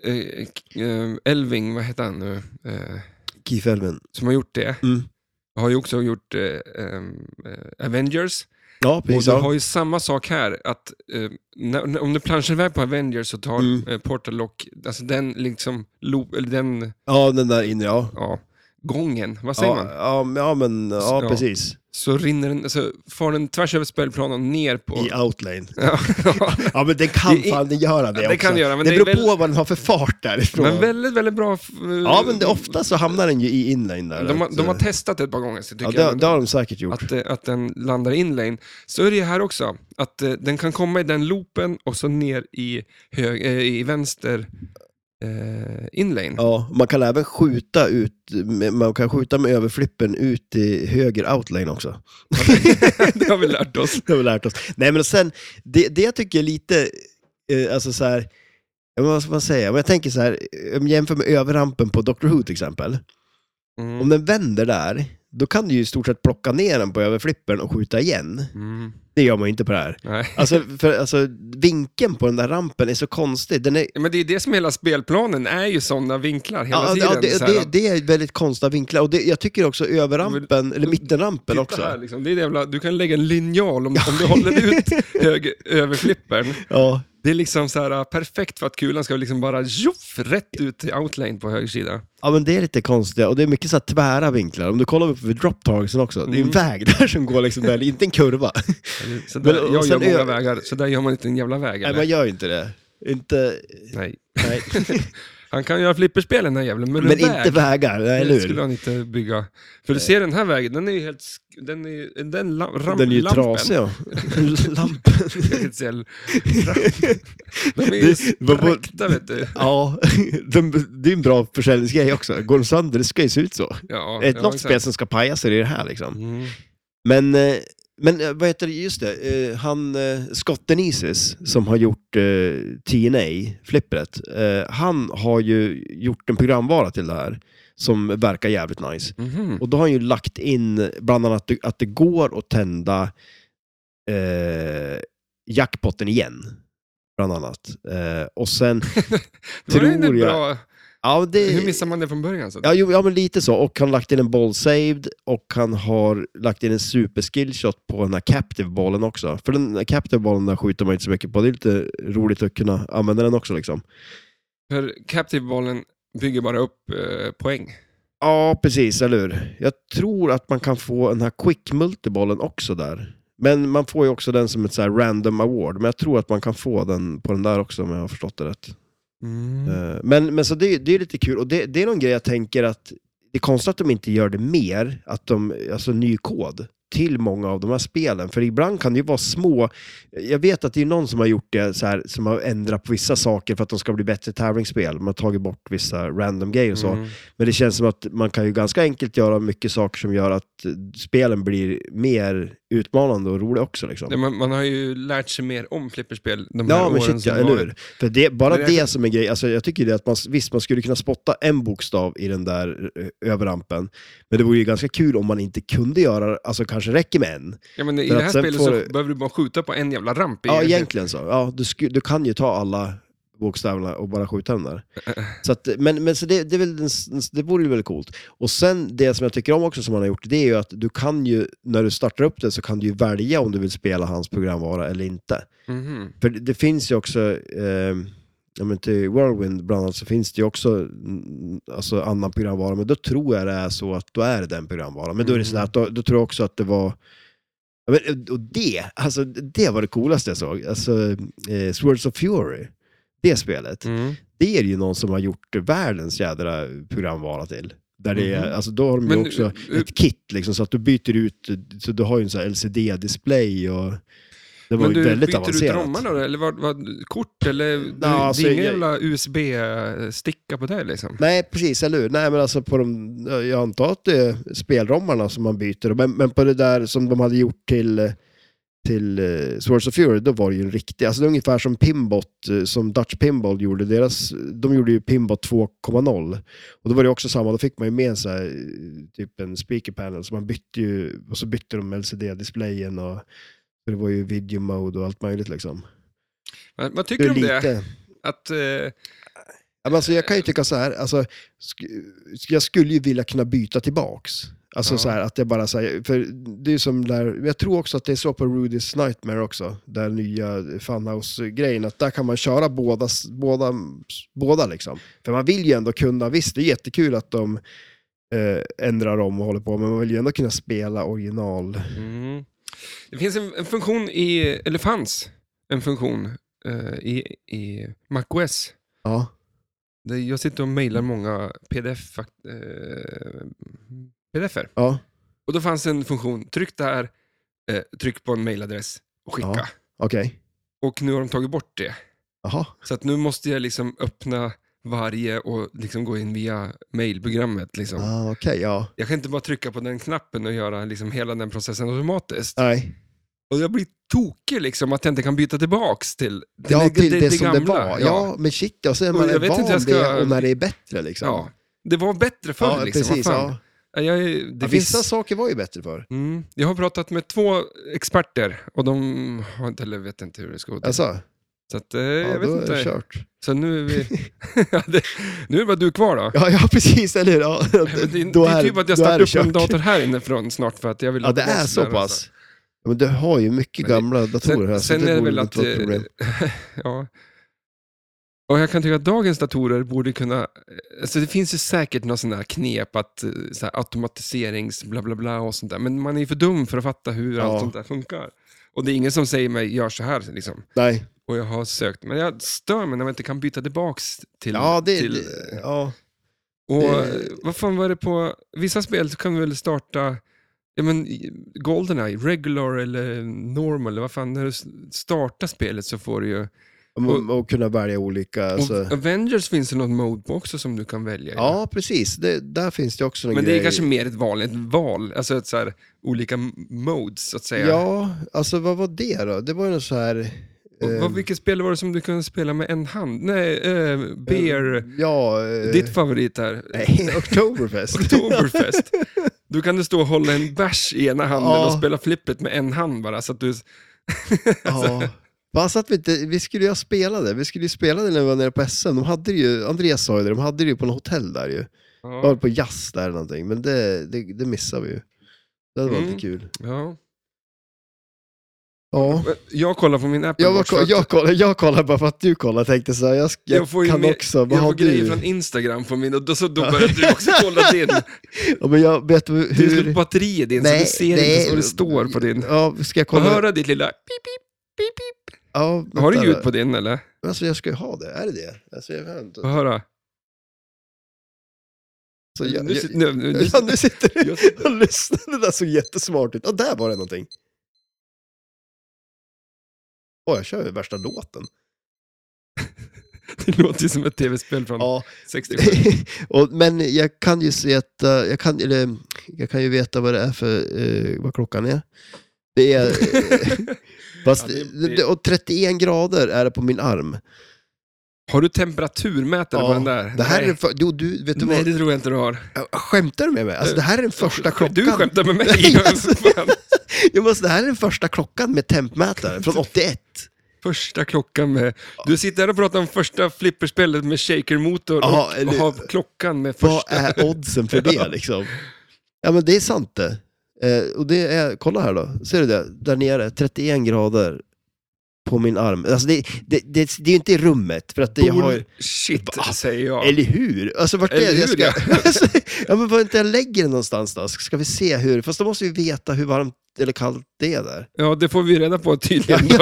S2: eh, eh, Elving, vad heter han nu, eh,
S1: Keith Elvin.
S2: som har gjort det,
S1: Mm.
S2: har ju också gjort eh, ehm, eh, Avengers.
S1: Ja, precis.
S2: Och du
S1: Ja.
S2: har ju samma sak här, att eh, när, när, om du planschar iväg på Avengers så tar
S1: Mm.
S2: eh, Portal Lock, alltså den liksom, loop, eller den,
S1: ja, den där inne, ja.
S2: ja, gången, vad säger
S1: Ja,
S2: man?
S1: ja, men- ja, men ja,
S2: Ja.
S1: precis.
S2: Så rinner den, alltså, far den tvärs över spelplanen ner på...
S1: I outlane.
S2: [LAUGHS] Ja.
S1: Ja, men den kan
S2: I- i-
S1: fan göra det
S2: Ja, det
S1: också.
S2: kan göra, men
S1: det
S2: det är
S1: beror på vad den har för fart därifrån.
S2: Men väldigt, väldigt bra. f-
S1: ja, men det, ofta så hamnar den ju i inlane där.
S2: De, har-
S1: Så-
S2: de har testat det ett par gånger, så
S1: ja,
S2: tycker
S1: det,
S2: jag.
S1: det har de säkert gjort.
S2: att, eh, att den landar in lane. Så är det ju här också, att eh, den kan komma i den loopen och så ner i, hög, eh, i vänster eh, in lane.
S1: Ja, man kan även skjuta ut, man kan skjuta med överflippen ut i höger outlane också.
S2: [LAUGHS]
S1: [LAUGHS]
S2: det har vi lärt oss.
S1: Det har vi lärt oss. Nej men sen, det, det jag tycker är lite, eh, alltså så här, ja, men vad ska man säga? Om jag tänker så här, om jag jämför med överrampen på Doctor Who till exempel. [LAUGHS] Om
S2: Mm.
S1: den vänder där, då kan du ju i stort sett plocka ner den på överflippen och skjuta igen.
S2: Mm.
S1: Det gör man ju inte på det här.
S2: Nej.
S1: Alltså, för, alltså vinkeln på den där rampen är så konstig. Den är,
S2: Men det är det som hela spelplanen är ju sådana vinklar hela
S1: ja,
S2: tiden.
S1: ja, det,
S2: så här,
S1: det, det är väldigt konstiga vinklar. Och det, jag tycker också överrampen, eller mittenrampen
S2: Titta
S1: också.
S2: Här, liksom. det är jävla, du kan lägga en linjal om, om du
S1: [LAUGHS]
S2: håller ut hög, överflippern.
S1: Ja,
S2: Det är liksom så här, äh, perfekt för att kulan ska liksom bara tjoff, rätt ut till outlane på höger sida.
S1: ja, men det är lite konstigt. Och det är mycket så här tvära vinklar. Om du kollar upp vid drop targetsen också, det är en
S2: Mm.
S1: väg där som går liksom där, inte en kurva.
S2: Så där,
S1: Men, och
S2: jag gör
S1: sen
S2: många
S1: ö-
S2: vägar, så där gör man inte en jävla väg.
S1: Nej,
S2: eller?
S1: man gör ju inte det. Inte,
S2: Nej. [LAUGHS]
S1: nej.
S2: Han kan göra flipperspel den här jäveln, men,
S1: men
S2: en väg
S1: inte vägar, nej, eller
S2: det
S1: hur?
S2: skulle han inte bygga. För du ser den här vägen, den är ju helt... sk- Den är ju... Den la- ramp,
S1: Den är ju
S2: lampen.
S1: trasig. Ja. Lampen.
S2: [LAUGHS] Jag kan
S1: [LAUGHS]
S2: inte säga l- ramp. De är ju
S1: Det var på-
S2: spräckta, vet du.
S1: Ja, [LAUGHS] de, det är en bra försäljningsgrej också. Går de sönder, det ska ju se ut så.
S2: Ja,
S1: Ett,
S2: ja,
S1: något
S2: exakt.
S1: spel som ska paja sig, det är det här liksom.
S2: Mm.
S1: Men, eh, men eh, vad heter det, just det, eh, han, eh, Scott Denises, som har gjort eh, TNA, flippret, eh, han har ju gjort en programvara till det här som verkar jävligt nice.
S2: Mhm.
S1: Och då har han ju lagt in bland annat att det, att det går att tända eh, jackpotten igen. Bland annat. Eh, och sen,
S2: [LAUGHS] Det var ju
S1: tror
S2: en
S1: jag-
S2: bra...
S1: ja det...
S2: Hur missar man det från början? Så?
S1: Ja, jo, ja, men lite så. Och han har lagt in en ball saved och han har lagt in en super skill shot på den här captive bollen också. För den här captive bollen där skjuter man inte så mycket på. Det är lite roligt att kunna använda den också liksom.
S2: För Captive-bollen bygger bara upp eh, poäng.
S1: Ja, precis, eller hur? Jag tror att man kan få den här quick multibollen också där. Men man får ju också den som ett så här random award. Men jag tror att man kan få den på den där också om jag har förstått det rätt.
S2: Mm.
S1: Eh, Men, men så det, är- det är lite kul och det, det är någon grej jag tänker att det är konstigt att de inte gör det mer, att de, alltså ny kod till många av de här spelen. För ibland kan det ju vara små... Jag vet att det är någon som har gjort det så här, som har ändrat på vissa saker för att de ska bli bättre tävlingsspel. Man har tagit bort vissa random grejer och så.
S2: Mm.
S1: Men det känns som att man kan ju ganska enkelt göra mycket saker som gör att eh, spelen blir mer utmanande och roliga också. Liksom.
S2: Nej, Man, man har ju lärt sig mer om flipperspel de här
S1: Ja, men
S2: åren
S1: shit,
S2: som
S1: ja, eller
S2: varit.
S1: hur? För det, bara
S2: Men jag-
S1: det som är grej, alltså jag tycker det att man, visst man skulle kunna spotta en bokstav i den där eh, överrampen, men det vore ju ganska kul om man inte kunde göra, alltså kanske räcker med en.
S2: Ja, men I
S1: För
S2: det
S1: att
S2: här
S1: sen
S2: spelet
S1: får
S2: så
S1: du-
S2: behöver du bara skjuta på en jävla ramp.
S1: Ja, egentligen så. Ja, du, sku, du kan ju ta alla bokstäverna och bara skjuta dem där. Så att, men men så det, det, är väl, den s- det vore ju väldigt coolt. Och sen det som jag tycker om också som han har gjort, det är ju att du kan ju, när du startar upp det så kan du ju välja om du vill spela hans programvara eller inte.
S2: Mhm.
S1: För det, det finns ju också, eh, ja men till Whirlwind bland annat så finns det ju också mm, alltså annan programvara, men då tror jag det är så att då är det den programvaran. Men då är det sådär
S2: Mm.
S1: att då, då tror jag också att det var ja, men, och det, alltså det var det coolaste jag såg. Alltså, eh, Swords of Fury, det spelet,
S2: Mm.
S1: det är ju någon som har gjort världens jädra programvara till. Där det är,
S2: Mhm.
S1: alltså då har de ju
S2: Men,
S1: också
S2: eh,
S1: ett kit liksom, så att du byter ut, så du har ju en sån här LCD-display och det var
S2: Men
S1: ju
S2: du
S1: väldigt
S2: byter
S1: avancerat.
S2: ut ramarna då, eller vad, vad, kort eller? Du, det är
S1: alltså,
S2: ingen
S1: jag-
S2: jävla USB-sticka på det liksom?
S1: Nej, precis, eller hur? Nej, men alltså på de, jag antar att det är spelramarna som man byter, men, men på det där som de hade gjort till, eh, till eh, Swords of Fury, då var det ju en riktig, alltså det är ungefär som Pimbot, eh, som Dutch Pinball gjorde, deras, de gjorde ju Pimbot 2.0, och då var det också samma, då fick man ju med en så här, eh, typ en speaker panel, så man bytte ju, och så bytte de LCD-displayen och för det var ju video mode och allt möjligt liksom.
S2: Vad, vad
S1: Det
S2: tycker
S1: är
S2: du om det?
S1: lite...
S2: Att, eh,
S1: Ja, men Alltså, jag kan ju tycka så här, alltså, sk- jag skulle ju vilja kunna byta tillbaks. Alltså
S2: Ja.
S1: så här, att jag bara så här, för det är ju som där, jag tror också att det är så på Rudy's Nightmare också, där nya Funhouse-grejen, att där kan man köra båda, s- båda, båda liksom. För man vill ju ändå kunna, visst det är jättekul att de eh, ändrar om och håller på, men man vill ju ändå kunna spela original.
S2: Mm. Det finns en, en funktion i, eller fanns en funktion eh, i, i MacOS.
S1: Ja,
S2: Där jag sitter och mejlar många pdf, eh, pdf-er.
S1: ja,
S2: Och då fanns en funktion, tryck där, eh, tryck på en mejladress och skicka.
S1: Ja. okej.
S2: Och nu har de tagit bort det.
S1: Jaha,
S2: Så att nu måste jag liksom öppna varje och liksom gå in via mejlprogrammet. Liksom.
S1: ah, okej, ja.
S2: Jag kan inte bara trycka på den knappen och göra liksom hela den processen automatiskt.
S1: Nej.
S2: Och jag blir tokig liksom att jag inte kan byta tillbaks till, till,
S1: Ja, till det,
S2: till
S1: som
S2: gamla.
S1: det var. Ja,
S2: Ja.
S1: men shit, och så är
S2: Och
S1: man
S2: jag
S1: är
S2: vet inte
S1: van
S2: hur jag ska-
S1: det och när det är bättre liksom.
S2: Ja. Det var bättre förr. liksom.
S1: precis.
S2: Vad fan?
S1: Ja.
S2: Ja, Jag, är- det
S1: Ja,
S2: finns...
S1: Vissa saker var ju bättre förr.
S2: mm. jag har pratat med två experter och de har inte, eller vet inte hur det ska gå till.
S1: Alltså, ja,
S2: så att, eh, jag vet
S1: då är det
S2: inte.
S1: kört.
S2: Så nu
S1: [LAUGHS]
S2: är, vi... [LAUGHS] Ja, det- nu är det bara du kvar då.
S1: Ja, [LAUGHS] ja, precis, eller hur? Ja, då
S2: Men det, det är
S1: är-
S2: typ att
S1: då är
S2: jag startar
S1: det
S2: upp en
S1: kört.
S2: dator här inifrån snart för att jag vill
S1: Ja, det
S2: ha
S1: är
S2: tillbaks
S1: så
S2: den, alltså.
S1: pass. Ja, men du har ju mycket
S2: Men det-
S1: gamla datorer här,
S2: Sen,
S1: så
S2: sen
S1: det
S2: är det
S1: borde
S2: väl
S1: inte
S2: att...
S1: vara ett problem.
S2: eh, ja. Och jag kan tycka att dagens datorer borde kunna... Alltså det finns ju säkert några sådana här knep att eh, så här, automatiserings bla bla bla och sånt där. Men man är ju för dum för att fatta hur
S1: Ja.
S2: allt sånt där funkar. Och det är ingen som säger mig, gör så här liksom.
S1: Nej,
S2: Och jag har sökt. Men jag stör mig när man inte kan byta tillbaks till...
S1: ja, det,
S2: till
S1: det- ja.
S2: och
S1: det-
S2: eh, vad fan var det på... Vissa spel så kan du väl starta... Ja men i- Goldeneye, regular eller normal, eller vad fan, när du s- startar spelet så får du ju...
S1: Och, och kunna välja olika. Alltså.
S2: Och Avengers finns det något mode på också som du kan välja. i.
S1: Ja, precis. Det, där finns det också en
S2: Men det
S1: grej.
S2: är kanske mer ett val, ett val, alltså ett så här, olika m- modes så att säga.
S1: Ja, alltså vad var det då? Det var ju något så här...
S2: Och,
S1: eh,
S2: vad, vilket spel var det som du kunde spela med en hand? Nej, eh, Beer,
S1: Ja, Ehm, eh,
S2: ditt favorit där.
S1: Nej, [LAUGHS] Oktoberfest.
S2: Oktoberfest. Då kan du stå och hålla en bärs i ena handen
S1: Ja.
S2: och spela flippet med en hand bara. Så att du,
S1: [LAUGHS] ja. Fast att vi inte, vi skulle ju ha spelat det. Vi skulle ju spela det när vi var nere på SM. De hade det ju, Andreas sa ju det, de hade det ju på något hotell där ju. De var
S2: ja,
S1: på jazz där eller någonting, men det, det, det missade vi ju. Det var
S2: Mm.
S1: inte kul.
S2: ja.
S1: Ja.
S2: Jag kollar på min Apple
S1: Jag, var,
S2: Watch. för att-
S1: jag, kollade, jag kollade bara för att du kollade tänkte så här, jag, jag,
S2: Jag får ju
S1: kan
S2: med-
S1: också, vad
S2: jag
S1: har
S2: får grejer
S1: du?
S2: från Instagram på min och då, så då började du också
S1: [LAUGHS]
S2: kolla din.
S1: Ja, men jag vet
S2: Det är slut
S1: hur...
S2: på batteriet din så du ser inte vad det står på din.
S1: Ja, ska jag
S2: Får
S1: kolla?
S2: höra ditt lilla pip, pip, pip, pip.
S1: Ja,
S2: Har
S1: vänta
S2: du
S1: då.
S2: ljud på din eller?
S1: Alltså jag ska ju ha det, är det det? Alltså, jag vet inte.
S2: Får höra.
S1: Så jag,
S2: nu,
S1: jag,
S2: sit- nu, nu, nu,
S1: ja, nu sitter du
S2: [LAUGHS] jag sitter-
S1: och lyssnar. Det där såg jättesmart ut. Ja, där var det någonting. Åh, jag kör ju värsta låten.
S2: det låter ju som ett tv-spel från
S1: Ja,
S2: 67.
S1: [LAUGHS] och, men jag kan ju veta, jag kan, eller, jag kan ju veta vad det är för, eh, vad klockan är. Det
S2: [LAUGHS]
S1: är, eh, fast,
S2: Ja, det-
S1: det, och 31 grader är det på min arm.
S2: Har du temperaturmätare
S1: Ja,
S2: på den där?
S1: Det här är den
S2: Nej.
S1: för, jo, du, vet du
S2: Nej,
S1: vad,
S2: det tror jag inte du har.
S1: skämtar du med mig? Alltså, det här är den första klockan.
S2: Du skämtar
S1: [LAUGHS]
S2: med mig.
S1: Nej, alltså.
S2: Fan.
S1: Jo, men alltså, det här är den första klockan med tempmätare från 81.
S2: Första klockan med... Du sitter här och pratar om första flipperspelet med shakermotor
S1: Ja,
S2: och,
S1: eller-
S2: och har klockan med
S1: Vad
S2: första...
S1: är oddsen för
S2: [LAUGHS]
S1: det liksom? Ja men det är sant det. Eh, och det är, kolla här då, ser du det? Där nere, 31 grader på min arm. Alltså det, det, det, det är ju inte i rummet, för att det, jag har
S2: Shit,
S1: Va?
S2: säger jag.
S1: Eller hur? Alltså vart
S2: Eller
S1: är det jag
S2: hur,
S1: ska... [LAUGHS] Alltså, ja men var inte jag lägger den någonstans då? Ska vi se hur? Fast då måste vi veta hur varmt eller kallt det är där.
S2: Ja, det får vi reda på tydligen. Då,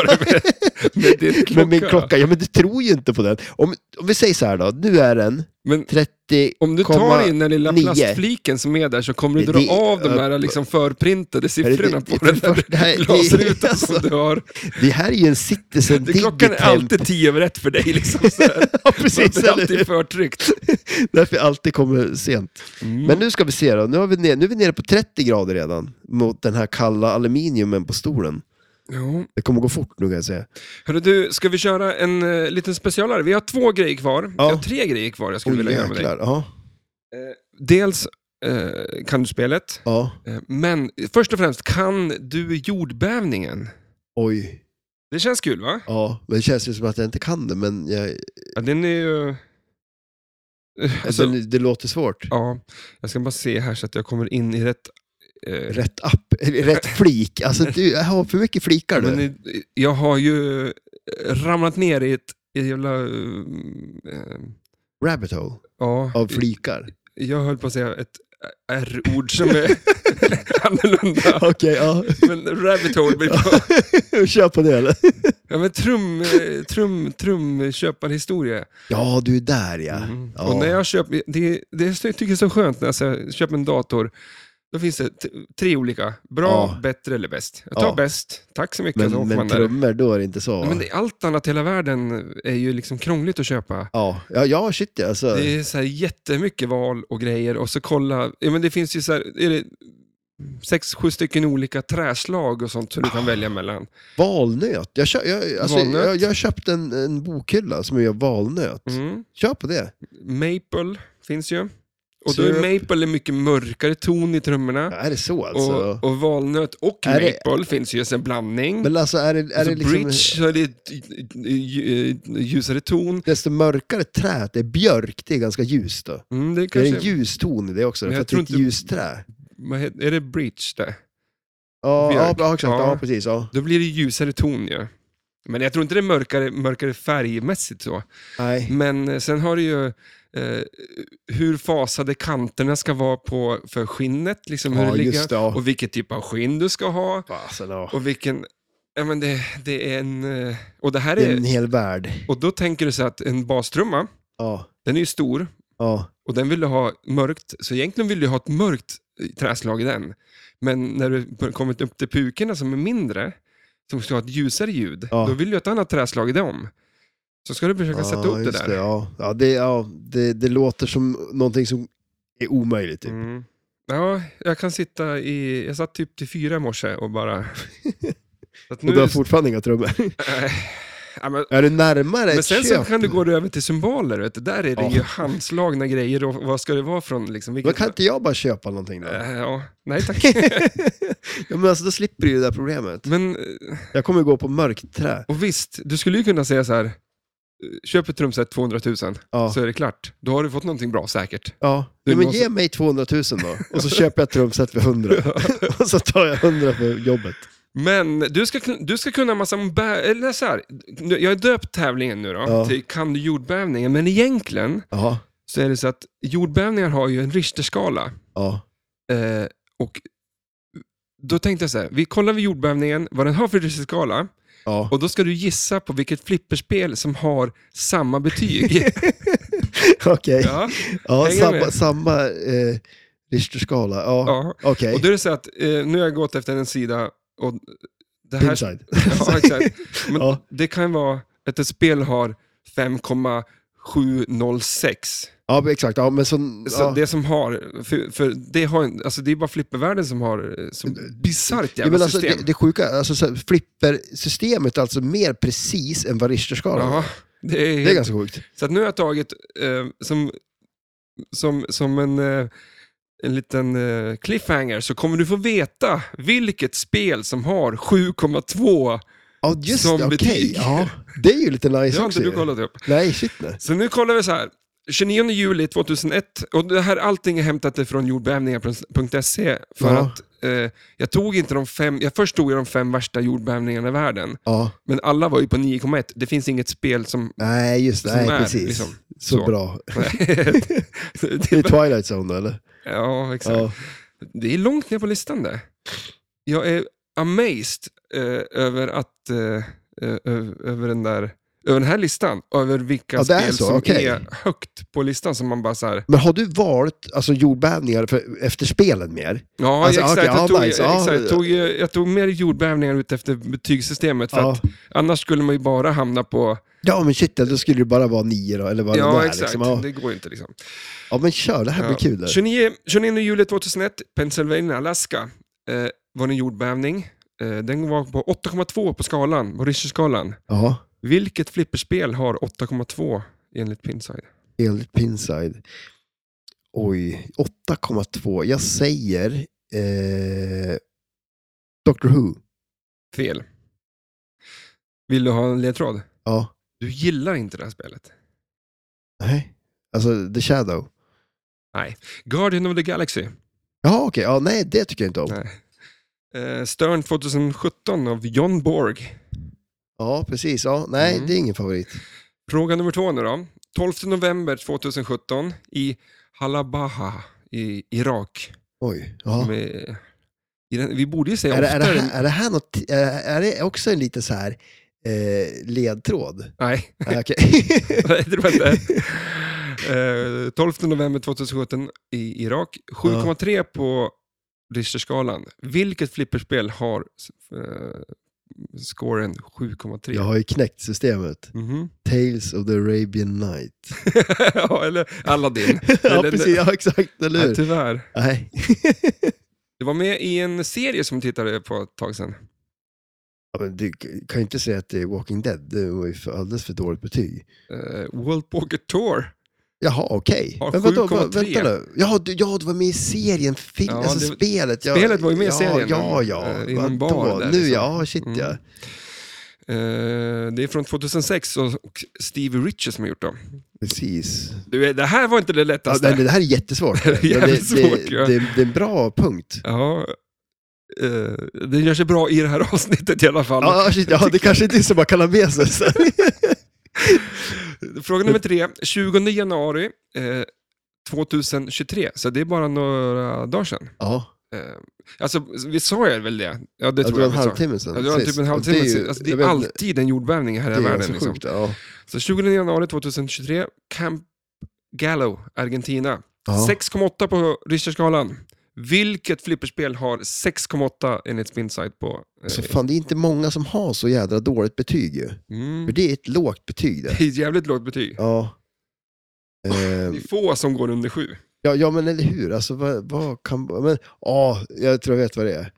S2: med, med
S1: [LAUGHS]
S2: din klocka.
S1: Men min klocka, ja men du tror ju inte på den. Om, om vi säger så här då, nu är den
S2: Men
S1: 30...
S2: om du
S1: komma
S2: tar in den lilla
S1: nio.
S2: plastfliken som är där så kommer du
S1: Det-
S2: dra
S1: det-
S2: av de här liksom förprintade siffrorna
S1: det-
S2: på
S1: det-
S2: den
S1: för- det här-
S2: där
S1: det-
S2: glasrutan
S1: alltså.
S2: som du har.
S1: Det här är ju en Citizen
S2: Det, klockan är
S1: Digitemp.
S2: alltid tio över ett för dig. Liksom,
S1: [LAUGHS]
S2: så här.
S1: Ja,
S2: Så att
S1: precis.
S2: [LAUGHS] det är
S1: Eller? hur?
S2: alltid förtryckt.
S1: Därför jag alltid kommer sent.
S2: Mm.
S1: Men nu ska vi se då. Nu, har vi ner, nu är vi nere på 30 grader redan. Mot den här kalla aluminiumen på stolen.
S2: Ja.
S1: Det kommer gå fort nu kan jag säga.
S2: Hörru du, ska vi köra en eh, liten specialare? Vi har två grejer kvar.
S1: Ja.
S2: Jag har tre grejer kvar jag skulle
S1: Oj,
S2: vilja göra med dig.
S1: jäklar. Ja,
S2: Eh, dels eh, kan du spelet,
S1: ja.
S2: eh, men först och främst, kan du jordbävningen?
S1: Oj.
S2: Det känns kul va?
S1: Ja. Men det känns ju som att jag inte kan det, men jag,
S2: Ja, den är ju... eh, Alltså,
S1: men det låter svårt.
S2: ja, jag ska bara se här så att jag kommer in i rätt... eh,
S1: Rätt app, [LAUGHS] eller rätt flik. Alltså du, jag har för mycket flikar
S2: men
S1: nu.
S2: i- jag har ju eh, ramlat ner i ett i ett jävla... eh, eh,
S1: Rabbit hole
S2: Ja,
S1: av flikar.
S2: [LAUGHS] jag höll på att säga ett R-ord som är [LAUGHS] annorlunda.
S1: Okej, ja.
S2: Men rabbit hole blir
S1: [LAUGHS]
S2: bra.
S1: Kör på det eller?
S2: Ja, men trum, eh, trum, trum, köparhistoria.
S1: Ja, du är där ja.
S2: Mm.
S1: ja.
S2: Och när jag köper, det, det jag tycker jag är så skönt när jag så- köper en dator, då finns det t- tre olika. Bra,
S1: Ja.
S2: bättre eller bäst. Jag tar
S1: Ja.
S2: bäst, tack så mycket. så
S1: Men,
S2: åker man
S1: men
S2: där.
S1: trummor, då är det inte så va?
S2: Ja, men det, allt annat i hela världen är ju liksom krångligt att köpa.
S1: Ja, ja, ja shit ja. Alltså.
S2: Det är så här jättemycket val och grejer och så kolla, ja, men det finns ju så här, är det sex, sju stycken olika träslag och sånt som du kan välja mellan.
S1: Valnöt. Jag, kö, jag, alltså,
S2: Valnöt.
S1: jag, jag köpte en, en bokhylla som gör valnöt.
S2: Mm.
S1: Kör på det.
S2: Maple finns ju. Och då är
S1: Syrup.
S2: maple en mycket mörkare ton i trummorna.
S1: Ja, är det så alltså?
S2: och, och valnöt och
S1: Är det-
S2: maple finns ju som en blandning.
S1: Men alltså är det, är
S2: alltså
S1: det liksom...
S2: Bridge så är det i- i- i- ljusare ton.
S1: Desto mörkare träet är björk, det är ganska ljust då.
S2: Mm, det
S1: Det är
S2: kanske,
S1: en ljus ton i det också,
S2: Men
S1: för
S2: jag
S1: att det
S2: tror
S1: är ett
S2: inte-
S1: ljust trä.
S2: vad heter, är det bridge där?
S1: Ja, ja,
S2: björk.
S1: ja, exakt. Ja.
S2: Ja.
S1: precis. Ja.
S2: Då blir det ljusare ton ju. Men jag tror inte det är mörkare, mörkare färgmässigt så.
S1: Nej.
S2: Men eh, sen har du ju eh, hur fasade kanterna ska vara på, för skinnet, liksom hur
S1: Ja,
S2: det
S1: just
S2: ligger.
S1: det. Ja.
S2: Och vilket typ av skinn du ska ha.
S1: Fasen, ja.
S2: Och vilken... Ja, men det, det är en... eh, Och det här
S1: Det är
S2: är...
S1: en hel värld.
S2: Och då tänker du så att en bastrumma,
S1: Ja,
S2: den är ju stor
S1: ja.
S2: och den vill du ha mörkt, så egentligen vill du ha ett mörkt eh, träslag i den. Men när du bör- kommit upp till pukorna som är mindre, som ska ha ett ljusare ljud,
S1: Ja.
S2: då vill du ha ett annat träslag i dem. Så ska du försöka
S1: ja,
S2: sätta upp det
S1: just
S2: där.
S1: Det, ja. Ja, det, ja, det, det låter som någonting som är omöjligt. Typ.
S2: Mm. Ja, jag kan sitta i... Jag satt typ till fyra i morse
S1: [LAUGHS]
S2: och bara... Så att nu,
S1: Och du har fortfarande inga trummor. [LAUGHS]
S2: ja, men,
S1: Är du närmare
S2: men
S1: ett
S2: sen så
S1: köp
S2: kan du
S1: nu?
S2: gå över till symboler, vet du. där är det
S1: Ja.
S2: ju handslagna grejer och vad ska det vara från? Liksom,
S1: Men
S2: vilket,
S1: kan inte jag bara köpa någonting då?
S2: Äh, ja, nej tack.
S1: [LAUGHS] ja, men alltså, då slipper du ju det där problemet.
S2: Men, eh,
S1: Jag kommer gå på mörkt trä.
S2: och visst, du skulle ju kunna säga så här, eh, köp ett trumset 200 000
S1: Ja.
S2: så är det klart. Då har du fått någonting
S1: [LAUGHS]
S2: bra säkert.
S1: Ja.
S2: Det
S1: ja, men
S2: måste-
S1: ge mig 200 000 då, och så köper jag ett trumset för
S2: [LAUGHS]
S1: 100. och så tar jag 100 för jobbet.
S2: Men du ska, kun- du ska kunna massa om bä- eller så här, nu- jag har döpt tävlingen nu då,
S1: Ja.
S2: till Kan du jordbävningen? Men egentligen
S1: Ja,
S2: så är det så att jordbävningar har ju en Richterskala.
S1: ja,
S2: Eh, och då tänkte jag så här, vi kollar vid jordbävningen, vad den har för Richterskala.
S1: ja.
S2: [LAUGHS]
S1: [LAUGHS]
S2: Och då ska du gissa på vilket flipperspel som har samma betyg.
S1: Okej. Ja,
S2: Ja, hänger
S1: samma,
S2: med.
S1: samma eh, Richterskala. Ja,
S2: ja.
S1: okej.
S2: Och då är det så att eh, nu har jag gått efter en sida och det här...
S1: Pinside.
S2: [LAUGHS] Ja, exakt. Men
S1: Ja.
S2: det kan vara att ett spel har 5,706.
S1: Ja, men exakt. Ja, men så,
S2: Så
S1: ja.
S2: det som har, för, för det har en- alltså det är bara flippervärlden som har eh, så bisarrt
S1: Ja,
S2: jävla
S1: men alltså,
S2: system.
S1: det, det sjuka, alltså, så här, flippersystemet är alltså mer precis än vad Richterskalan är.
S2: ja, det är,
S1: Det är ganska sjukt.
S2: Så att nu har jag tagit eh, som, som, som en, eh, en liten eh, cliffhanger så kommer du få veta vilket spel som har 7,2.
S1: Ja, just
S2: Som
S1: det. Okej.
S2: betyg.
S1: Ja, det är ju lite
S2: Det
S1: nice
S2: har
S1: också.
S2: inte du
S1: ju.
S2: kollat upp.
S1: Nej, shit nej.
S2: Så nu kollar vi så här. 29 juli 2001, och det här allting är hämtat från jordbävningar.se för
S1: Ja.
S2: att eh, jag tog inte de fem, jag först tog jag de fem värsta jordbävningarna i världen,
S1: Ja,
S2: men alla var ju på 9,1. Det finns inget
S1: [LAUGHS]
S2: spel som... [LAUGHS]
S1: nej just det.
S2: Som
S1: Nej,
S2: är,
S1: precis.
S2: liksom,
S1: så,
S2: så.
S1: bra. Det är
S2: det,
S1: Twilight Zone då, eller?
S2: ja, exakt.
S1: Ja.
S2: Det är långt ner på listan det. Jag är amazed eh, över att eh, eh, ö- över den där över den här listan, över vilka
S1: Ja, det är
S2: spel
S1: så,
S2: som
S1: okej.
S2: är högt på listan som man bara så här,
S1: Men har du valt alltså, jordbävningar för, efter spelen mer?
S2: ja
S1: Alltså,
S2: exakt,
S1: okej, ja,
S2: jag, tog,
S1: nice, ja.
S2: exakt jag, tog, eh, jag tog mer jordbävningar ut efter betygssystemet, för
S1: Ja.
S2: att annars skulle man ju bara hamna på,
S1: ja, men shit, då skulle det bara vara nio då, eller vad det nu
S2: ja
S1: är.
S2: exakt,
S1: Liksom. Ja.
S2: det går ju inte liksom.
S1: ja, men kör, det här blir
S2: Ja.
S1: kul. Där.
S2: 29, 29 juli 2001, Pennsylvania, Alaska, eh, var det en jordbävning. Eh, den var på 8,2 på skalan, på Richterskalan.
S1: Ja,
S2: Vilket flipperspel har 8,2 enligt Pinside?
S1: enligt Pinside. Oj, 8,2.
S2: Mm.
S1: Jag säger eh, Doctor Who.
S2: Fel. Vill du ha en ledtråd?
S1: Ja,
S2: Du gillar inte det här spelet.
S1: nej. Alltså The Shadow.
S2: Guardian of the Galaxy.
S1: Ja, okej. Ja, nej, det tycker jag inte om.
S2: Nej. Eh, Stern 2017 av John Borg.
S1: Ja, precis. Ja, nej,
S2: Mm.
S1: det är ingen favorit.
S2: Fråga nummer två nu då. 12 november 2017 i Halabaha i Irak.
S1: Oj. Ja.
S2: Med, i den, vi borde ju säga
S1: Är, det- är, det
S2: oftare.
S1: här, är det här något, är, är det också en lite så här eh,
S2: [LAUGHS]
S1: ledtråd?
S2: Nej.
S1: Nej, Okej.
S2: Nej, det var inte. Eh, 12 november 2017 i Irak. 7,3 på Richterskalan. Vilket flipperspel har eh, scoren 7,3?
S1: jag har ju knäckt systemet.
S2: Mhm. [LAUGHS]
S1: Tales of the Arabian Night.
S2: ja, eller
S1: [LAUGHS]
S2: Aladdin.
S1: ja,
S2: Eller-
S1: precis. Ja, exakt. Eller
S2: Nej,
S1: hur?
S2: tyvärr.
S1: Nej.
S2: Det var med i en serie som tittade på ett tag sedan.
S1: Ja, men du kan ju inte säga att det är Walking Dead. Det var ju för, alldeles för dåligt betyg.
S2: Eh, World Poker Tour.
S1: Jaha, okej.
S2: Ja,
S1: Men vadå, vad-
S2: 7,3.
S1: Vänta nu. Ja, du, ja, du var med i serien. Film,
S2: Ja,
S1: alltså
S2: det-
S1: spelet. Ja,
S2: spelet var ju med i
S1: ja,
S2: serien.
S1: Ja, ja.
S2: Eh, i någon
S1: Vadå?
S2: bar där,
S1: nu
S2: liksom.
S1: ja, shit
S2: Mm.
S1: ja.
S2: Eh, det är från 2006 och och Stevie Richer som har gjort det.
S1: Precis.
S2: Du, eh, det här var inte det
S1: Ja,
S2: lättaste.
S1: det, det här är jättesvårt.
S2: [LAUGHS] Det är jävligt
S1: Men det,
S2: svårt,
S1: det,
S2: ja.
S1: det, det är en bra punkt.
S2: Ja, eh, det gör sig bra i det här [LAUGHS] avsnittet i alla fall.
S1: Ja, shit, ja, det kanske inte är så man kan ha med sig.
S2: [LAUGHS]
S1: så.
S2: Fråga nummer tre, 20 januari eh, 2023, så det är bara några dagar sedan.
S1: Ja,
S2: Eh, alltså, vi sa ju väl det? Ja, det
S1: det
S2: tror
S1: var en
S2: jag vi sa.
S1: halvtimme sedan.
S2: Ja, det var typ
S1: sist.
S2: en
S1: Och
S2: halvtimme
S1: det är ju-
S2: sedan. Alltså, det
S1: jag
S2: är
S1: vet,
S2: alltid en jordbävning här
S1: det
S2: i
S1: är
S2: världen.
S1: ganska
S2: Liksom.
S1: sjukt. Ja.
S2: Så 20 januari 2023, Camp Gallo, Argentina.
S1: Ja.
S2: 6,8 på Richterskalan. Vilket flipperspel har 6,8 enligt Spinside på... eh,
S1: Så alltså, fan, det är inte många som har så jädra dåligt betyg ju.
S2: mm.
S1: För det är ett lågt betyg det.
S2: Det är ett jävligt lågt betyg.
S1: Ja.
S2: Det är
S1: Ehm,
S2: få som går under sju.
S1: ja, ja, men eller hur? Alltså, vad, vad kan... Men, ja, jag tror jag vet vad det är.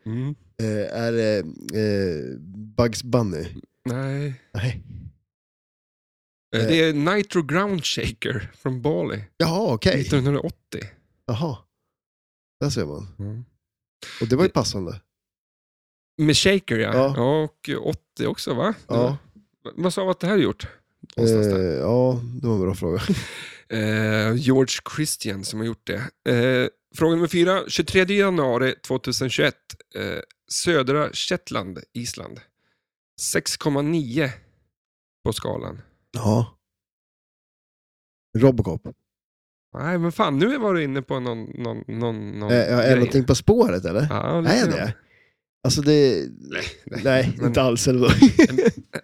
S1: Eh, är det eh, Bugs Bunny?
S2: Nej.
S1: Nej.
S2: Eh, Det är Nitro Ground Shaker från Bali
S1: Jaha, okej.
S2: 1980.
S1: Jaha. Där ser man. Och det var ju passande.
S2: Med Shaker ja.
S1: Ja.
S2: ja. Och 80 också va?
S1: Ja,
S2: Va- Vad sa vi att det här är gjort?
S1: eh,
S2: Någonstans där.
S1: ja det var en bra fråga.
S2: Eh, George Christian som har gjort det. Eh, fråga nummer fyra. 23 januari 2021. Eh, södra Shetland, Island. 6,9 på skalan.
S1: Ja. Robocop.
S2: Nej men fan, nu var du inne på någon, någon, någon, någon
S1: Eh, ja, är det
S2: grej.
S1: någonting på spåret eller?
S2: Ja, lite
S1: är
S2: grann.
S1: det? Alltså det...
S2: nej.
S1: Nej, inte alls. Eller vadå?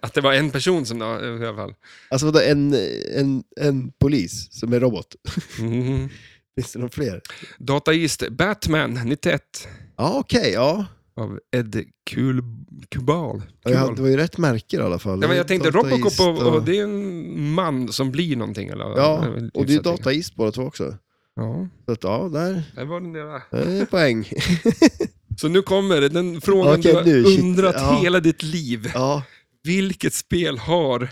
S2: Att det var en person som då, i alla fall.
S1: alltså vadå, en, en, en polis som är robot.
S2: Mhm.
S1: Finns det någon fler?
S2: Dataist Batman 91
S1: Ja, okej. ja.
S2: av Ed Kul Kubal.
S1: Ja, jag-
S2: Kubal.
S1: Det var ju rätt märke i alla fall.
S2: Nej, men jag tänkte
S1: Dataist
S2: Robocop, och, och det är en man som blir någonting. Eller,
S1: Ja,
S2: väl
S1: och det är ju
S2: hyfsat lika.
S1: dataist båda två också.
S2: Ja,
S1: Så att, ja, där
S2: det var den där.
S1: där
S2: [LAUGHS]
S1: är poäng.
S2: Så nu kommer den frågan
S1: Okej,
S2: du har
S1: nu, shit.
S2: undrat
S1: Ja.
S2: hela ditt liv.
S1: Ja,
S2: Vilket spel har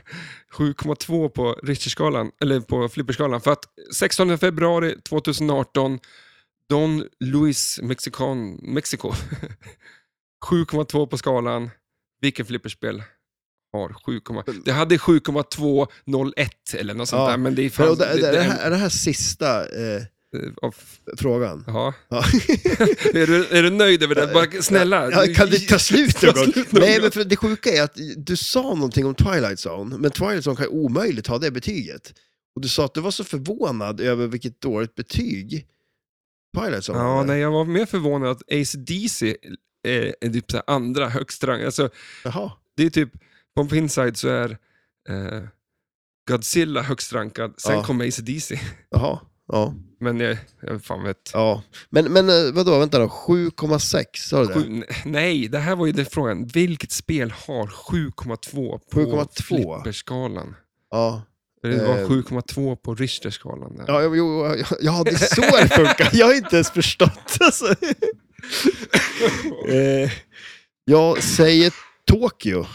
S2: 7,2 på Richterskalan, eller på flipperskalan? För att 16 februari 2018, Don Luis Mexican, Mexico. [LAUGHS] 7,2 på skalan. Vilket flipperspel har 7,2? Det hade 7,201 eller något sånt
S1: Mm. Ja.
S2: där, men det är
S1: men,
S2: fan...
S1: och det, det,
S2: det- det-
S1: här, är det här sista eh,
S2: eh, av-
S1: frågan?
S2: Ja.
S1: Ja.
S2: är, du, är du nöjd över det? Bara, snälla.
S1: Ja, kan det ta slut någon
S2: Ta
S1: gång?
S2: slut någon
S1: Nej,
S2: gång.
S1: men för det sjuka är att du sa någonting om Twilight Zone, men Twilight Zone kan ju omöjligt ha det betyget. Och du sa att du var så förvånad över vilket dåligt betyg Twilight Zone
S2: Ja,
S1: hade.
S2: nej, jag var mer förvånad att Ace DC är, är typ så här andra högst rang. Alltså,
S1: Jaha.
S2: det är typ, på Pinside så är eh, Godzilla högst rankad, sen
S1: Ja.
S2: kommer Ace DC.
S1: Jaha. Ja.
S2: [LAUGHS] Men jag, jag fan vet.
S1: ja. Men, men eh, vadå, vänta då, 7,6 sa du det?
S2: Sju, n- nej, det här var ju den frågan. Vilket spel har 7,2 på
S1: 7,2?
S2: flipperskalan?
S1: Ja.
S2: Det var
S1: Eh.
S2: 7,2 på Richterskalan. där.
S1: Ja, jo, jo, ja, ja, det är så det funkar. Jag har inte ens förstått.
S2: [LAUGHS]
S1: Alltså. Eh, jag säger Tokyo.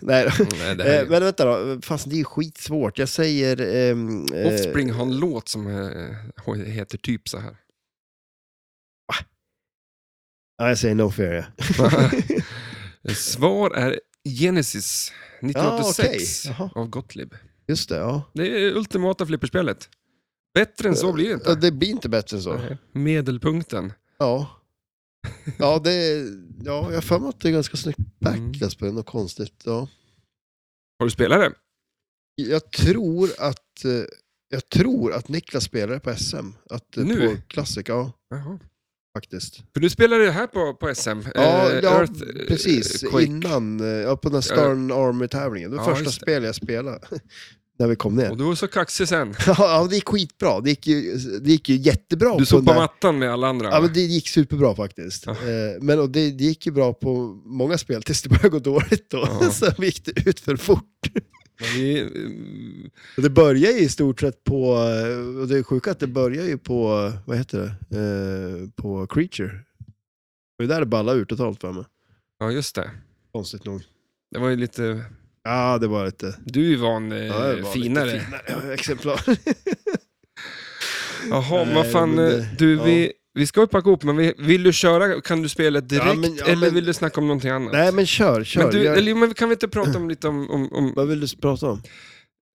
S1: Nej, då.
S2: Mm, Nej, det här är...
S1: eh, men vänta då. Fast det är ju skitsvårt. Jag säger... ehm, eh,
S2: Offspring har en låt som eh, heter typ
S1: [LAUGHS]
S2: så här. [LAUGHS]
S1: Ja, jag säger No Fear. ja.
S2: Svar är Genesis
S1: Ah,
S2: 1986
S1: Ja, okej.
S2: av Gottlieb.
S1: Just det, ja.
S2: Det är ultimata flipperspelet. Bättre än så blir det
S1: ja.
S2: inte.
S1: Det blir inte bättre än Eh, så.
S2: Nej. Medelpunkten. [LAUGHS]
S1: Ja. Ja, det, ja, jag har för mig att det är ganska snyggt
S2: Mm.
S1: backlash på det, något konstigt. Ja.
S2: Har du spelat det?
S1: Jag tror att, eh, jag tror att Niklas spelade på SM. Att, eh,
S2: Nu?
S1: På Classic, ja.
S2: Jaha.
S1: Faktiskt.
S2: För du spelade det här på, på SM.
S1: Ja,
S2: eh,
S1: ja
S2: Earth, eh,
S1: precis.
S2: Quake.
S1: Innan, eh, ja, på den här Stern Army-tävlingen. Det var
S2: Ja,
S1: första
S2: just det.
S1: spelet jag spelade. [LAUGHS] När vi kom ner.
S2: Och du var så kaxig sen.
S1: [LAUGHS] Ja, det gick skitbra. Det gick ju, det gick ju jättebra.
S2: Du
S1: på den
S2: sopade
S1: där-
S2: mattan med alla andra.
S1: Ja,
S2: va? Ah.
S1: men det gick superbra faktiskt.
S2: Ja.
S1: Eh, Men och det, det gick ju bra på många spel tills det började gå dåligt då.
S2: Ja.
S1: [LAUGHS] Sen gick det ut för fort.
S2: Men vi, eh,
S1: Och Det börjar ju i stort sett på, eh, och det är sjuka att det börjar ju på, eh, vad heter det, eh, på Creature. Och det där ballade ur totalt för mig.
S2: ja, just det.
S1: Konstigt nog.
S2: Det var ju lite...
S1: Ja, det var lite...
S2: Du är ju van eh,
S1: Ja, det var lite
S2: finare.
S1: finare [LAUGHS] exemplar.
S2: Jaha,
S1: Nej,
S2: men fan,
S1: men det-
S2: eh, du,
S1: ja.
S2: vi, vi ska ju packa ihop, men vi, vill du köra, kan du spela direkt,
S1: Ja, men- ja,
S2: eller
S1: men-
S2: vill du snacka om någonting annat?
S1: Nej, men kör, kör.
S2: men du,
S1: Gör-
S2: eller, men kan vi inte prata om lite om, om, om
S1: Vad vill du prata om?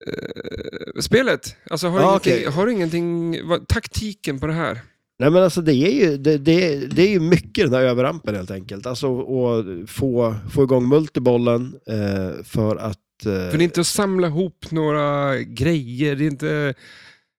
S2: eh, spelet? Alltså, har,
S1: Ja,
S2: ingenting,
S1: Ah, okej.
S2: har ingenting, vad, taktiken på det här?
S1: Nej men alltså det är ju, det, det, det är ju mycket den här överrampen helt enkelt. Alltså att få, få igång multibollen eh, för att... Eh,
S2: För det är inte att samla ihop några grejer, det är inte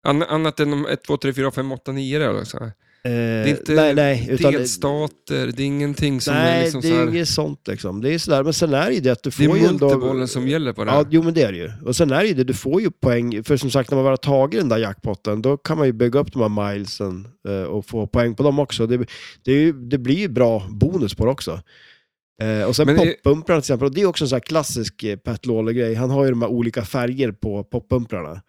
S2: an, annat än de 1, 2, 3, 4, 5, 8, 9 där, liksom.
S1: det
S2: inte
S1: eh, nej, nej, utan,
S2: Delstater, det är ingenting som är
S1: nej,
S2: liksom
S1: det är
S2: så
S1: ju
S2: här,
S1: inget sånt liksom. Det är sådär, men sen är det ju det att du får
S2: det är
S1: ju ändå...
S2: multibollen som gäller på det här.
S1: Ja, jo men det är det ju. Och sen är det ju det, du får ju poäng, för som sagt när man väl har tagit den där jackpotten, då kan man ju bygga upp de här milesen eh, och få poäng på dem också. Det, det, är ju, det blir ju bra bonus på det också. Eh, och sen
S2: Men det-
S1: poppumprarna till exempel, och det är också en sån här klassisk eh, Pat Lawler-grej. Han har ju de här olika färger på poppumprarna.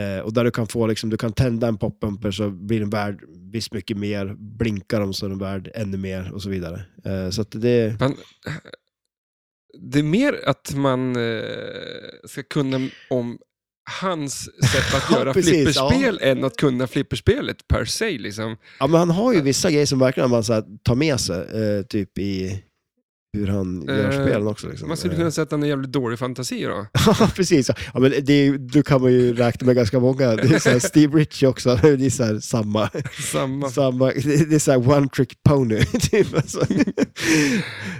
S1: Eh, och där du kan få, liksom, du kan tända en poppumper så blir den värd visst mycket mer, blinkar de så är den värd ännu mer och så vidare. Eh, så att det...
S2: Det är mer att man eh, ska kunna om hans sätt att
S1: [LAUGHS] Ja,
S2: göra
S1: precis,
S2: flipperspel än att kunna flipperspelet per se. Liksom.
S1: Ja, men han har ju vissa grejer som verkligen man så här, tar med sig, eh, typ i hur han gör
S2: Eh,
S1: spelen också. Liksom.
S2: Man skulle
S1: Eh,
S2: kunna säga att han är jävligt dålig fantasi då.
S1: [LAUGHS] ja, precis. Ja, men det, är ju- då kan man ju räkna med ganska många. Det är så här, Steve Ritchie också, [LAUGHS] det är så här, samma.
S2: Samma.
S1: samma det det är så här one trick pony. [LAUGHS] Typ, alltså.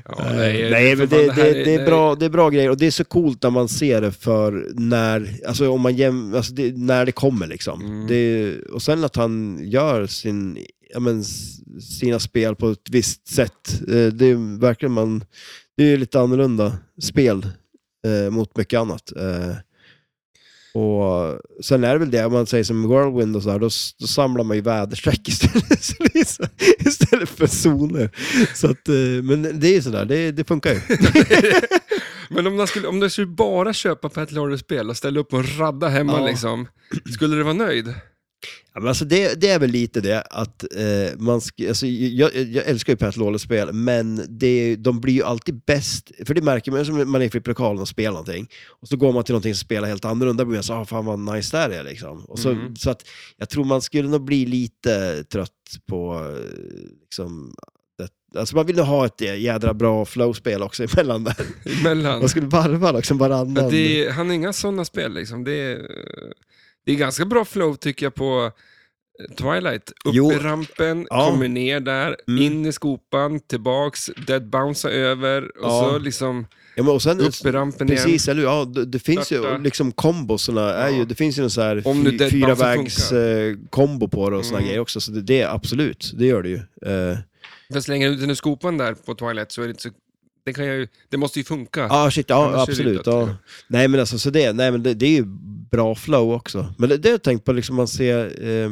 S2: Ja,
S1: Eh,
S2: nej,
S1: nej,
S2: för
S1: men
S2: fan,
S1: det,
S2: här
S1: det, det, är
S2: nej.
S1: bra, det är bra grejer och det är så coolt när man ser det för när, alltså om man jäm, alltså det, när det kommer liksom.
S2: Mm.
S1: Det, är- och sen att han gör sin ja, men, s- sina spel på ett visst sätt. Eh, det är ju verkligen man, det är ju lite annorlunda spel eh, mot mycket annat. Eh, och sen är det väl det, om man säger som Whirlwind och sådär, då, s- då samlar man ju väderstreck [LAUGHS] istället, Så det är så- istället för zoner. Så att, eh, men det är ju sådär, det, det funkar ju.
S2: Men om du skulle, om man skulle bara köpa Petal Harry-spel och ställa upp en radda hemma
S1: Ja.
S2: liksom, skulle du vara nöjd?
S1: Ja, men alltså det, det är väl lite det att eh, man sk- alltså, jag, jag älskar ju Petrolole-spel, men det, de blir ju alltid bäst, för det märker man ju som man är i flipplokalen och spelar någonting, och så går man till någonting som spelar helt annorlunda, och blir man så ah, fan vad nice det här är liksom. Och så,
S2: Mm.
S1: så att jag tror man skulle nog bli lite trött på, eh, liksom, det, alltså man vill ju ha ett jädra bra flow-spel också [LAUGHS] emellan där. [LAUGHS]
S2: Emellan?
S1: Man skulle varva liksom varannan.
S2: Men det är, han har inga sådana spel liksom. Det är, eh, det är ganska bra flow tycker jag på eh, Twilight. Upp
S1: Jo.
S2: i rampen,
S1: Ja.
S2: kommer ner där,
S1: Mm.
S2: in i skopan, tillbaks, dead bounce över och
S1: Ja.
S2: så liksom
S1: ja, men, och sen,
S2: upp i rampen igen.
S1: Precis, eller hur? Ja, det, det finns ju
S2: Starta.
S1: liksom kombosarna. Är
S2: Ja.
S1: ju, det finns ju en så här
S2: Om nu
S1: fy,
S2: dead
S1: fyra
S2: bounce
S1: vägs eh, kombo på det och såna
S2: Mm.
S1: grejer också. Så det, det, absolut, det gör det ju. Eh,
S2: För slänger du ut den i skopan där på Twilight så är det inte så... Det, kan jag ju, det måste ju funka.
S1: Ja, ah, shit,
S2: Annars är
S1: ja,
S2: det
S1: absolut.
S2: dött,
S1: Ja.
S2: liksom.
S1: Nej, men alltså, så det, nej, men det, det är ju bra flow också. Men det, det har jag tänkt på, liksom man ser eh,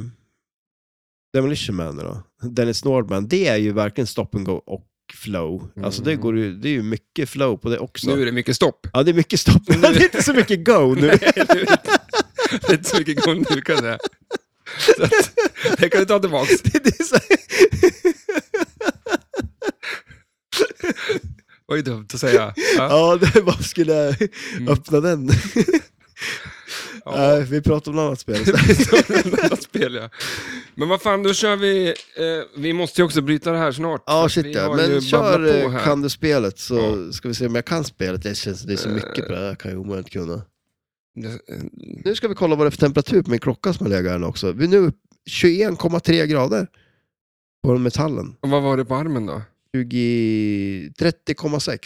S1: Demolition Man då, Dennis Nordman, det är ju verkligen stop and go och flow. Alltså det,
S2: Mm.
S1: går ju, det är ju mycket flow på det också.
S2: Nu är det mycket stopp.
S1: Ja, det är mycket stopp, [LAUGHS] men det är inte så mycket go nu.
S2: Det är inte så mycket gång nu kan jag säga. Så att, det kan du ta
S1: [LAUGHS]
S2: tillbaks.
S1: det, det är så här,
S2: Oj, dumt att säga. Ja. Mm.
S1: ja, det, vad skulle jag öppna
S2: [LAUGHS]
S1: den?
S2: Ja.
S1: Nej, vi pratar om något annat spel.
S2: [LAUGHS] Annat spel, ja. Men vad fan, då kör vi... Eh, vi måste ju också bryta det här snart.
S1: Ja,
S2: Så [LAUGHS] vi
S1: shit ja.
S2: har ju
S1: Men
S2: babblat
S1: kör
S2: på
S1: eh,
S2: här.
S1: kan du spelet så ska vi se om jag kan spelet. Det, känns, det är
S2: Eh.
S1: så mycket på det här, kan jag omöjligt kunna. Nu ska vi kolla vad det är för temperatur på min klocka som har legat här nu också. Vi är nu upp 21,3 grader på metallen.
S2: Och vad var det på armen då?
S1: 20... 30,6.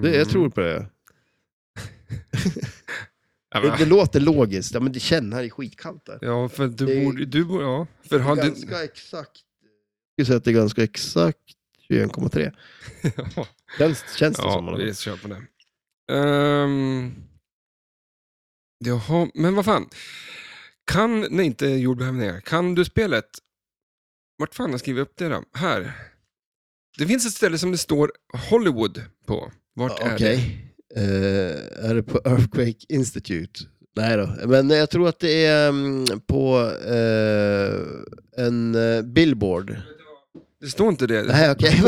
S1: Det,
S2: Mm.
S1: jag tror på det.
S2: Ja,
S1: Det, det
S2: men,
S1: låter logiskt. Ja, men det känner här i skitkallt där.
S2: ja för du
S1: det är-
S2: borde... Du borde ja, för har du...
S1: Ganska exakt. Jag skulle säga att det är ganska exakt 21,3.
S2: [LAUGHS] Ja,
S1: Känns, känns det som.
S2: ja vi kör på det. Um, jaha, men vad fan. Kan... Nej, inte jordbävningar. Kan du spelet? Vart fan har jag skrivit upp det då? Här. Det finns ett ställe som det står Hollywood på. Vart
S1: Ja,
S2: är
S1: Okej.
S2: det?
S1: Eh, är det på Earthquake Institute? Nej då, men jag tror att det är mm, på eh, en eh, billboard.
S2: Det står inte det.
S1: Nej, okej.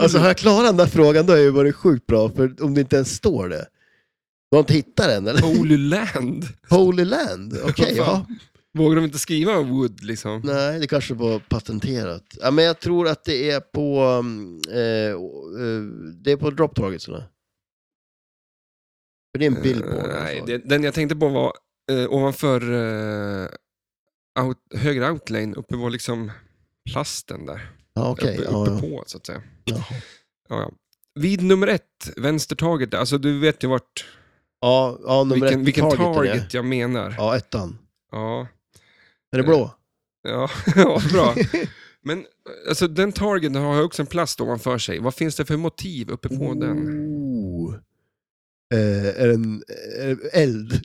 S1: [LAUGHS] alltså har jag klarat den där frågan då har jag ju varit sjukt bra, för om det inte ens står det. Du har inte hittat den
S2: [LAUGHS]
S1: eller?
S2: Holy Land.
S1: Holy Land? Okej, ja.
S2: Vågar de inte skriva Wood liksom?
S1: Nej, det kanske var patenterat. Ja, men jag tror att det är på, mm, eh, eh, det är på drop targetsarna. För det är en billboard. alltså. i alla
S2: Eh, Nej,
S1: fall.
S2: det, den jag tänkte på var eh, ovanför eh, out, högra outlane, uppe var liksom plasten där.
S1: Ja, okej.
S2: uppe,
S1: Ja,
S2: uppe
S1: ja.
S2: på så att säga.
S1: Jaha.
S2: Ja, ja. Vid nummer ett, vänstertaget, där, alltså du vet ju vart,
S1: Ja, ja nummer
S2: vilken,
S1: ett
S2: vilken
S1: targeten
S2: target
S1: är.
S2: jag menar.
S1: Ja, ettan.
S2: Ja,
S1: Är
S2: Eh,
S1: det blå?
S2: ja, [LAUGHS] ja
S1: [LAUGHS]
S2: bra. Men alltså, den targeten har ju också en plast ovanför sig. Vad finns det för motiv uppe på den?
S1: Oh. Eh, är den eh, eld? [LAUGHS]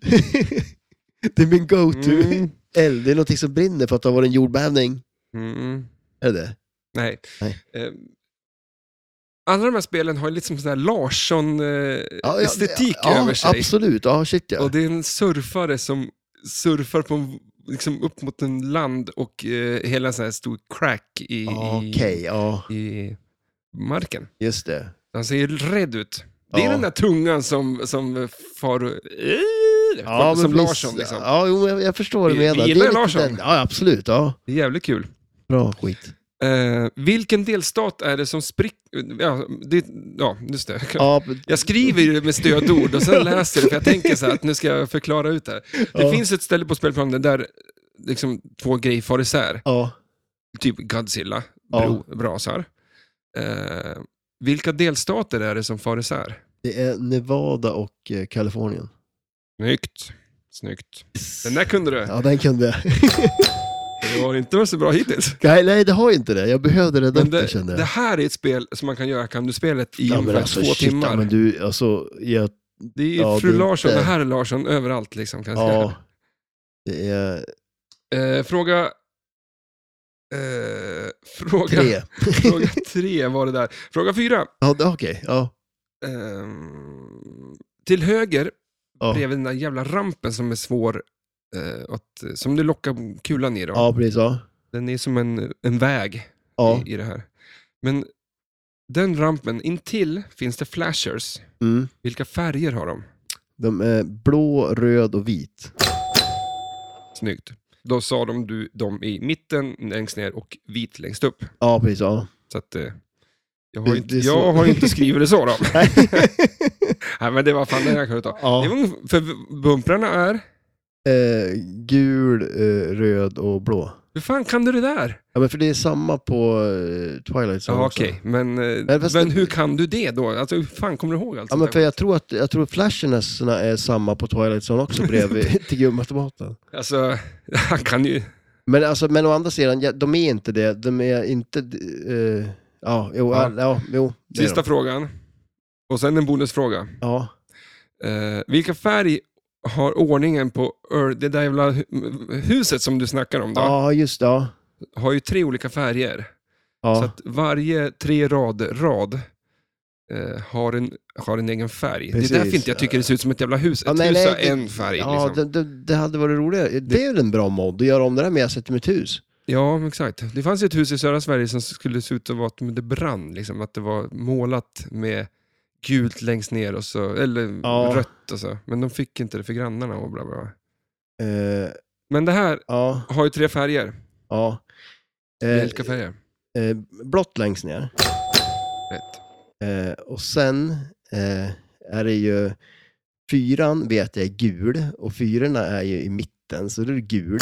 S1: det är min go-to.
S2: Mm.
S1: Eld, det är någonting som brinner för att det har varit en jordbävning.
S2: Mm.
S1: Är det det?
S2: Nej.
S1: Nej.
S2: Eh, Alla de här spelen har ju liksom sån här Larsson-estetik
S1: Ja, ja,
S2: ja, över sig.
S1: Absolut, ja shit ja.
S2: Och det är en surfare som surfar på en, liksom upp mot en land och eh, hela en sån här stor crack i,
S1: Okej,
S2: i,
S1: ja
S2: i marken.
S1: just det.
S2: Han ser rädd ut. Det är
S1: Ja.
S2: den där tungan som, som far... Eh,
S1: Ja,
S2: som
S1: men precis.
S2: Larsson liksom.
S1: Ja, jo, jag, jag förstår vad du
S2: Vi- vi
S1: menar. Det är
S2: gillar
S1: lite
S2: Larsson.
S1: den- Ja, absolut. Ja.
S2: Det är jävligt kul.
S1: Bra skit.
S2: Eh, vilken delstat är det som spricker... Ja, det- ja, just det.
S1: Ja,
S2: Jag skriver ju med stödord och sen läser det, för jag tänker så här att nu ska jag förklara ut det här. Det
S1: Ja.
S2: finns ett ställe på spelplanen där liksom två grejer far isär.
S1: ja.
S2: Typ Godzilla,
S1: Ja.
S2: bro, brasar. Eh, vilka delstater är det som far isär?
S1: Det är Nevada och eh, Kalifornien.
S2: Snyggt. Snyggt. Den där kunde du.
S1: Ja, den kunde jag. [LAUGHS]
S2: Det har inte varit så bra hittills.
S1: Nej, nej, det har ju inte det. Jag behövde det
S2: Men
S1: doften
S2: det,
S1: kände
S2: det
S1: jag.
S2: här är ett spel som man kan göra Kan-du-spelet i
S1: Ja, men
S2: ungefär
S1: alltså,
S2: två
S1: shit,
S2: timmar.
S1: Ja, men du, alltså, jag,
S2: Det är
S1: ja,
S2: fru
S1: det är
S2: Larsson
S1: inte-
S2: och herr Larsson överallt. Liksom, kan jag säga.
S1: ja. Det är
S2: Eh, fråga... Eh, fråga,
S1: tre.
S2: fråga tre var det där. Fråga fyra.
S1: Ja, det- okej. Ja.
S2: Ehm, till höger,
S1: Ja.
S2: bredvid den där jävla rampen som är svår, eh, att, som du lockar kulan i. Då.
S1: ja, precis. Ja.
S2: Den är som en, en väg
S1: ja.
S2: i, i det här. Men den rampen, intill finns det flashers.
S1: Mm.
S2: Vilka färger har de?
S1: De är blå, röd och vit.
S2: Snyggt. Då sa de du, de i mitten, längst ner och vit längst upp.
S1: Ja, precis.
S2: [LAUGHS]
S1: Ja.
S2: Så att, eh, jag har,
S1: Det-
S2: inte,
S1: det är så-
S2: jag
S1: [LAUGHS]
S2: har inte skrivit det så då. Nej, men det var fan det jag kunde ta. Det
S1: ja.
S2: var, ungefär- för bumprarna är...
S1: Eh, gul, eh, röd och blå.
S2: Hur fan kan du det där?
S1: Ja, men för det är samma på eh, Twilight Zone
S2: Ja,
S1: också.
S2: okej. Men, eh,
S1: Nej, fast
S2: men
S1: det-
S2: hur kan du det då? Alltså, hur fan kommer du ihåg allt
S1: Ja, men
S2: sånt
S1: för
S2: där?
S1: jag tror att jag tror flashernesserna är samma på Twilight Zone
S2: [LAUGHS]
S1: också bredvid till gummautomaten.
S2: Alltså, [LAUGHS] han kan ju...
S1: Men, alltså, men å andra sidan, ja, de är inte det. De är inte... eh, ja, jo,
S2: Ja.
S1: ja. ja, jo. det är
S2: Sista
S1: de.
S2: frågan. Och sen en bonusfråga.
S1: Ja.
S2: Eh, vilka färg har ordningen på Ur- det där jävla hu- huset som du snackar om? Då,
S1: ja, just det. Ja.
S2: har ju tre olika färger. Så
S1: Ja.
S2: att varje tre rad, rad eh, har, en, har en egen färg. Det är därför
S1: Precis.
S2: inte jag tycker det ser ut som ett jävla hus. Ett
S1: Ja, nej,
S2: hus
S1: nej,
S2: har
S1: det-
S2: en färg.
S1: Ja,
S2: liksom.
S1: det, det, det hade varit roligare. Det, är väl en bra mod att göra om det där med sig till mitt hus.
S2: Ja, men exakt. Det fanns ju ett hus i södra Sverige som skulle se ut att vara att det brann. Liksom, att det var målat med gult längst ner och så, eller
S1: Ja.
S2: rött och så. Men de fick inte det för grannarna och bla bla. bla.
S1: Eh,
S2: Men det här
S1: ja,
S2: har ju tre färger.
S1: ja. Eh,
S2: Vilka färger?
S1: eh, blått längst ner.
S2: Rätt.
S1: Eh, och sen eh, är det ju... Fyran vet jag är gul och fyrorna är ju i mitten, så det är
S2: [LAUGHS]
S1: gul.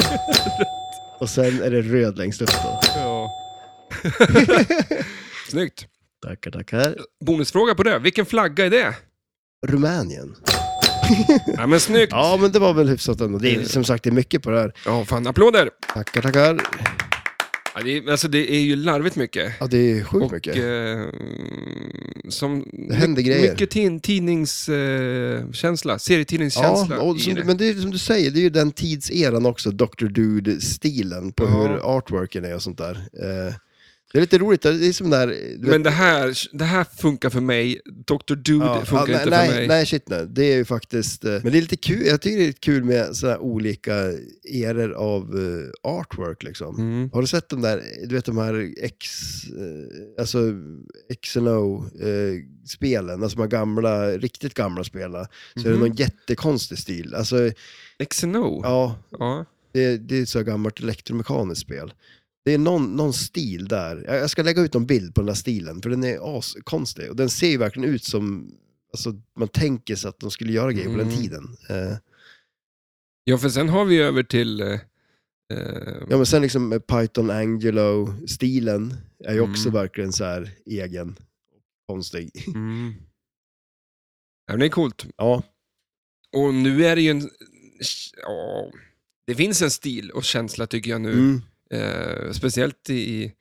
S1: och sen är det röd längst upp då.
S2: Ja. [LAUGHS] Snyggt.
S1: Tackar, tackar.
S2: Bonusfråga på det. Vilken flagga är det?
S1: Rumänien. [LAUGHS]
S2: Ja, men snyggt.
S1: Ja, men det var väl hyfsat ändå. Det är, som sagt, det är mycket på det här.
S2: Ja, fan applåder.
S1: Tackar, tackar.
S2: Ja, det, är, alltså, det är ju larvigt mycket.
S1: Ja, det är sjukt
S2: Och
S1: mycket.
S2: eh, som,
S1: Det händer grejer.
S2: Mycket tin, tidningskänsla, eh, känsla, serietidningskänsla.
S1: Ja, och
S2: i
S1: som,
S2: det.
S1: du- men det är som du säger, det är ju den tidseran också, Dr. Dude-stilen på
S2: Ja.
S1: hur artworken är och sånt där. Eh, det är lite roligt, det är som där... du
S2: Men
S1: vet-
S2: det här, det här funkar för mig. Dr. Dude
S1: ja,
S2: funkar
S1: ja,
S2: inte
S1: nej,
S2: för mig.
S1: Nej, shit nej. Det är ju faktiskt... eh, Men det är lite kul, jag tycker det är lite kul med sådana olika eror av eh, artwork liksom.
S2: Mm.
S1: Har du sett de där, du vet de här X, eh, alltså XNO-spelen, eh, alltså de här gamla, riktigt gamla spelen, så är det
S2: Mhm.
S1: någon jättekonstig stil. Alltså,
S2: XNO? Ja.
S1: ja, det, det är ett så här gammalt elektromekaniskt spel. Det är någon, någon stil där. Jag, jag ska lägga ut en bild på den här stilen, för den är askonstig. Och den ser ju verkligen ut som, alltså man tänker sig att de skulle göra grejer på den
S2: Mm.
S1: tiden. Eh,
S2: ja, för sen har vi över till... Eh, eh,
S1: ja men sen liksom eh, Python Angelo-stilen är ju också
S2: Mm.
S1: verkligen så här egen,
S2: [LAUGHS]
S1: konstig.
S2: mm. ja, men det är coolt.
S1: Ja,
S2: Och nu är det ju en... Ja, det finns en stil och känsla tycker jag nu.
S1: mm.
S2: Eh, speciellt i,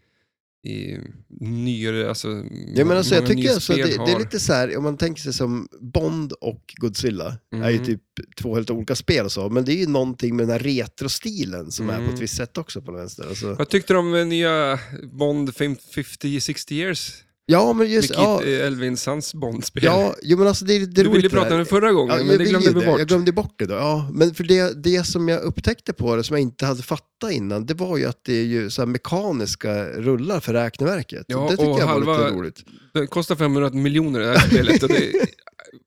S2: i nyare... Alltså,
S1: ja men alltså jag
S2: många
S1: tycker
S2: nya
S1: alltså,
S2: spel
S1: det, det är
S2: har-
S1: lite så här, om man tänker sig som Bond och Godzilla,
S2: Mm.
S1: är ju typ två helt olika spel och så, men det är ju någonting med den här retrostilen som är på
S2: Mm.
S1: ett visst sätt också på den vänster. Alltså.
S2: Vad tyckte du om eh, nya Bond 50-60 years?
S1: Ja, men just,
S2: Med
S1: ja,
S2: Keith eh, Elvins hans Bond-spel.
S1: ja, jo, men alltså det, är- det är
S2: du ville
S1: roligt
S2: prata
S1: det
S2: om
S1: där.
S2: det förra gången,
S1: Ja, jag
S2: men det
S1: vill ju
S2: glömde vi
S1: det.
S2: bort.
S1: Jag glömde bort det då. Ja, men för det, det som jag upptäckte på det, som jag inte hade fattat innan, det var ju att det är ju så här mekaniska rullar för räkneverket.
S2: Ja,
S1: det tycker
S2: och
S1: jag var
S2: halva-
S1: lite roligt.
S2: Det kostar 500 miljoner det här spelet. Och det,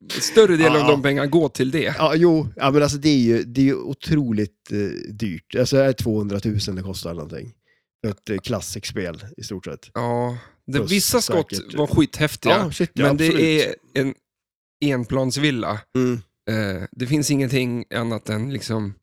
S2: större delen av
S1: Ja.
S2: de pengarna går till det.
S1: Ja, jo, ja, men alltså det är ju, det är ju otroligt eh, dyrt. Alltså det är 200 000 det kostar eller någonting. Ett eh, klassikspel i stort sett.
S2: Ja, det,
S1: Plus
S2: vissa skott
S1: säkert-
S2: var skithäftiga,
S1: shit,
S2: men
S1: absolut.
S2: det är en enplansvilla.
S1: Mm.
S2: Eh, det finns ingenting annat än liksom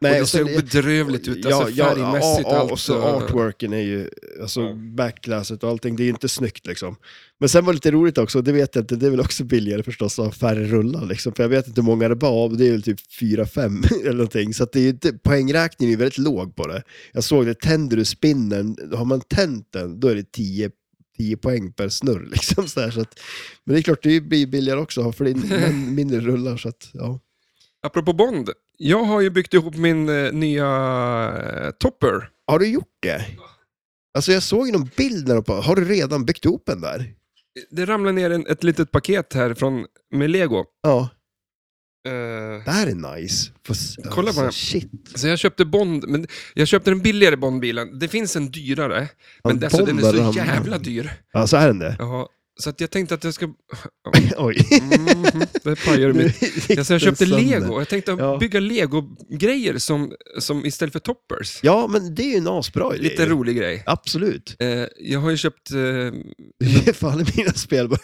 S2: och det ser bedrövligt ut, alltså färgmässigt
S1: ja,
S2: allt. eh,
S1: och så artworken är ju, alltså
S2: Ja.
S1: backlasset och allting, det är ju inte snyggt liksom. Men sen var det lite roligt också, det vet jag inte, det är väl också billigare förstås att ha färre rullar liksom, för jag vet inte hur många det var, men det är väl typ 4-5 [LAUGHS] eller någonting, så att det är ju inte, poängräkningen är väldigt låg på det. Jag såg det, tänder du spinnen, har man tänt den, då är det 10 10 poäng per snurr. [LAUGHS] Liksom, så här, så att, men det är klart, det blir billigare också att ha
S2: [LAUGHS]
S1: fler- mindre rullar. Så att, ja.
S2: Apropå Bond, jag har ju byggt ihop min eh, nya eh, Topper.
S1: Har du gjort det? Alltså jag såg ju någon bild där uppe. Har du redan byggt ihop en där?
S2: Det ramlade ner en, ett litet paket här från, med Lego.
S1: Ja,
S2: Eh,
S1: det här är nice. Få s- alltså,
S2: Kolla bara.
S1: Shit.
S2: så jag köpte Bond, men jag köpte den billigare Bondbilen. Det finns en dyrare, men
S1: Ja,
S2: alltså, den är
S1: Bond
S2: så
S1: ramlar.
S2: jävla dyr.
S1: [LAUGHS] Ja, så är den
S2: [LAUGHS]
S1: det.
S2: Jaha, så att jag tänkte att
S1: [LAUGHS]
S2: jag ska...
S1: Oj.
S2: Mhm, det
S1: Nu [LAUGHS]
S2: pajar mitt.
S1: gick
S2: Ja, så Alltså,
S1: den
S2: jag köpte
S1: sönder.
S2: lego, jag tänkte
S1: Ja.
S2: bygga lego-grejer som, som istället för toppers.
S1: Ja, men det är ju en asbra idé.
S2: Lite rolig grej.
S1: Absolut.
S2: Eh, jag har ju köpt eh,
S1: Det faller mina spel [LAUGHS] bara.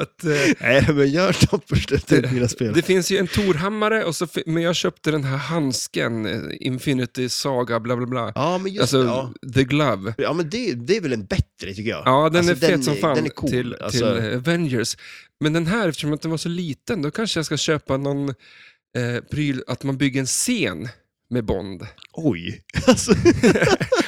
S2: att, eh,
S1: Nej, men gör toppers det till mina spel.
S2: Det finns ju en Torhammare, och så, fi- men jag köpte den här handsken, eh, Infinity Saga, bla bla bla.
S1: Ja, men just
S2: alltså,
S1: det. Ja.
S2: The Glove.
S1: Ja, men det, det är väl en bättre tycker jag.
S2: Ja, den
S1: Alltså,
S2: är fet som fan
S1: Den är cool.
S2: till,
S1: alltså,
S2: till eh, Avengers. Men den här, eftersom att den var så liten, då kanske jag ska köpa någon eh, pryl, att man bygger en scen med Bond.
S1: Oj. [LAUGHS] Alltså,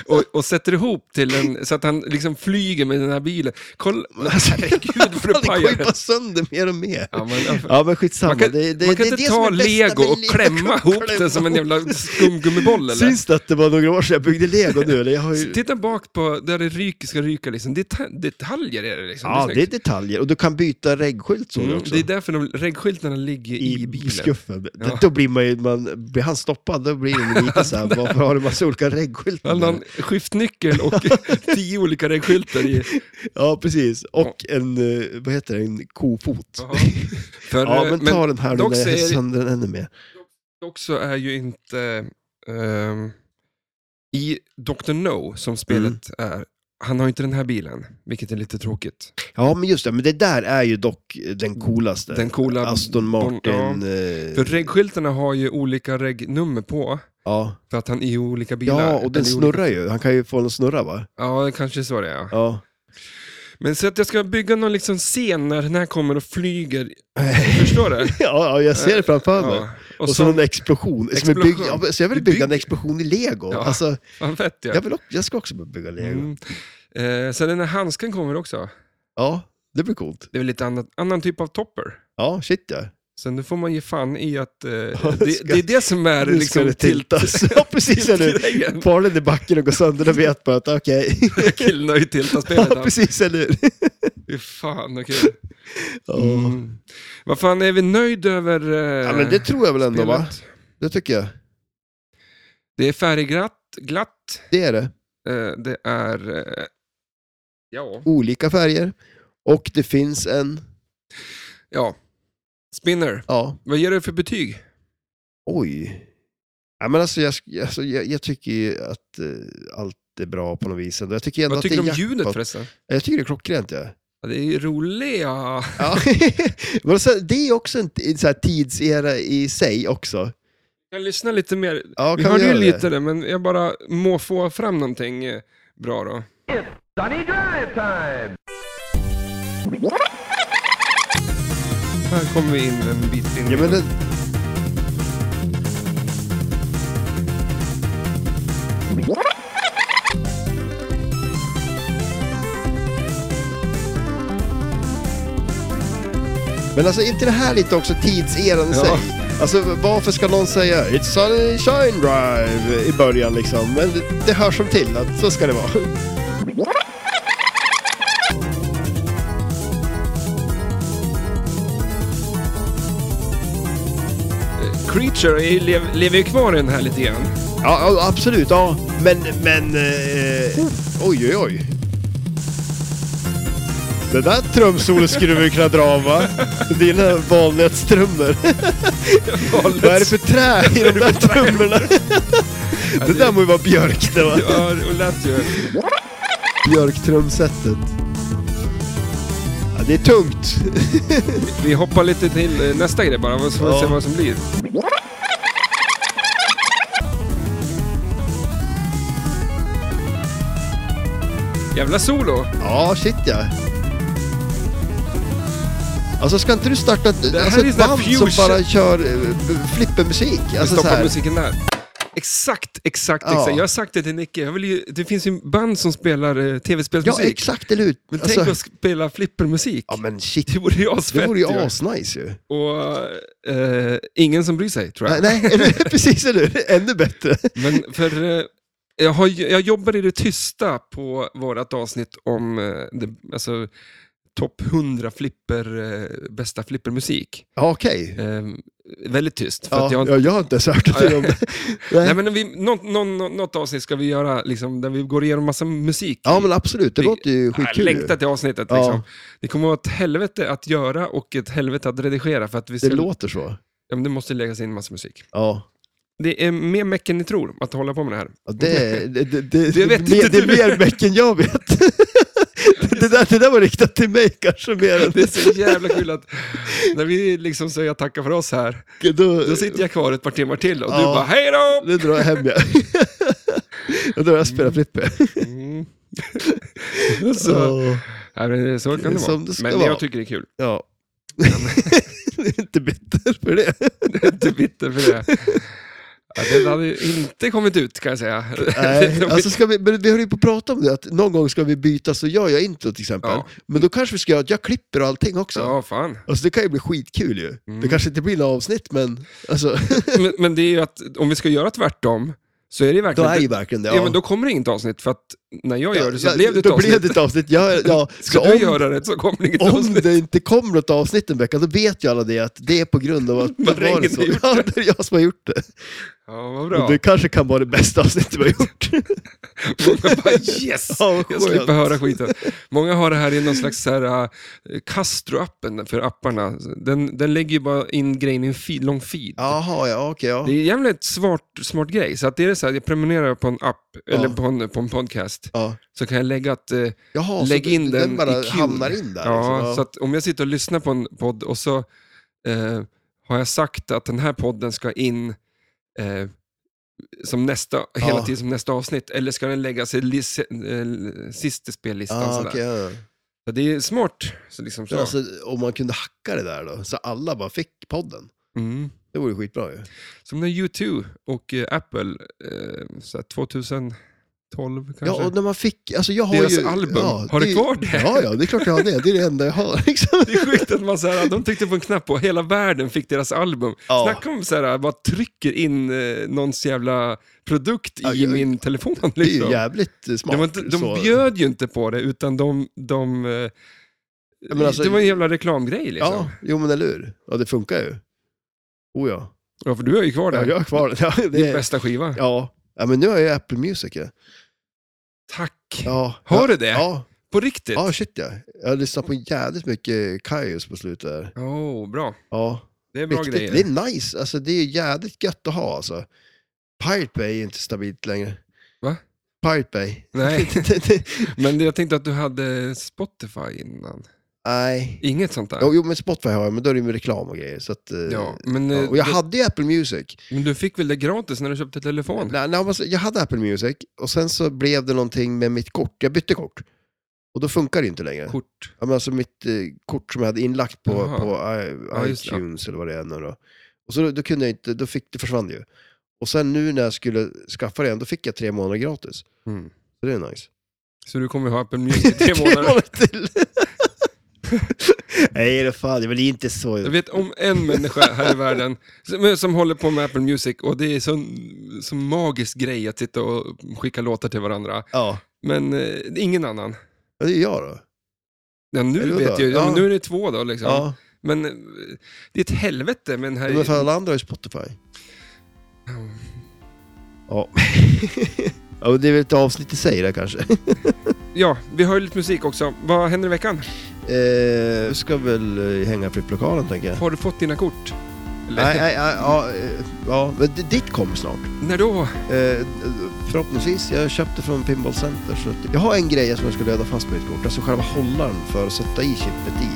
S2: Och, och sätter ihop till
S1: [LAUGHS]
S2: en, så att han liksom flyger med den här bilen. Kolla, Alltså, herregud vad
S1: det
S2: det
S1: går ju
S2: pajar.
S1: bara sönder mer och mer.
S2: Ja, men, ja,
S1: Ja, men skitsamma.
S2: Man kan-
S1: det, det,
S2: man kan
S1: det,
S2: inte
S1: är det
S2: ta
S1: som är bästa
S2: lego
S1: med
S2: och klämma ihop
S1: Klämma
S2: den som en
S1: ihop.
S2: jävla
S1: [LAUGHS]
S2: skumgummiboll eller?
S1: Syns det att det var några år sedan jag byggde lego nu? Eller jag har ju...
S2: Titta bak på där det ryker ska ryka, liksom. Deta- detaljer är det. Liksom.
S1: Ja, det är
S2: snyggt.
S1: detaljer. Och du kan byta reggskylt så
S2: Mm,
S1: också.
S2: det är därför de reggskyltarna ligger i, bilen.
S1: skuffen. Det-
S2: Ja.
S1: Då blir man ju, man, blir han stoppad, då blir det lite så
S2: [LAUGHS]
S1: här, varför har du massa olika
S2: Han
S1: reggskyltar?
S2: har en Alltså,
S1: [LAUGHS]
S2: skiftnyckel och tio olika reggskyltar i.
S1: Ja, precis. Och en, eh, vad heter det, en kofot.
S2: Jaha. För,
S1: [LAUGHS] Ja,
S2: eh,
S1: men ta den här nu
S2: dock
S1: när jag
S2: säger-
S1: sönder den ännu mer.
S2: dock så är ju inte... ehm, I Dr. No, som spelet
S1: Mm.
S2: är, han har ju inte den här bilen, vilket är lite tråkigt.
S1: Ja, men just det. Men det där är ju dock den coolaste.
S2: Den coola...
S1: Aston Martin.
S2: Bon-
S1: eh,
S2: För reggskyltarna har ju olika reggnummer på,
S1: ja.
S2: för att han är i olika bilar.
S1: ja, och den
S2: Eller i olika-
S1: snurrar ju. Han kan ju få den att snurra va?
S2: Ja, det kanske är så det är. ja.
S1: Ja.
S2: Men så att jag ska bygga någon liksom scen när den här kommer och flyger. Förstår du?
S1: Ja, [LAUGHS] ja jag ser det framför mig. Och, så en explosion. Som är bygg...
S2: Explosion.
S1: ja, så jag vill
S2: Du
S1: bygga en
S2: bygger-
S1: explosion i lego.
S2: Ja.
S1: Alltså,
S2: Fan fett ja.
S1: jag, vill också... jag ska också börja bygga lego.
S2: Mm. Eh, sen den här handsken kommer också.
S1: Ja, det blir coolt.
S2: Det är väl lite annat, annan typ av topper.
S1: Ja, shit ja.
S2: Så nu får man ge fan i
S1: [LAUGHS]
S2: att eh,
S1: Ja,
S2: det,
S1: ska-
S2: det är det som är
S1: Nu ska
S2: liksom
S1: det [LAUGHS] tiltas.
S2: tilt-
S1: ja, precis. Eller
S2: [LAUGHS]
S1: hur?
S2: tiltgrejen.
S1: Far den i backen och går sönder, då vet man att okej.
S2: [LAUGHS] Killen har ju tiltat spelet.
S1: [LAUGHS] ja,
S2: han.
S1: precis, eller hur?
S2: Fy fan vad kul.
S1: Ja.
S2: Mm. Vad fan, är vi nöjd över eh,
S1: ja, men det tror jag väl ändå va?
S2: spelet?
S1: Det tycker jag.
S2: Det är färgglatt, glatt.
S1: Det är det.
S2: Eh, det är... Eh, ja.
S1: Olika färger. Och det finns en,
S2: ja. Spinner.
S1: ja,
S2: Vad ger du för betyg?
S1: Oj. Ja, men alltså, jag, sk- alltså, jag, jag tycker ju att eh, allt är bra på något vis. ändå. Jag tycker ändå
S2: Vad
S1: att
S2: tycker du
S1: det
S2: om
S1: är
S2: ljudet
S1: jackpot.
S2: förresten?
S1: Jag tycker det är klockrent. Ja.
S2: Ja, det är ju roliga...
S1: Ja. [LAUGHS] men alltså, det är också en t- så här, tidsera i sig också.
S2: Jag lyssnar lite mer.
S1: Ja,
S2: vi
S1: kan
S2: hörde
S1: vi
S2: ju
S1: göra
S2: lite
S1: det?
S2: det, men jag bara må få fram någonting eh, bra då.
S3: It's Sunny Drive Time!
S2: Här kommer vi in en bit in.
S1: Ja, men den, men alltså, inte det här lite också tidseran i
S2: Ja.
S1: sig? Alltså, varför ska någon säga It's Sunny Shine Drive i början liksom? Men det, det hör som till att så ska det vara.
S2: Eh, Creature är, ju- lev, lever ju kvar i den här
S1: [LAUGHS]
S2: lite grann.
S1: Ja, ja, absolut. Ja. Men, men... Eh, oj, oj, oj. Det där trumsolet skulle vi kunna dra av, va? Dina valnötstrummor. Vad är det för trä i de där trummorna? Det där må ju vara björk det va?
S2: Ja, det lät ju...
S1: Björktrumsetet. Ja, det är tungt.
S2: Vi hoppar lite till eh, nästa grej bara, så får vi
S1: Ja.
S2: se vad som blir. Jävla solo!
S1: Ja, shit ja. Alltså ska inte du starta ett,
S2: här
S1: alltså,
S2: är
S1: ett
S2: sån här
S1: band som
S2: fusion.
S1: bara kör eh, flippermusik? Alltså, så
S2: stoppa
S1: här.
S2: musiken där. Exakt, exakt,
S1: Ja.
S2: exakt. Jag har sagt det till Nicke. Jag vill ju, det finns ju band som spelar eh,
S1: Ja,
S2: tv-spelsmusik.
S1: exakt, eller hur?
S2: men
S1: Alltså,
S2: tänk att spela flippermusik.
S1: ja, men shit.
S2: Det vore ju
S1: Det
S2: asfett
S1: vore ju
S2: ju.
S1: asnice ju.
S2: Och eh, ingen som bryr sig, tror jag.
S1: Nej, nej eller, [LAUGHS] precis, eller hur? Ännu bättre.
S2: Men för, eh, jag, har, ju- jag jobbar i det tysta på vårt avsnitt om eh, det, alltså, topp 100 flipper, eh, bästa flippermusik.
S1: Ja, Okej.
S2: Eh, väldigt tyst. För
S1: Ja,
S2: att jag,
S1: ja, jag har inte ens hört någonting om det. [LAUGHS]
S2: Nej,
S1: Nej.
S2: men vi, något, något, något avsnitt ska vi göra liksom, där vi går igenom massa musik.
S1: Ja, men absolut. Det
S2: Vi-
S1: låter ju
S2: jag
S1: skitkul. ju.
S2: längtar till avsnittet.
S1: Ja.
S2: Liksom. Det kommer att vara ett helvete att göra och ett helvete att redigera. För att vi
S1: Det
S2: ska,
S1: låter så.
S2: ja, men det måste läggas in massa musik.
S1: Ja.
S2: Det är mer meck än ni tror att hålla på med det här.
S1: Ja, Det, det, det, det,
S2: Det vet
S1: mer,
S2: inte
S1: det är
S2: du.
S1: mer meck än jag vet. [LAUGHS] det, där, det där var riktat till mig kanske mer än...
S2: Det är så jävla kul att när vi liksom säger tacka för oss här,
S1: Då,
S2: då sitter jag kvar ett par timmar till och du
S1: Ja.
S2: bara hej då!
S1: Nu drar jag hem jag. Och [LAUGHS] då har jag spelat flipper.
S2: Mm. [LAUGHS] så,
S1: Åh,
S2: ja, men så kan det
S1: Som
S2: vara.
S1: det ska
S2: men
S1: vara.
S2: jag tycker det är kul. [LAUGHS]
S1: ja. [LAUGHS] Jag är inte bitter för det.
S2: Jag är inte bitter för det. Ja, den hade ju inte kommit ut kan jag säga.
S1: Nej,
S2: [LAUGHS] De-
S1: alltså ska vi, men vi höll ju på att prata om det, att någon gång ska vi byta så gör jag inte till exempel.
S2: Ja.
S1: Men då kanske vi ska göra att jag klipper och allting också.
S2: ja, Mm. fan.
S1: Alltså det kan ju bli skitkul ju. Det kanske inte blir några avsnitt men
S2: [LAUGHS]
S1: alltså,
S2: Men, men det är ju att om vi ska göra tvärtom så är det ju
S1: då
S2: verkligen...
S1: är ju verkligen det.
S2: ja. men då kommer det inget avsnitt för att när jag gör det så
S1: Ja,
S2: blev det ett
S1: då
S2: avsnitt.
S1: blev det ett avsnitt. Ja,
S2: [LAUGHS]
S1: ja.
S2: Ska
S1: så
S2: du
S1: om,
S2: göra det så kommer det inget
S1: om
S2: avsnitt.
S1: det inte kommer något avsnitt en vecka, då vet ju alla det att det är på grund
S2: [LAUGHS]
S1: av att det
S2: Bara
S1: var det
S2: ingen
S1: så.
S2: har gjort
S1: Ja, det är jag som har gjort det.
S2: Ja, vad
S1: Och
S2: bra.
S1: det kanske kan vara det bästa avsnittet vi har gjort.
S2: [LAUGHS] Jag bara, yes!
S1: Ja, vad
S2: jag
S1: skönt.
S2: slipper höra skiten. Många har det här i någon slags så här, uh, Castro-appen för apparna. Den, den lägger ju bara in grejen i en feed, lång feed.
S1: Jaha, ja, okej.
S2: Det är
S1: ja.
S2: en jävligt smart, smart grej. Så att det är så här, jag prenumererar på en app, eller på en, på en podcast,
S1: ja.
S2: så kan jag lägga att... Eh,
S1: Jaha, så
S2: Lägg
S1: det-
S2: in den
S1: den bara
S2: i queue.
S1: hamnar in där.
S2: ja,
S1: liksom.
S2: så att om jag sitter och lyssnar på en podd och så eh, har jag sagt att den här podden ska in eh, som nästa, hela
S1: Ja.
S2: tiden som nästa avsnitt, eller ska den läggas i lis, eh, sista spellistan?
S1: Ah,
S2: sådär.
S1: okej, ja.
S2: så det är smart. Så liksom så.
S1: Men alltså, om man kunde hacka det där då, så alla bara fick podden.
S2: Mm.
S1: Det vore skitbra ju.
S2: Som när U2 och eh, Apple, eh, så här 2012 kanske.
S1: Ja, och när man fick, alltså jag har
S2: Deras
S1: ju...
S2: album,
S1: ja,
S2: har du
S1: det-
S2: kvar det?
S1: Ja, ja, det är klart jag har det. Det är det enda jag har. [LAUGHS] Liksom.
S2: Det är sjukt att man så här, de tryckte på en knapp och hela världen fick deras album.
S1: Ja.
S2: Snacka om så här, bara trycker in eh, någons jävla produkt i
S1: Ja, ja,
S2: min telefon. [LAUGHS] Liksom.
S1: Det är ju jävligt eh, smart.
S2: Det var inte, de
S1: så-
S2: bjöd ju inte på det, utan de... de eh,
S1: men alltså-
S2: det var en jävla reklamgrej liksom.
S1: Ja,
S2: Ja.
S1: jo men eller hur. Ja, det funkar ju. Oh ja.
S2: för du har ju kvar [LAUGHS] det.
S1: ja jag har kvar den. Ja,
S2: Din
S1: det,
S2: bästa skiva.
S1: ja. ja, men nu har jag Apple Music. Ja.
S2: Tack.
S1: Ja.
S2: Har du det?
S1: Ja,
S2: På riktigt?
S1: ja shit ja. Jag har lyssnat på jävligt mycket Kaius på slutet. Där.
S2: Oh, bra.
S1: Ja,
S2: Det är bra
S1: riktigt.
S2: grejer.
S1: Det är nice. Alltså det är jävligt gött att ha alltså. Pirate Bay är inte stabilt längre.
S2: Va?
S1: Pirate Bay.
S2: Nej,
S1: [LAUGHS] Det- det-
S2: men jag tänkte att du hade Spotify innan.
S1: Nej.
S2: Inget sånt där?
S1: Jo, jo, men Spotify har jag, men då är det ju med reklam och grejer. Så att, eh,
S2: Ja, men, eh,
S1: ja. Och jag
S2: du,
S1: hade ju Apple Music.
S2: men du fick väl det gratis när du köpte telefon?
S1: Nej, nej, alltså, jag hade Apple Music och sen så blev det någonting med mitt kort. Jag bytte kort. Och då funkar det ju inte längre.
S2: Kort.
S1: Ja, men alltså mitt eh, kort som jag hade inlagt på,
S2: Jaha.
S1: på i,
S2: Ja, just det.
S1: iTunes eller vad det är nu då. Och så då, då kunde jag inte, då fick, det försvann det ju. Och sen nu när jag skulle skaffa det igen, då fick jag tre månader gratis.
S2: Mm.
S1: Så det är nice.
S2: Så du kommer ju ha Apple Music i tre
S1: [LAUGHS]
S2: månader. [LAUGHS]
S1: till! Nej, det fan, det är väl inte så.
S2: Jag vet om en människa här i världen som, som håller på med Apple Music och det är en sån, sån magisk grej att sitta och skicka låtar till varandra.
S1: Ja,
S2: Men eh, ingen annan.
S1: Ja, det är jag då.
S2: Ja, nu
S1: Eller vadå?
S2: vet jag ju, ja. men
S1: Ja.
S2: nu är det två då liksom.
S1: Ja,
S2: Men eh, det är ett helvete. Men här
S1: men för alla andra har ju Spotify. Ja. [LAUGHS] ja, men det är väl ett avsnitt i sig där kanske. [LAUGHS]
S2: Ja, vi har ju lite musik också. Vad händer i veckan?
S1: Eh, du ska väl eh, hänga i flipplokalen tänker jag.
S2: Har du fått dina kort? Eller,
S1: Nej, nej, nej, ja, eh, ja, men d- ditt kommer snart.
S2: När då?
S1: Eh, förhoppningsvis, jag köpte från Pinball Center. Så att jag har en grej som jag ska löda fast med mitt kort, alltså själva hållaren för att sätta i chippet i.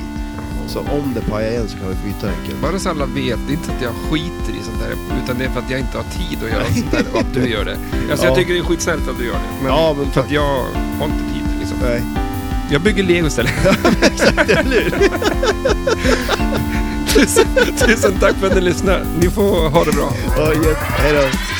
S1: Så om det pajar igen så kan vi byta enkelt.
S2: Bara så alla vet, det är inte så att jag skiter i sånt där, utan det är för att jag inte har tid att
S1: [LAUGHS]
S2: göra sånt där och att du gör det. Alltså
S1: Ja.
S2: jag tycker det är skitsnällt att du gör det, men
S1: Ja, men
S2: för att jag har inte tid. Liksom. liksom.
S1: Nej. [LAUGHS]
S4: Jag bygger lego
S2: [LAUGHS]
S4: istället.
S2: Tusen, tusen tack för att ni lyssnade. Ni får ha det bra.
S1: Ja, jätte- Hej då.